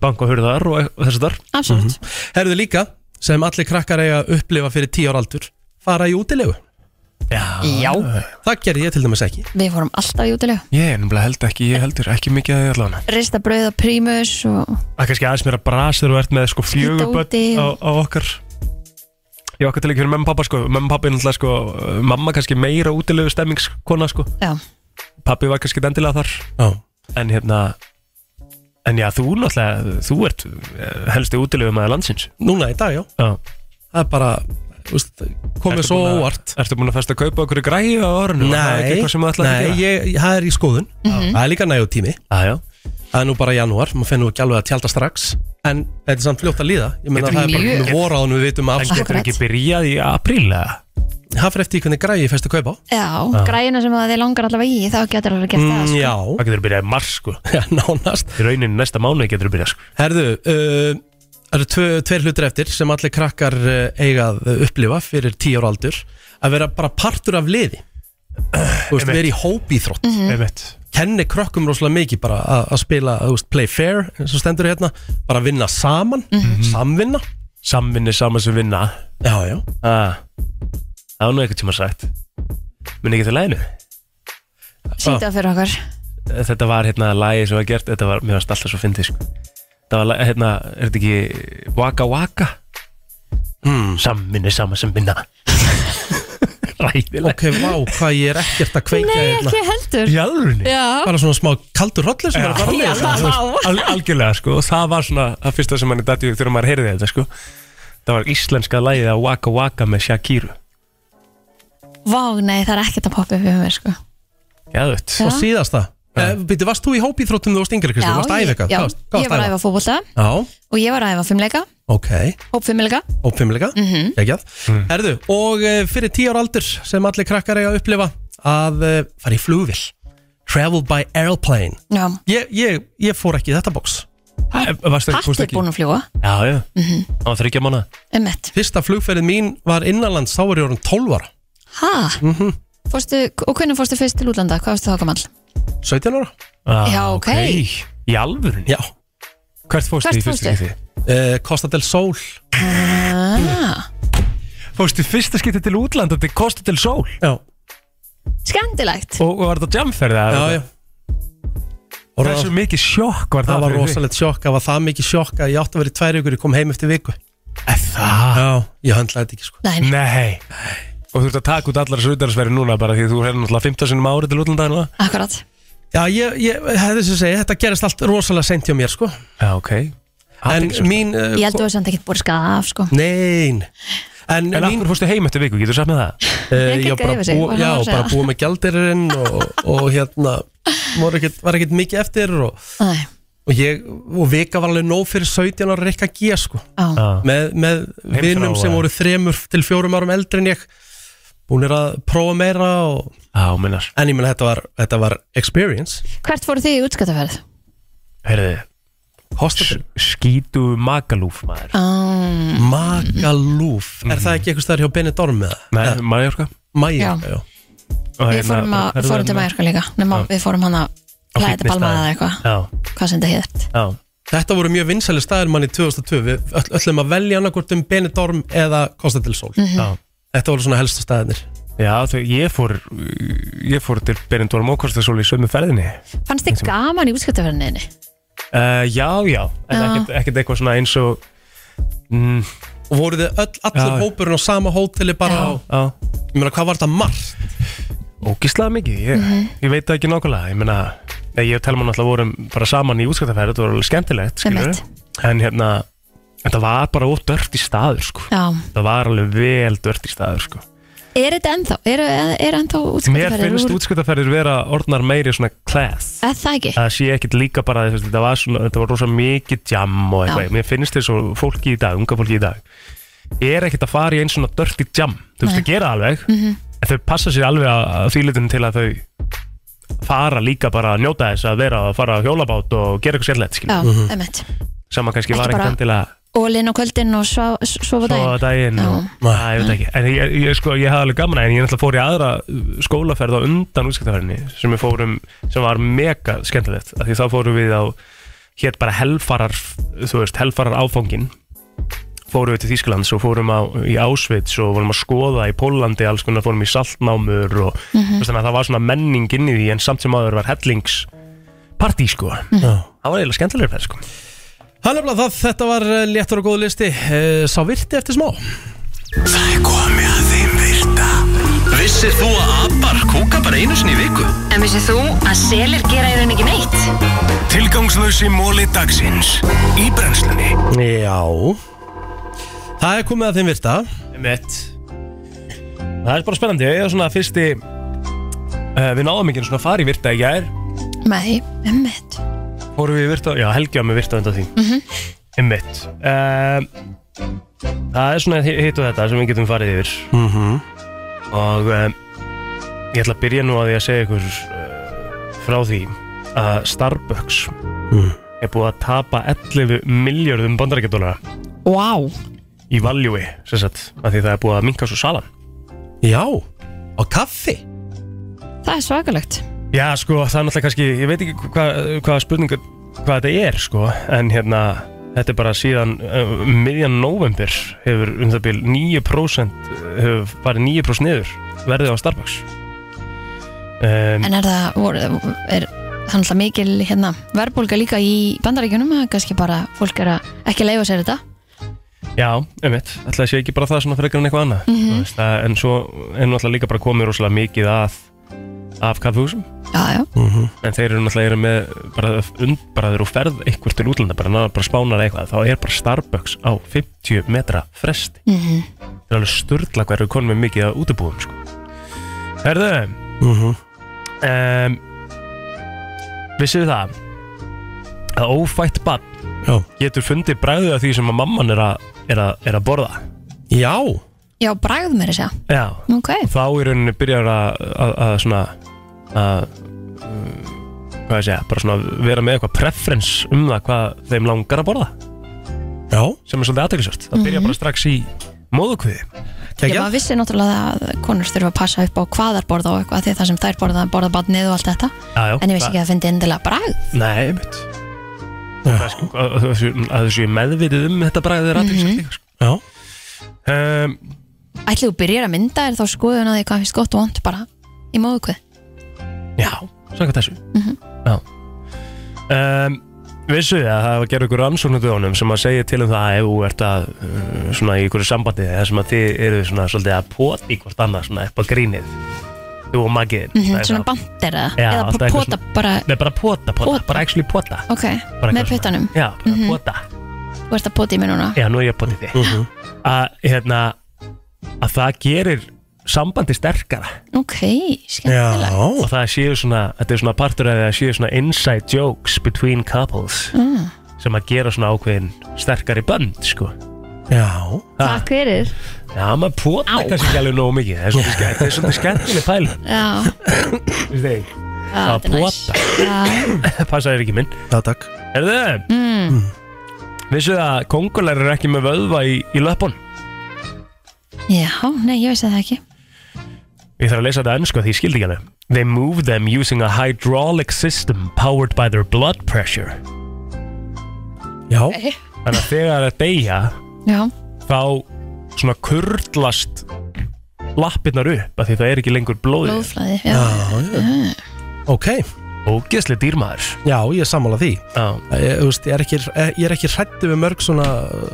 [SPEAKER 3] banka hurðar og e- og þessu þar
[SPEAKER 1] Absolutt,
[SPEAKER 2] Herðu líka sem allir krakkar eiga að upplifa fyrir 10 ára aldur Fara í útilegu
[SPEAKER 3] Já,
[SPEAKER 1] já,
[SPEAKER 2] Það gerði ég til dæmis ekki
[SPEAKER 1] við fórum alltaf í útilegu
[SPEAKER 3] ég er nefnilega held ekki, ég heldur ekki mikið að ég allavega
[SPEAKER 1] Rista brauð á prímus og
[SPEAKER 3] Það er kannski aðeins mér að brasa þegar þú ert með sko fjögurböld
[SPEAKER 1] úti
[SPEAKER 3] á,
[SPEAKER 1] og-
[SPEAKER 3] á okkar Ég okkar til ekki fyrir mamma og pappa sko Mamma og pappi er náttúrulega sko uh, Mamma kannski meira útilegu stemmingskona sko
[SPEAKER 1] Já.
[SPEAKER 3] Pappi var kannski dendilega þar
[SPEAKER 2] Já.
[SPEAKER 3] En hérna En já, þú náttúrulega, þú ert uh, helsti útilegu maður landsins
[SPEAKER 2] Núna í dag, já
[SPEAKER 3] Já.
[SPEAKER 2] Það er bara, þú veist, komið
[SPEAKER 3] Ertu
[SPEAKER 2] svo
[SPEAKER 3] búin að-
[SPEAKER 2] óvart
[SPEAKER 3] Ertu búin að festa að kaupa okkur græði á orðinu?
[SPEAKER 2] Nei, nei
[SPEAKER 3] nei
[SPEAKER 2] ég, það er í skoðun Það er líka nægjó tími
[SPEAKER 3] Ah, Já, já
[SPEAKER 2] Það er nú bara janúar, maður finnur ekki alveg að tjálta strax En þetta er samt fljótt að líða Ég meina
[SPEAKER 3] Getur
[SPEAKER 2] það er bara
[SPEAKER 1] mjög.
[SPEAKER 2] komið vor á hann við vitum að
[SPEAKER 3] En
[SPEAKER 2] afslut
[SPEAKER 3] getur
[SPEAKER 1] Akkurat.
[SPEAKER 3] ekki byrjað í apríl eða?
[SPEAKER 2] Það fyrir eftir í hvernig græði ég fæst að kaupa á
[SPEAKER 1] Já, græna sem að þið langar allavega í þá getur alveg gert það
[SPEAKER 2] Mm,
[SPEAKER 1] sko.
[SPEAKER 2] Já,
[SPEAKER 3] Það getur byrjað í mars sko
[SPEAKER 2] Já, nánast
[SPEAKER 3] Í rauninni næsta mánuði getur byrjað sko
[SPEAKER 2] Herðu, uh, það eru tve, tveir hlutir eftir sem allir krakkar uh, eiga að uh, upplifa fyrir 10 ára aldur að vera bara partur af liði Þú veist,
[SPEAKER 3] Einmitt.
[SPEAKER 2] vera í hópíþrótt
[SPEAKER 3] Einmitt
[SPEAKER 2] kenni krökkum rosalega mikið bara að, að spila, þú veist, play fair eins og stendur hérna, bara vinna saman
[SPEAKER 1] Mhm.
[SPEAKER 2] samvinna,
[SPEAKER 3] samvinni saman sem vinna
[SPEAKER 2] já, já
[SPEAKER 3] ah, það var nú eitthvað tíma sagt minn ekki til læginu
[SPEAKER 2] Mm,
[SPEAKER 1] Sýndu það fyrir okkar
[SPEAKER 3] þetta var hérna lægi sem var gert þetta var, mér varst alltaf svo fyndið sko. það var lagið, hérna, er þetta ekki Waka Waka mm. samvinni saman sem vinna ræðileg
[SPEAKER 2] ok, vá, hvað ég er ekkert að kveika
[SPEAKER 1] Nei,
[SPEAKER 2] hérna.
[SPEAKER 1] ekki heldur
[SPEAKER 3] í alvörunni
[SPEAKER 1] Já,
[SPEAKER 2] bara svona smá kaldur rollur sem er að fara
[SPEAKER 1] Já,
[SPEAKER 2] með
[SPEAKER 1] vá.
[SPEAKER 3] Al, algjörlega sko og það var svona það fyrsta sem manni datt í hug þegar maður heyrði þetta sko það var íslenska lægið að Waka Waka með Shakiru
[SPEAKER 1] Vá, nei, það er ekkert að poppa upp yfir mér sko.
[SPEAKER 3] Geðvögt
[SPEAKER 2] og síðast það, ja. býttu, varst þú í hópíþróttum þegar þú varst yngri, Kristi, varst
[SPEAKER 1] ég,
[SPEAKER 2] æfið eitthvað
[SPEAKER 1] já,
[SPEAKER 2] Hvað varst- hvað
[SPEAKER 1] ég var að
[SPEAKER 2] varstu
[SPEAKER 1] æfa fótbolta
[SPEAKER 2] já,
[SPEAKER 1] og ég var að æfa fimmleika,
[SPEAKER 2] ok,
[SPEAKER 1] hópfimmleika
[SPEAKER 2] hópfimleika mm
[SPEAKER 1] Mhm.
[SPEAKER 2] -hmm. herðu, og eh, fyrir 10 ára aldur sem allir krakkar eiga að upplifa að eh, fara í flugvill Travel by Airplane
[SPEAKER 1] Já.
[SPEAKER 2] ég, ég, ég fór ekki í þetta bóks
[SPEAKER 3] eh,
[SPEAKER 2] Varstu
[SPEAKER 1] Patti er búin að fljúa
[SPEAKER 2] Já, já,
[SPEAKER 1] Mhm.
[SPEAKER 2] það var þryggja mánu
[SPEAKER 1] Einmitt.
[SPEAKER 2] Fyrsta flugferðin mín var innanlands, þá var ég orðin 12 ára
[SPEAKER 1] Ha?
[SPEAKER 2] Mhm.
[SPEAKER 1] Fórstu, og hvernig fórstu fyrst til útlanda? Hvað varstu þá gamall?
[SPEAKER 2] 17 ára
[SPEAKER 1] Ah, Já, ok. ok.
[SPEAKER 2] Í alvörun? Já Hvert
[SPEAKER 1] fórstu Hvert í fyrsta fórstu? skipti?
[SPEAKER 2] Uh, Costa del Sol
[SPEAKER 1] Ah,
[SPEAKER 3] Fórstu fyrsta skipti til útlanda til Costa del Sol
[SPEAKER 2] Já
[SPEAKER 1] skandilegt
[SPEAKER 3] Og, og var þetta jamferði?
[SPEAKER 2] Já, já
[SPEAKER 3] Hversu mikið sjokk var það
[SPEAKER 2] Það var
[SPEAKER 3] fyrir þig?
[SPEAKER 2] rosalegt sjokk, það var það mikið sjokk að ég átti að vera í tvær ykkur, ég kom heim eftir viku Það? Já, ég höndlaði þetta ekki sko
[SPEAKER 1] Nei,
[SPEAKER 3] Nei. Og þú ert að taka út allar þessu utanlandsferðir núna bara því að þú er náttúrulega 15 sinum árið til útlanda núna
[SPEAKER 1] akkurat
[SPEAKER 2] Já, ég, ég hefði þess að segja, þetta gerist allt rosalega sent hjá mér sko
[SPEAKER 3] Já, ok
[SPEAKER 2] En mín uh,
[SPEAKER 1] Ég held að þú samt ekkert búið skaða af sko
[SPEAKER 2] Nein En,
[SPEAKER 3] En af hverju fórstu heim eftir viku, getur þú sagt með það?
[SPEAKER 2] Eh,
[SPEAKER 1] Ég
[SPEAKER 2] ég var bara,
[SPEAKER 1] gekk yfir sig,
[SPEAKER 2] bú,
[SPEAKER 1] var það
[SPEAKER 2] já,
[SPEAKER 1] að segja.
[SPEAKER 2] bara búið með gjaldirinn og, og hérna var ekkert, var ekkert mikið eftir og,
[SPEAKER 1] Nei,
[SPEAKER 2] og ég og vika var alveg nóg fyrir 17 ára rikka G sko
[SPEAKER 1] á,
[SPEAKER 2] með, með
[SPEAKER 3] Heimþrá,
[SPEAKER 2] vinnum sem
[SPEAKER 3] eh.
[SPEAKER 2] voru þremur til fjórum árum eldri en ég búinir að prófa meira og,
[SPEAKER 3] Já, minnar
[SPEAKER 2] en ég menn þetta var, þetta var experience
[SPEAKER 1] Hvert fóru þið í útskattaferð?
[SPEAKER 3] Herði,
[SPEAKER 2] Hostatil
[SPEAKER 3] skítu magalúf maður
[SPEAKER 1] Um,
[SPEAKER 2] Magalúf, er það ekki eitthvað staðar hjá Benidorm með það?
[SPEAKER 3] Nei, Mallorca
[SPEAKER 2] Mæja,
[SPEAKER 1] Já.
[SPEAKER 2] já.
[SPEAKER 3] Og
[SPEAKER 1] við fórum,
[SPEAKER 3] hérna,
[SPEAKER 1] að,
[SPEAKER 3] ferðu
[SPEAKER 1] fórum til
[SPEAKER 3] hérna
[SPEAKER 1] Mallorca líka nema, við fórum hana
[SPEAKER 3] á
[SPEAKER 1] Playa de Palma
[SPEAKER 3] fínni
[SPEAKER 1] eða
[SPEAKER 3] staði.
[SPEAKER 1] eitthvað hvað sem þetta hétt
[SPEAKER 3] Já, já
[SPEAKER 2] Þetta voru mjög vinsæli staðir manni 2002 Við öll, öllum að velja annarkvort um Benidorm eða Costa del Sol
[SPEAKER 3] Já,
[SPEAKER 2] Þetta voru svona helstu staðinir
[SPEAKER 3] já þau, ég fór ég fór til Berindóra Mókostasól í sömu ferðinni
[SPEAKER 1] fannst þið gaman í útskattaferðinni?
[SPEAKER 3] uh, Já, já, en
[SPEAKER 1] Já.
[SPEAKER 3] ekkert, ekkert eitthvað svona eins og mm,
[SPEAKER 2] Og voru þið öll, allir
[SPEAKER 3] Já.
[SPEAKER 2] hópurinn á sama hóteli bara á,
[SPEAKER 3] Já,
[SPEAKER 2] ég meina hvað var þetta margt
[SPEAKER 3] ógislega mikið ég,
[SPEAKER 1] Mhm.
[SPEAKER 3] ég veit það ekki nákvæmlega ég meina, nei, ég og Telma náttúrulega vorum bara saman í útskattafæri þetta var alveg skemmtilegt, skilur
[SPEAKER 1] Einmitt.
[SPEAKER 3] en hérna, þetta var bara ótt dört í staður, sko
[SPEAKER 1] Já.
[SPEAKER 3] það var alveg vel dört í staður, sko
[SPEAKER 1] er þetta ennþá? er, er, er ennþá
[SPEAKER 3] Mér
[SPEAKER 1] útskattaferðir?
[SPEAKER 3] finnst útskattafærir vera orðnar meiri svona class
[SPEAKER 1] er það ekki?
[SPEAKER 3] að sé ekkert líka bara þess, þetta var svona, þetta var rosa mikið jam og
[SPEAKER 1] Já.
[SPEAKER 3] eitthvað, mér finnst þess að fólki í dag, unga fólki í dag er ekkert að fara í einn svona dirty jam þú veist
[SPEAKER 1] Nei. Mhm.
[SPEAKER 3] að gera það alveg en þau passa sér alveg að að því litin til að þau fara líka bara að njóta þess að vera að fara á hjólabát og gera eitthvað sérlega
[SPEAKER 1] já,
[SPEAKER 3] skilur,
[SPEAKER 1] emmitt
[SPEAKER 3] sama kannski
[SPEAKER 1] Ekki
[SPEAKER 3] var ekkert
[SPEAKER 1] bara-
[SPEAKER 3] endilega
[SPEAKER 1] og linn á kvöldin og svo, svo var
[SPEAKER 3] svo
[SPEAKER 1] daginn
[SPEAKER 3] daginn og
[SPEAKER 2] Já.
[SPEAKER 3] Æ, ég veit ekki, en ég, ég, sko, ég hafði alveg gaman að því, en ég náttúrulega fór í aðra uh, skólaferð á undan útskiptaferðinni sem við fórum, sem var mega skemmtilegt, af því þá fórum við á hér bara helfarar, þú veist helfarar áfangin fórum við til Þýskalands og fórum á, í Ásvits og vorum að skoða í Pólandi alls konar, fórum í saltnámur og mm
[SPEAKER 1] Mhm.
[SPEAKER 3] -hmm. þannig að það var svona menning inn í því en samt sem áður var hellingspartí sko,
[SPEAKER 1] Mhm.
[SPEAKER 3] það var eiginlega skemmtilegur ferð sko.
[SPEAKER 2] Hann er það, þetta var eh, léttur og góð listi Eh, Sá virti eftir smá
[SPEAKER 5] Það er komið að þeim virta Vissir þú að abar kúka bara einu sinni í viku?
[SPEAKER 13] En vissið þú að selir gera í rauninni ekki neitt?
[SPEAKER 5] Tilgangslösi móli dagsins Í brennslunni
[SPEAKER 2] Já Það er komið að þeim virta
[SPEAKER 3] Mitt Það er bara spennandi, ég er svona fyrsti uh, Við náðum ekki einu svona að fara í virta í gær
[SPEAKER 1] nei, emmitt
[SPEAKER 3] Fórum við í virta, já Helgi var með virta undan því Einmitt uh, Það er svona hi- hitt og þetta sem við getum farið yfir
[SPEAKER 2] mm -hmm.
[SPEAKER 3] Og uh, ég ætla að byrja nú að því að segja ykkur uh, Frá því að Starbucks
[SPEAKER 2] Mm.
[SPEAKER 3] Er búið að tapa 11 miljörðum bandarækjadólara
[SPEAKER 1] wow.
[SPEAKER 3] Í valjúi, sem sagt af Því það er búið að minka svo salan
[SPEAKER 2] Já, á kaffi
[SPEAKER 1] það er svakalegt
[SPEAKER 3] Já, sko, það er náttúrulega kannski, ég veit ekki hvað hva spurninga, hvað þetta er, sko, en hérna, þetta er bara síðan uh, miðjan november hefur um það byrjum 9% hefur farið 9% niður verðið á Starbucks. Um,
[SPEAKER 1] en er það, voru, er það er náttúrulega mikil hérna, verðbólga líka í bandaríkjunum það er kannski bara, fólk er að ekki leifa sér þetta
[SPEAKER 3] já, einmitt, ætla að sé ekki bara það svona frekar en eitthvað annað, mm
[SPEAKER 1] Mhm.
[SPEAKER 3] veist, að, en svo er náttúrulega líka bara komið rosalega mikið að af kaffehúsum,
[SPEAKER 1] já, já,
[SPEAKER 3] en þeir eru náttúrulega eru með bara undbraður og ferð eitthvað til útlanda, bara, náð- bara spánar eitthvað, þá er bara Starbucks á 50 metra fresti.
[SPEAKER 1] mm -hmm.
[SPEAKER 3] Það er alveg sturla hverju konum er mikið að útibúum sko. Herðu um, Vissið þið það að ófætt bann
[SPEAKER 2] Já.
[SPEAKER 3] getur fundið bræðið af því sem að mamman er að, er að, er að borða
[SPEAKER 2] Já,
[SPEAKER 1] já, bragð mér þess að
[SPEAKER 3] Já
[SPEAKER 1] segja. ok,
[SPEAKER 3] Þá í rauninni byrjar að, að, að svona að hvað ég segja, bara svona vera með eitthvað preference um það hvað þeim langar að borða
[SPEAKER 2] Já
[SPEAKER 3] sem er svolítið aðteglisvert, það byrja
[SPEAKER 1] Mhm.
[SPEAKER 3] bara strax í móðukviði
[SPEAKER 1] Ég maður vissi náttúrulega að konur þurfa að passa upp á hvað þær borða og eitthvað því það sem þær borða, borða badnið og allt þetta
[SPEAKER 3] Já, já,
[SPEAKER 1] en ég vissi
[SPEAKER 3] það-
[SPEAKER 1] ekki að það fyndi endilega bragð
[SPEAKER 3] Nei, einmitt Það er sko, að að þessu að þessu ég meðvitið um þetta bræðið er aðteglisvert
[SPEAKER 1] Mhm.
[SPEAKER 3] líka sko.
[SPEAKER 2] Já
[SPEAKER 3] um,
[SPEAKER 1] Ætli þú byrjar að mynda er þá skoðun að því hvað finnst gott og vond bara í móðukvið
[SPEAKER 3] Já, samkvæmt þessu
[SPEAKER 1] Mhm.
[SPEAKER 3] Já um, Vissu þið að það var gerð ykkur rannsóknuðu honum sem að segja til um það að ef þú ert að uh, svona í ykkur sambandi þar sem að þið eru svona svolítið að pota í hvort annað svona upp á grínið þú og magiðin
[SPEAKER 1] mm Svona bandir eða,
[SPEAKER 3] Já,
[SPEAKER 1] eða
[SPEAKER 3] alltaf
[SPEAKER 1] bara
[SPEAKER 3] eitthvað
[SPEAKER 1] pota bara
[SPEAKER 3] Nei, bara pota, pota,
[SPEAKER 1] Pota.
[SPEAKER 3] bara actually pota
[SPEAKER 1] ok,
[SPEAKER 3] Bara
[SPEAKER 1] með
[SPEAKER 3] eitthvað
[SPEAKER 1] puttanum
[SPEAKER 3] Já, bara
[SPEAKER 1] Mhm.
[SPEAKER 3] pota
[SPEAKER 1] Þú ert að pota í mér núna
[SPEAKER 3] Já, nú er ég að pota í þig Að hérna að það gerir sambandi sterkara
[SPEAKER 1] Ok,
[SPEAKER 3] Já.
[SPEAKER 1] skemmtilega
[SPEAKER 3] og það séu svona, þetta er svona partur að það séu svona inside jokes between couples
[SPEAKER 1] mm.
[SPEAKER 3] sem að gera svona ákveðin sterkari bönd sko
[SPEAKER 2] Já
[SPEAKER 1] Takk fyrir
[SPEAKER 3] Já, maður pota
[SPEAKER 1] Á.
[SPEAKER 3] kannski ekki alveg nógu mikið Það er svolítið skemmt- það er svolítið skemmtileg pæl
[SPEAKER 1] Já,
[SPEAKER 3] Það
[SPEAKER 1] þetta er næs.
[SPEAKER 3] pota Passa þér ekki minn
[SPEAKER 2] Já, takk
[SPEAKER 3] Herðu,
[SPEAKER 1] mm.
[SPEAKER 3] vissuð að kongular eru ekki með vöðva í, í löpun
[SPEAKER 1] Já, nei, ég vissi það ekki
[SPEAKER 3] Ég þarf að lesa þetta ennsku að því ég skildi ekki hana They move them using a hydraulic system powered by their blood pressure
[SPEAKER 2] Já
[SPEAKER 1] Ok.
[SPEAKER 3] Þannig að þegar að deyja
[SPEAKER 1] Já,
[SPEAKER 3] þá svona kurlast lappirnar upp af því það er ekki lengur blóðið
[SPEAKER 1] blóðflæði Já,
[SPEAKER 2] já. Ok
[SPEAKER 3] Ógeðslega dýrmaður
[SPEAKER 2] Já, ég er sammála því
[SPEAKER 3] Já
[SPEAKER 2] Ég, þú veist, ég er ekki, ég er ekki hrættu við mörg svona,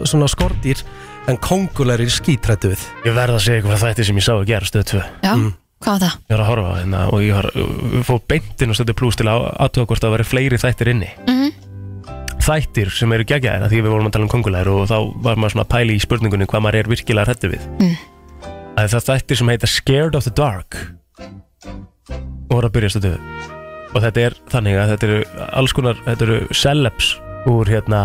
[SPEAKER 2] svona skordýr en kongul er í skítrættu við
[SPEAKER 3] Ég verð að segja ykkur frá þætti sem ég sá að gera stöð 2
[SPEAKER 1] já, hvað var það?
[SPEAKER 3] Ég var að horfa á hérna og ég var, fór beintin og stöndi pluss til að aðtöða hvort það væri fleiri þættir inni
[SPEAKER 1] Mhm.
[SPEAKER 3] Þættir sem eru geggjaðina því við vorum að tala um kongulæður og þá var maður svona að pæli í spurningunni hvað maður er virkilega hrættu við
[SPEAKER 1] Mm.
[SPEAKER 3] að það er þættir sem heita Scared of the Dark og voru að byrja stöðu og þetta er þannig að þetta eru alls konar, þetta eru celebs úr hérna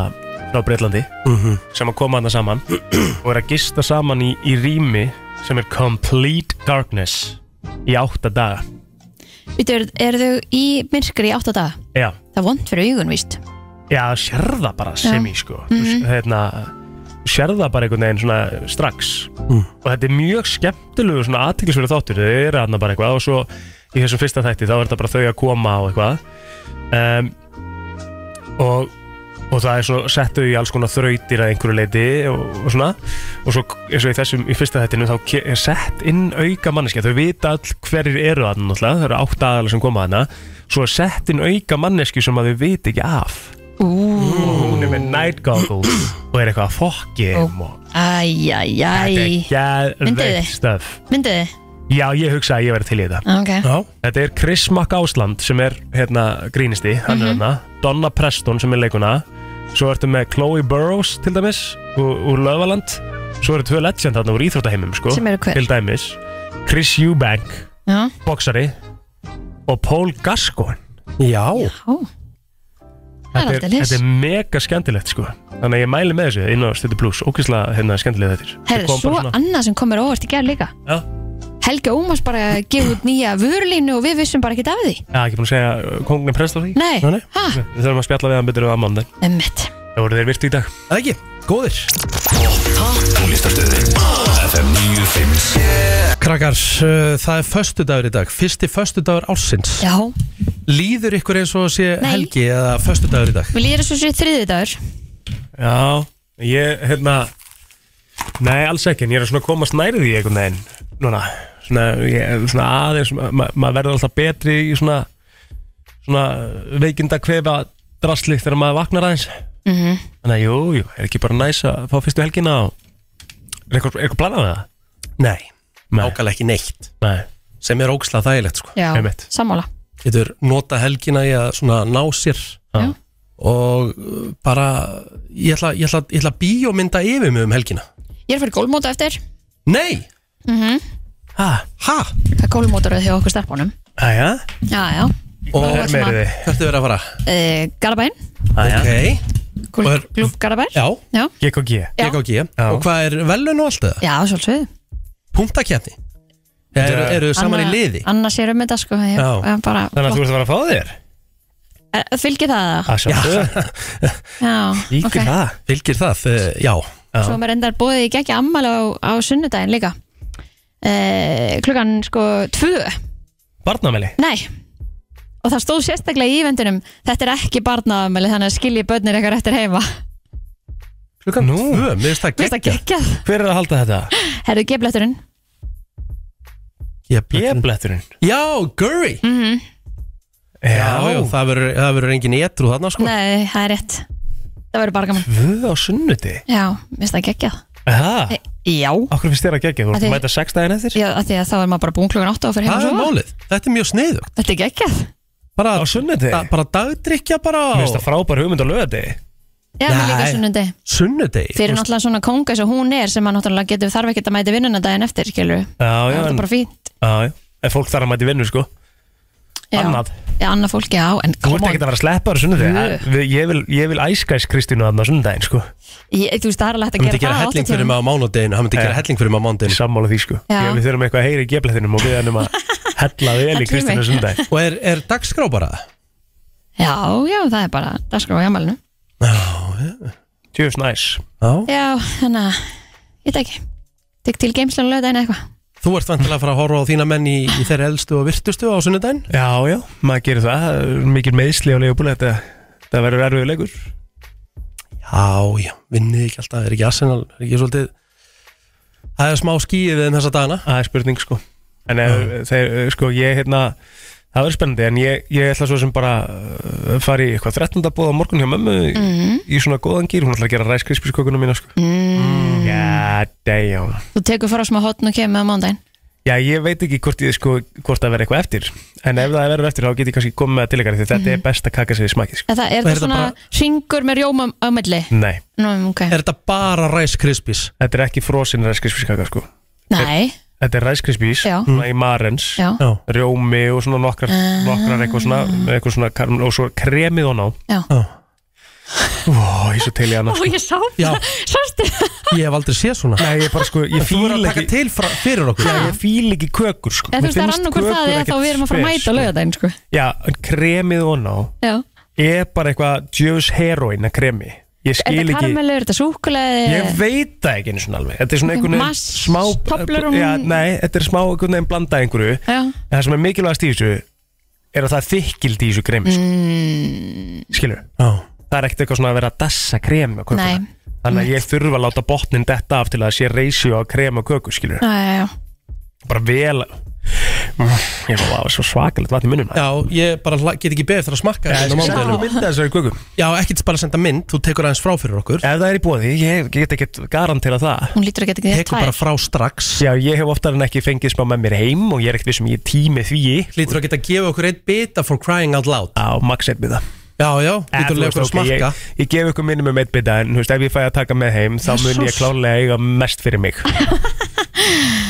[SPEAKER 3] frá Breitlandi
[SPEAKER 2] Mhm.
[SPEAKER 3] sem að koma hana saman og er að gista saman í, í rými sem er Complete Darkness í átta daga
[SPEAKER 1] Býtu, er, eru þau í myrkri í átta daga?
[SPEAKER 3] Já,
[SPEAKER 1] Það er vond fyrir augun, víst
[SPEAKER 3] já sérða bara
[SPEAKER 1] Já.
[SPEAKER 3] semi sko mm
[SPEAKER 1] Mhm.
[SPEAKER 3] -hmm. hérna, sérða bara einhvern veginn svona strax og þetta er mjög skemmtilegu svona aðtiklisverið þáttur þau eru hérna bara eitthvað og svo í þessum fyrsta þætti þá er þetta bara þau að koma og eitthvað um, og og það er svo settu í alls konar þrautir að einhverju leiti og, og svona og svo eins og í þessum í fyrsta þættinu þá ke- er sett inn auka manneskja þau vita all hverjir eru þarna náttúrulega það eru átt aðalega sem koma þarna svo er sett inn auka manneskju sem að þau vita ekki af og hún er með
[SPEAKER 1] Mm.
[SPEAKER 3] night goggles og er eitthvað að fokki þeim og
[SPEAKER 1] Æjæjæj
[SPEAKER 3] þetta er
[SPEAKER 1] Mynduð þið?
[SPEAKER 3] geðveikt stöf
[SPEAKER 1] Myndu þið?
[SPEAKER 3] já ég hugsa að ég verði til í þetta
[SPEAKER 1] Ok
[SPEAKER 3] þetta er Chris McAusland sem er hérna grínisti, hann
[SPEAKER 1] Mhm.
[SPEAKER 3] er hérna Donna Preston sem er leikuna svo ertu með Chloe Burrows til dæmis úr, úr Löfaland svo eru tvö legend þarna úr íþróttaheimum sko,
[SPEAKER 1] Sem eru hver?
[SPEAKER 3] til dæmis Chris Eubank,
[SPEAKER 1] Já,
[SPEAKER 3] boksari og Paul Gascoigne
[SPEAKER 2] já,
[SPEAKER 1] já. Það er
[SPEAKER 3] Þetta
[SPEAKER 1] alltaf lis
[SPEAKER 3] þetta er mega skemmtilegt sko Þannig að ég mæli með þessu inn á Stötu Plus Ókvæslega hérna skemmtilega þetta
[SPEAKER 1] Herðu, svo annað sem komur óvart í gerð líka
[SPEAKER 3] Já.
[SPEAKER 1] Helgi Ómars bara gefur út nýja vörlínu og við vissum bara ekki af því
[SPEAKER 3] Já, ekki búin að segja kongin prest á því
[SPEAKER 1] Nei,
[SPEAKER 3] Nei, nei.
[SPEAKER 1] ha,
[SPEAKER 3] Við þurfum að spjalla við hann betur um að mándi
[SPEAKER 1] emmitt
[SPEAKER 3] Það voru þeir virtu í dag
[SPEAKER 2] Það ekki, góðir
[SPEAKER 5] Tónlistarstöðin FM 957
[SPEAKER 2] Krakkar, uh, það er föstudagur í dag Fyrsti föstudagur ársins
[SPEAKER 1] Já,
[SPEAKER 2] Líður ykkur eins og sé
[SPEAKER 1] Nei.
[SPEAKER 2] helgi eða föstudagur í dag?
[SPEAKER 1] við lýðum svo sér þriðið dagur
[SPEAKER 3] Já, ég, hérna Nei, alls ekki, en ég er að svona komast nærið í einhvern veginn Núna, svona, ég, svona aðeins ma- ma- Maður verður alltaf betri í svona Svona veikinda kvefa drasli Þegar maður vaknar aðeins
[SPEAKER 1] mm
[SPEAKER 3] Þannig að jú, jú, er ekki bara næs að fá fyrstu helgina og... Er eitthvað, er eitthvað planað með það?
[SPEAKER 2] Nei, ákala ekki neitt
[SPEAKER 3] Nei.
[SPEAKER 2] Sem er ógslað þægilegt sko
[SPEAKER 1] Já,
[SPEAKER 2] Einmitt.
[SPEAKER 1] sammála
[SPEAKER 2] Getur nota helgina í að svona ná sér
[SPEAKER 1] Já.
[SPEAKER 2] Og uh, bara, ég ætla, ég ætla, ég ætla að bíómynda yfir mig um helgina
[SPEAKER 1] Ég er fyrir gólmóta eftir
[SPEAKER 2] Nei,
[SPEAKER 1] mm
[SPEAKER 3] Ha?
[SPEAKER 2] Ha?
[SPEAKER 1] Það er gólmótaröð hjá okkur starfbónum
[SPEAKER 3] Æja
[SPEAKER 1] Já, já,
[SPEAKER 2] Og
[SPEAKER 1] Hvað er meirið
[SPEAKER 2] þið? Hvert er verið að fara?
[SPEAKER 1] e, Garabæn,
[SPEAKER 3] Æja
[SPEAKER 2] Ok Og er-
[SPEAKER 1] klúf Garabær
[SPEAKER 2] Já,
[SPEAKER 1] Já,
[SPEAKER 3] GKG
[SPEAKER 2] GKG Og hvað er velun og allt það?
[SPEAKER 1] já svolítið
[SPEAKER 2] Punktakefni Eru eru þið saman í liði?
[SPEAKER 1] Annars er um þetta sko ég,
[SPEAKER 2] Já.
[SPEAKER 1] ég bara,
[SPEAKER 3] Þannig að þú ert að fara að fá þér
[SPEAKER 1] Er- Fylgir það það?
[SPEAKER 2] Já,
[SPEAKER 1] Já, ok
[SPEAKER 2] það Fylgir það, eh, já
[SPEAKER 1] Svo maður endar bóðið í gegja ammali á, á sunnudaginn líka eh, Klukkan sko tvö
[SPEAKER 3] Barnameli
[SPEAKER 1] Nei Og það stóð sérstaklega í evendunum Þetta er ekki barnaafmæli þannig að skilji börnir eitthvað eftir heima
[SPEAKER 2] Klukkan Nú, tvö, mér finnst það
[SPEAKER 1] Mér finnst það geggjað.
[SPEAKER 3] Hver er að halda þetta?
[SPEAKER 1] Herðu geflætturinn
[SPEAKER 3] Jebletturinn
[SPEAKER 2] Já, Gurry
[SPEAKER 1] mm -hmm.
[SPEAKER 2] Já, já, það verður- það verður engin etru þarna sko
[SPEAKER 1] Nei, það er rétt Það verður bara gaman
[SPEAKER 3] Tvö á sunnuti
[SPEAKER 1] Já, mér finnst það geggjað
[SPEAKER 3] Það?
[SPEAKER 1] Já
[SPEAKER 3] Akkur finnst þér að gegja, þú
[SPEAKER 1] Af
[SPEAKER 3] ert
[SPEAKER 1] því-
[SPEAKER 3] að mæta sex daginn eftir
[SPEAKER 1] Já, af því að þá er maður bara búin klukkan 8 og fyrir heim
[SPEAKER 3] Það er
[SPEAKER 2] málið. Þetta er mjög sniðugt
[SPEAKER 1] Þetta er geggjað
[SPEAKER 2] bara,
[SPEAKER 3] Á sunnuti
[SPEAKER 2] da- Bara dagdrykja bara á
[SPEAKER 3] Mér finnst það frábær hugmynd á löði
[SPEAKER 1] Já, mér líka á sunnudegi.
[SPEAKER 2] Sunnudegi
[SPEAKER 1] Fyrir náttúrulega svona konga eins og hún er sem að náttúrulega getur þarf ekkert að mæti vinnuna daginn eftir, skilur
[SPEAKER 3] Já,
[SPEAKER 1] Það
[SPEAKER 3] já
[SPEAKER 1] er bara fínt
[SPEAKER 3] Já, já En fólk þarf að mæti vinnu, sko
[SPEAKER 1] Já.
[SPEAKER 3] Annað
[SPEAKER 1] Já, annað fólk, já, en
[SPEAKER 3] Þú ert
[SPEAKER 1] come on
[SPEAKER 3] ekkert að vera að sleppa þar sunnudegi
[SPEAKER 1] Tvö.
[SPEAKER 3] Það- við- Ég vil, ég vil æskæs Kristínu aðna sunnudegin, sko
[SPEAKER 1] Ég- Þú veist, það er alveg
[SPEAKER 3] Hann
[SPEAKER 1] hægt að
[SPEAKER 3] myndi
[SPEAKER 1] gera
[SPEAKER 3] gera
[SPEAKER 1] það á
[SPEAKER 3] helling
[SPEAKER 1] 8
[SPEAKER 3] fyrir
[SPEAKER 1] tíma
[SPEAKER 3] mig
[SPEAKER 2] á mánudeginu, hann myndi
[SPEAKER 3] gera
[SPEAKER 2] helling fyrir mig á mánudeginu
[SPEAKER 3] Sammála því sko
[SPEAKER 1] Já.
[SPEAKER 3] Ég- Við þurfum eitthvað að heyra í geflæðinum og við hennum að hella vel í
[SPEAKER 1] Hellum
[SPEAKER 3] Kristínu
[SPEAKER 1] við.
[SPEAKER 3] sundæg
[SPEAKER 2] Og er, er dagskrá bara?
[SPEAKER 1] Já, já, það er bara dagskrá á jamalinu
[SPEAKER 3] Tjöfus næs
[SPEAKER 1] Já, þannig að, ég veit ekki Tek til geimslan lögdæðin eitthvað
[SPEAKER 2] Þú ert vantilega að fara að horfa á þína menn í, í þeirra elstu og virtustu á sunnudaginn
[SPEAKER 3] Já, já, maður gerir það Það eru Mikil meðsli á leifbúli Þetta, þetta verður erfiður leikur
[SPEAKER 2] Já, já, vinnið ekki alltaf, er ekki Arsenal, er ekki svolítið Það er smá skýið við um þessa dagana
[SPEAKER 3] Það er spurning sko En ef, þeir, sko, ég hérna Það verður spennandi En ég, ég ætla svo sem bara uh, fara í eitthvað 13. bóð á morgun hjá mömmu í-
[SPEAKER 1] Mhm.
[SPEAKER 3] Í svona góðan gýr Hún ætla að gera ræskrispiskokkunum mína sko mm. Já, damn
[SPEAKER 1] Þú tekur fara smá hotn og kemur með mándaginn
[SPEAKER 3] Já, ég veit ekki hvort, ég, sko, hvort það verður eitthvað eftir En ef það verður eftir þá get ég kannski komið með það til ykkar Því þetta
[SPEAKER 1] Mhm.
[SPEAKER 3] er best að kaka sér í smakið sko.
[SPEAKER 1] Er það, er það svona ringur með rjóma á milli?
[SPEAKER 3] Nei,
[SPEAKER 1] Nú, ok
[SPEAKER 2] Er þetta bara Rice Krispies?
[SPEAKER 3] þetta er ekki frosin ræskrispiskaka sko.
[SPEAKER 1] Nei,
[SPEAKER 3] Þetta er ræskrispís,
[SPEAKER 1] Já.
[SPEAKER 3] svona í marens
[SPEAKER 1] Já. Ah. Já.
[SPEAKER 3] Rjómi og svona nokkrar, nokkrar eitthvað svona, eitthvað svona karm, Og svo kremið hon á
[SPEAKER 1] Já.
[SPEAKER 3] Ó, ég er svo til í hana
[SPEAKER 1] Ó,
[SPEAKER 3] sko.
[SPEAKER 1] ég sá
[SPEAKER 2] Já.
[SPEAKER 1] það Sástu
[SPEAKER 2] Ég hef aldrei séð svona
[SPEAKER 3] Nei, ég bara sko, ég
[SPEAKER 2] Þú verður
[SPEAKER 3] fíl
[SPEAKER 2] að taka
[SPEAKER 3] ekki
[SPEAKER 2] til fra, fyrir okkur
[SPEAKER 3] Já, ég fíl ekki kökur sko.
[SPEAKER 1] En þú
[SPEAKER 3] Mér
[SPEAKER 1] veist, það er
[SPEAKER 3] finnst
[SPEAKER 1] annarkur það
[SPEAKER 3] kökur
[SPEAKER 1] eða þá
[SPEAKER 3] ekkert
[SPEAKER 1] við erum að fara að
[SPEAKER 3] spes,
[SPEAKER 1] mæta á
[SPEAKER 3] sko.
[SPEAKER 1] lögðardaginn, sko
[SPEAKER 3] Já, en kremið hon á
[SPEAKER 1] Já
[SPEAKER 3] er bara eitthvað djöfus heroin að kremi ég
[SPEAKER 1] Er
[SPEAKER 3] skil
[SPEAKER 1] þetta
[SPEAKER 3] ekki
[SPEAKER 1] karmelu, er þetta súkulega
[SPEAKER 3] ég veit það ekki einu svona alveg þetta er svona einhvern veginn
[SPEAKER 1] Mass,
[SPEAKER 3] smá
[SPEAKER 1] topplurum.
[SPEAKER 3] já, nei, þetta er smá einhvern veginn blanda einhverju
[SPEAKER 1] Já.
[SPEAKER 3] en það sem er mikilvægast í þessu er að það er þykkild í þessu kremi sko.
[SPEAKER 1] mm,
[SPEAKER 3] skilur já. það er ekkert eitthvað svona að vera að dassa kremi á kökuna
[SPEAKER 1] Nei.
[SPEAKER 3] þannig að ég þurfa að láta botnin detta af til að það sé reysjó á kremi og köku skilur
[SPEAKER 1] Já, já, já
[SPEAKER 3] bara vel ég var bara svo svakalegt vatn í munum
[SPEAKER 2] Já, ég bara hla- get ekki beðið eftir að smakka
[SPEAKER 3] Já,
[SPEAKER 2] hérna á
[SPEAKER 3] ég skal senda
[SPEAKER 2] mánudeginum.
[SPEAKER 3] mynd af þessari köku.
[SPEAKER 2] Já, ekkert bara senda mynd, þú tekur aðeins frá fyrir okkur
[SPEAKER 3] Ef það er í bóði, ég get ekkert garantera það
[SPEAKER 1] Hún lítur að geta ekki þér tvær
[SPEAKER 2] frá strax
[SPEAKER 3] Já, ég hef oftar en ekki fengið smá með mér heim og ég er ekkert vissum ég tími því
[SPEAKER 2] Lítur að geta að gefa okkur eitt bita for crying out loud
[SPEAKER 3] Já, max eitt bita
[SPEAKER 2] Já, já, lítur að lefa okkur að smakka
[SPEAKER 3] ég, ég gef ykkur minnum um eitt bita en þú veist, ef ég fæ að taka með heim þá mun ég
[SPEAKER 2] Jesus.
[SPEAKER 3] klálega eiga mest fyrir mig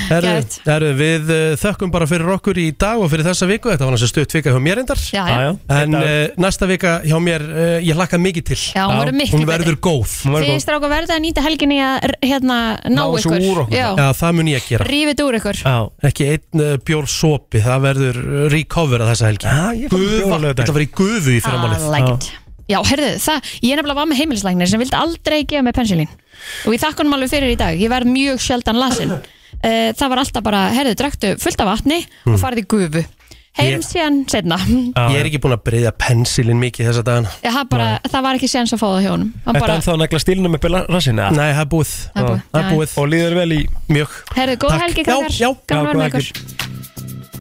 [SPEAKER 2] Herru, herru, Við uh, þökkum bara fyrir okkur í dag og fyrir þessa viku Þetta var náttúrulega stutt vika hjá mér endar
[SPEAKER 1] Já, já. Já, já.
[SPEAKER 2] En uh, næsta vika hjá mér, uh, ég hlakka mikið til
[SPEAKER 1] Já, hún verður miklu
[SPEAKER 2] Hún verður góð
[SPEAKER 1] Þið stráka verða að nýta helginni að r- hérna, ná
[SPEAKER 2] þessu
[SPEAKER 1] ykkur
[SPEAKER 2] úr okkur.
[SPEAKER 1] Já,
[SPEAKER 2] Já, það mun ég gera
[SPEAKER 1] rífið úr ykkur
[SPEAKER 3] Já.
[SPEAKER 2] Ekki einn uh, bjór sopi, það verður eh, recover að þessa helgi Já,
[SPEAKER 3] ég fann bjór á laugardaginn.
[SPEAKER 2] Þetta verður í gufu í fyrramálið
[SPEAKER 1] I like it. Já, heyrðu, það, ég er nefnilega var með heimilislæknir sem vildi aldrei gefa mig pensilín og ég þakka honum alveg fyrir í dag, ég verð mjög sjaldan lasin Eh, Það var alltaf bara, heyrðu, draktu fullt af vatni og
[SPEAKER 2] Mm.
[SPEAKER 1] farið í gufu Heyrum
[SPEAKER 2] Ég-
[SPEAKER 1] síðan setna
[SPEAKER 2] Ég er ekki búin að breyða pensilin mikið þessa dagana
[SPEAKER 1] Ég haf bara, það var ekki séns að fá það hjá honum Hann
[SPEAKER 3] Þetta
[SPEAKER 1] bara,
[SPEAKER 3] er þá negla stílnum upp í la- rassinn eða?
[SPEAKER 2] Nei, það er búið
[SPEAKER 1] Það er búið.
[SPEAKER 2] Það er búið
[SPEAKER 3] Ah. Og líður vel í
[SPEAKER 2] Mjög
[SPEAKER 1] heyrðu, góða helgi, krakkar.
[SPEAKER 2] Já, já
[SPEAKER 1] Gaman að vera með ykkur.
[SPEAKER 2] helgi